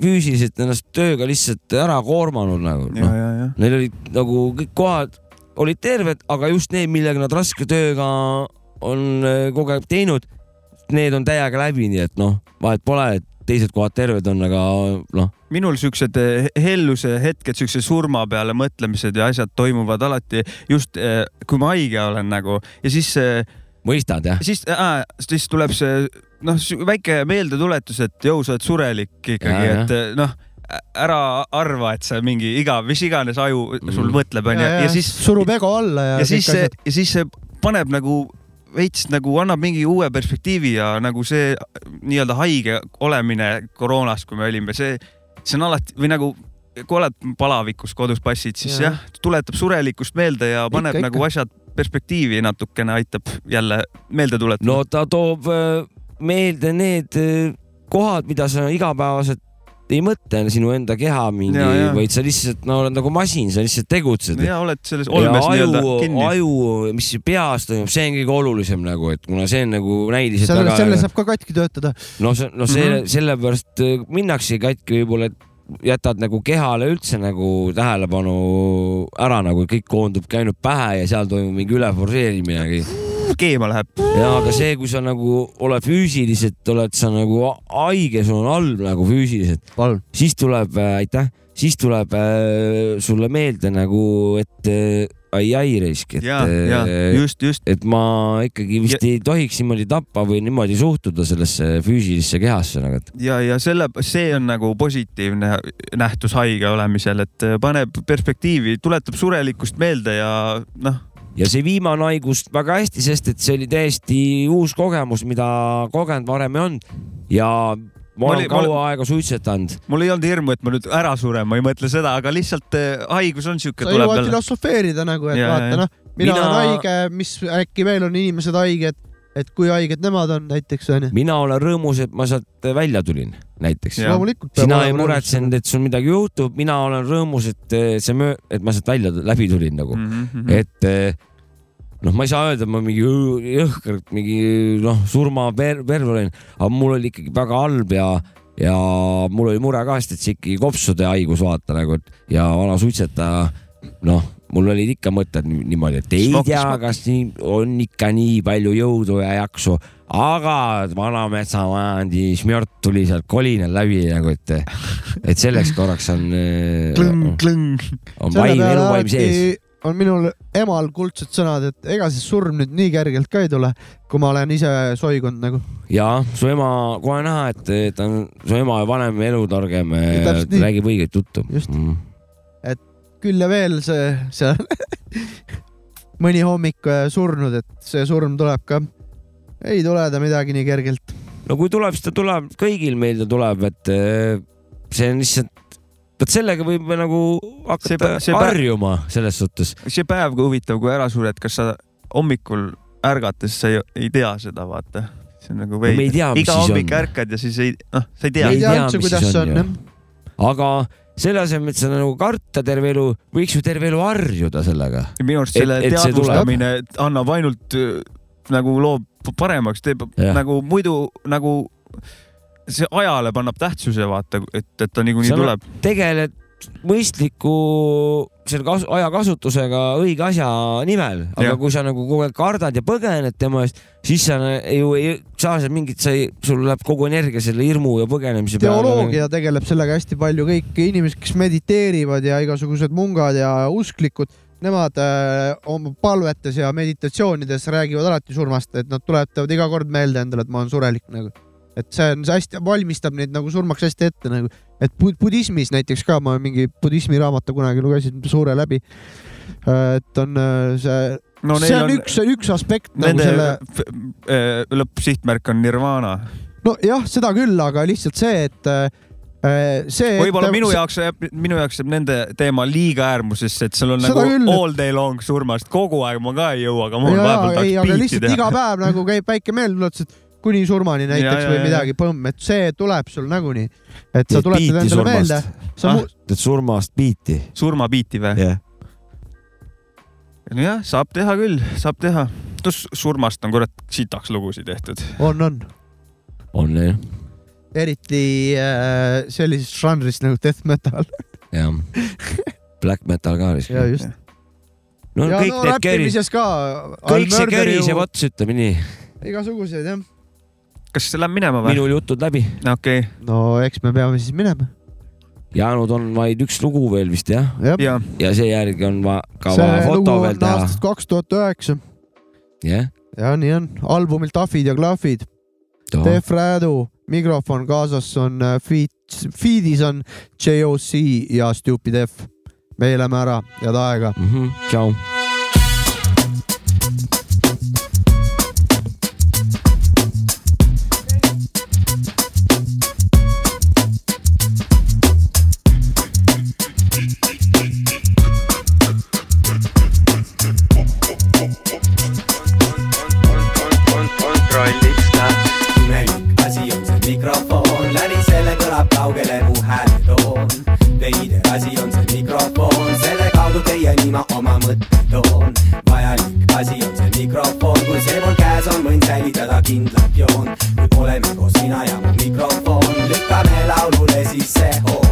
füüsiliselt ennast tööga lihtsalt ära koormanud nagu Ja, ja, ja. . Neil olid nagu kõik kohad olid terved , aga just need , millega nad raske tööga on eh, kogu aeg teinud , need on täiega läbi , nii et noh , vahet pole , et teised kohad terved on , aga noh , minul siuksed eh, helluse hetked , siukse surma peale mõtlemised ja asjad toimuvad alati just eh, kui ma haige olen nagu ja siis . mõistad jah ? siis , siis tuleb see noh , väike meeldetuletus , et jõu , sa oled surelik ikkagi , Jaa, et eh, noh , ära arva , et see mingi igav , mis iganes aju Mm. sul mõtleb , onju , ja siis surub ego alla ja . ja siis see , ja siis see paneb nagu veits nagu annab mingi uue perspektiivi ja nagu see nii-öelda haige olemine koroonas , kui me olime , see , see on alati või nagu kui oled palavikus kodus passid , siis Jaa. jah , tuletab surelikkust meelde ja paneb Ikka, ikka, ikka. nagu ikka. asjad perspektiivi natukene , aitab jälle meelde tuletada . no ta toob eh, meelde need eh, kohad , mida sa igapäevaselt ei mõtle , sinu enda keha mingi Ja, ja. , vaid sa lihtsalt no, oled nagu masin , sa lihtsalt tegutsed . ja oled selles olmes nii-öelda aju , kinni . aju , mis siin peas toimub , see on kõige olulisem nagu , et kuna see on nagu näiliselt selle , väga selle saab ka katki töötada . no see , no see mm Mhm. -hmm. sellepärast eh, minnakse katki võib-olla , et jätad nagu kehale üldse nagu tähelepanu ära , nagu kõik koondub ka ainult pähe ja seal toimub mingi üleforseerimine . keema läheb . ja aga see , kui sa nagu oled füüsiliselt , oled sa nagu a- haige , sul on halb nagu füüsiliselt , siis tuleb , aitäh , siis tuleb äh, sulle meelde nagu , et äh, ai-ai raisk , et Ja, ja, äh, just, just. et ma ikkagi vist ja. ei tohiks niimoodi tappa või niimoodi suhtuda sellesse füüsilisse kehasse nagu , et ja , ja selle , see on nagu positiivne nähtus haige olemisel , et äh, paneb perspektiivi , tuletab surelikkust meelde ja noh , ja see viimane haigus väga hästi , sest et see oli täiesti uus kogemus , mida kogenud varem ei olnud ja ma olen kaua aega suitsetanud . mul ei olnud hirmu , et ma nüüd ära suren , ma ei mõtle seda , aga lihtsalt eh, haigus on siuke . sa jõuad filosofeerida nagu , et ja, Ja, ja. vaata noh , mina Mina- olen haige , mis äkki veel on inimesed haiged , et kui haiged nemad on näiteks onju . mina olen rõõmus , et ma sealt välja tulin , näiteks Jah. Loomulikult peab sina olema ei rõõmus. muretsenud , et sul midagi juhtub , mina olen rõõmus , et eh, see möö- , et ma sealt välja , läbi tulin nagu Mhm, mm , mhm. -hmm. et eh, noh , ma ei saa öelda , et ma mingi õõ- jõhkralt mingi noh , surma per- , perve olin , aga mul oli ikkagi väga halb ja , ja mul oli mure ka , sest et see ikkagi kopsude haigus vaata nagu , et ja vana suitsetaja , noh , mul olid ikka mõtted ni- niimoodi , et ei Smokis, tea , smokis. kas nii on ikka nii palju jõudu ja jaksu , aga vanametsamajandi šmjort tuli sealt kolinal läbi nagu , et , et selleks korraks (laughs) on , Klõng, on klõng . vaim , eluvaim sees . on minul emal kuldsed sõnad , et ega see surm nüüd nii kergelt ka ei tule , kui ma olen ise soigunud nagu . ja su ema , kohe näha , et ta on su ema vanem ja elutargem , täpselt nii. räägib Mhm. õiget juttu . küll ja veel see , see (laughs) mõni hommik äh, surnud , et see surm tuleb ka . ei tule ta midagi nii kergelt . no kui tuleb , siis ta tuleb , kõigil meil ta tuleb , et eh, see on lihtsalt , vot sellega võib nagu See hakata pä- see pä- harjuma selles suhtes . see päev , kui huvitav , kui ära sured , kas sa hommikul ärgates sa ei, ei tea seda , vaata . see on nagu me ei veider tea, . mis iga siis hommik on. ärkad ja siis ei , noh , sa ei tea . aga selle asemel , et seda nagu karta terve elu , võiks ju terve elu harjuda sellega . minu arust selle et, et teadvustamine annab ainult äh, nagu loob paremaks , teeb Jah. ja. nagu muidu nagu see ajale pannab tähtsuse , vaata , et , et ta niikuinii tuleb . nagu tegeled mõistliku selle kas, ajakasutusega õige asja nimel , aga Jah. kui sa nagu kogu aeg kardad ja põgened tema eest , siis sa nä- ju ei saa seal mingit , sa ei , sul läheb kogu energia selle hirmu ja põgenemise peale . nagu teoloogia tegeleb sellega hästi palju , kõik inimesed , kes mediteerivad ja igasugused mungad ja usklikud , nemad äh, oma palvetes ja meditatsioonides räägivad alati surmast , et nad tuletavad iga kord meelde endale , et ma olen surelik nagu . et see on , see hästi valmistab neid nagu surmaks hästi ette nagu , et bu- budismis näiteks ka , ma mingi budismi raamatu kunagi lugesin suure läbi . et on äh, see No no, , neil see on, on on- üks , see on üks aspekt nagu Nende selle selle... lõppsihtmärk on nirvana . nojah , seda küll , aga lihtsalt see , et äh, see . võib-olla minu jaoks jääb , minu jaoks jääb nende teema liiga äärmusesse , et seal on Seda nagu küll. küll. all day long surmast , kogu aeg ma ka ei jõua , aga ma Jaa, vahepeal ei , tahaks aga biiti lihtsalt teha . iga päev nagu käib väike meeldetuletus , et kuni surmani näiteks ja, ja, või ja, midagi , põmm , et see tuleb sul nagunii . et sa Teed tuletad biiti endale meelde surmast. , sa Ah. mu- , teed surmast biiti . surmabiiti või yeah. ? nojah , saab teha küll , saab teha . tuss surmast on kurat sitaks lugusid tehtud . on , on , on jah , (laughs) eriti äh, sellises žanris nagu death metal . (laughs) jah . Black metal ka vist . ja just . no ja kõik no need kerid , räppimises ka . kõik see keriseb otsa , ütleme nii . igasuguseid jah . kas see läheb minema või ? minul jutud läbi . okei okay. . no eks me peame siis minema . jäänud on vaid üks lugu veel vist jah Jah. ja, ja seejärgi on va ka see vaja lugu foto on veel teha . aastast kaks tuhat üheksa jah , ja nii on , albumil Tahvid ja klahvid . Def Rädu , mikrofon kaasas on äh, feed , feed'is on JOC ja Stupid F . meie läheme ära , head aega mm . -hmm. tšau . kontrolliks ka . imelik asi on see mikrofon , läbi selle kõlab kaugele mu hääletoon . veider asi on see mikrofon , selle kaudu teieni ma oma mõtteid toon . vajalik asi on see mikrofon , kui see mul käes on , võin säilitada kindlat joon . nüüd oleme koos mina ja mu mikrofon , lükkame laulule sisse hoo .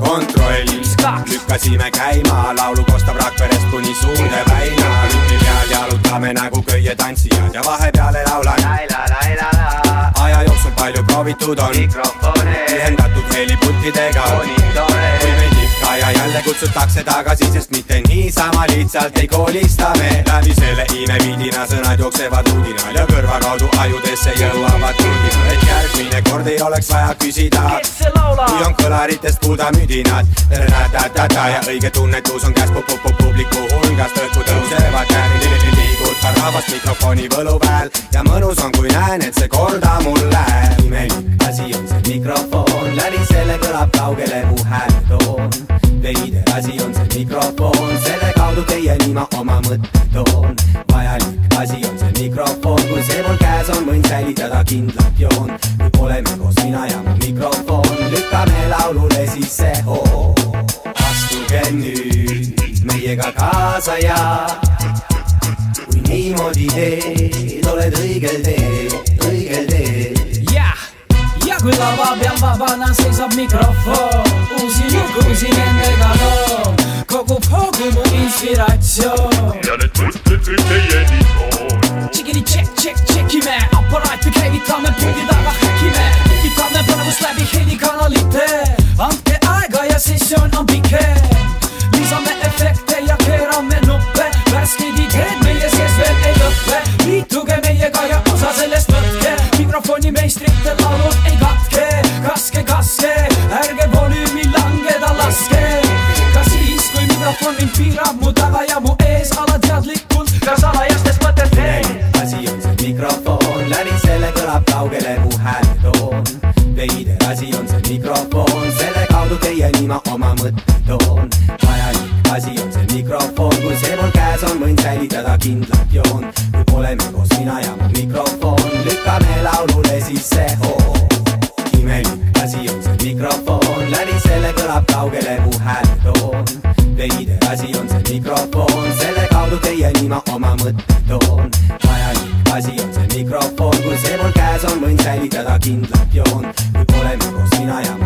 kontrolliks kaks , lükkasime käima , laulu kostab Rakverest kuni suurde väina . rütmi peal jalutame nagu köietantsijad ja vahepeal laulan . aja jooksul palju proovitud on . ühendatud heliputtidega . kui meid ikka ja jälle kutsutakse tagasi , sest mitte niisama lihtsalt ei koolista me . läbi selle imeviidina sõnad jooksevad uudinal ja kõrva kaudu ajudesse jõuavad uudinal , et järgmine kord ei oleks vaja küsida . kui on kõlaritest puuda müdinad . ta-ta-ta-ta ja õige tunnetus on käes pu-pu-pu publiku hulgast , õhku tõusevad käed , liigutab rahvast mikrofoni võlu peal ja mõnus on , kui näen , et see korda mul läheb . imelik asi on see mikrofon , läbi selle kõlab kaugele mu hääletoon . veider asi on see mikrofon , selle kaudu teieni ma oma mõtteid toon . vajalik asi on see mikrofon , kui see mul käes on , võin säilitada kindlat joon . nüüd oleme koos mina ja mu mikrofon , lükkame laulule sisse hoo . astuge nüüd meiega kaasa ja kui niimoodi teed , oled õigel teel , õigel teel . jah , ja kui lava peal vabana seisab mikrofon , uusi lugu siin nendega loon , kogub hoogu mu inspiratsioon . ja need mõtted teieni toon . tšikidi tšekk , tšekk , tšekime , aparaati käivitame , pundi taga häkime , tekitame põnevust läbi helikanalite . andke aega ja sessioon on pikem , lisame efekte ja keerame nuppe , värsked ideed meie sees veel ei lõppe . liituge meiega ja osa sellest võtke , mikrofoni meistrite laulud ei katke , kaske , kaske , ärge volüümi langeda laske ka siis , kui mikrofon mind piirab mu taga ja mu ees alateadlikult ka toon , läbi selle kõlab kaugele mu hääletoon . veider asi on see mikrofon , selle kaudu teieni ma oma mõttetoon . vajalik asi on see mikrofon , kui see mul käes on , võin säilitada kindlat joon . kui oleme koos mina ja mu mikrofon , lükkame laulule sisse hoo . imelik asi on see mikrofon , läbi selle kõlab kaugele mu hääletoon . veider asi on see mikrofon , selle kaudu teieni ma oma mõttetoon . vajalik asi on see mikrofon , kui see mul käes on , võin säilitada kindlat joon . kui oleme koos mina nagu ja mu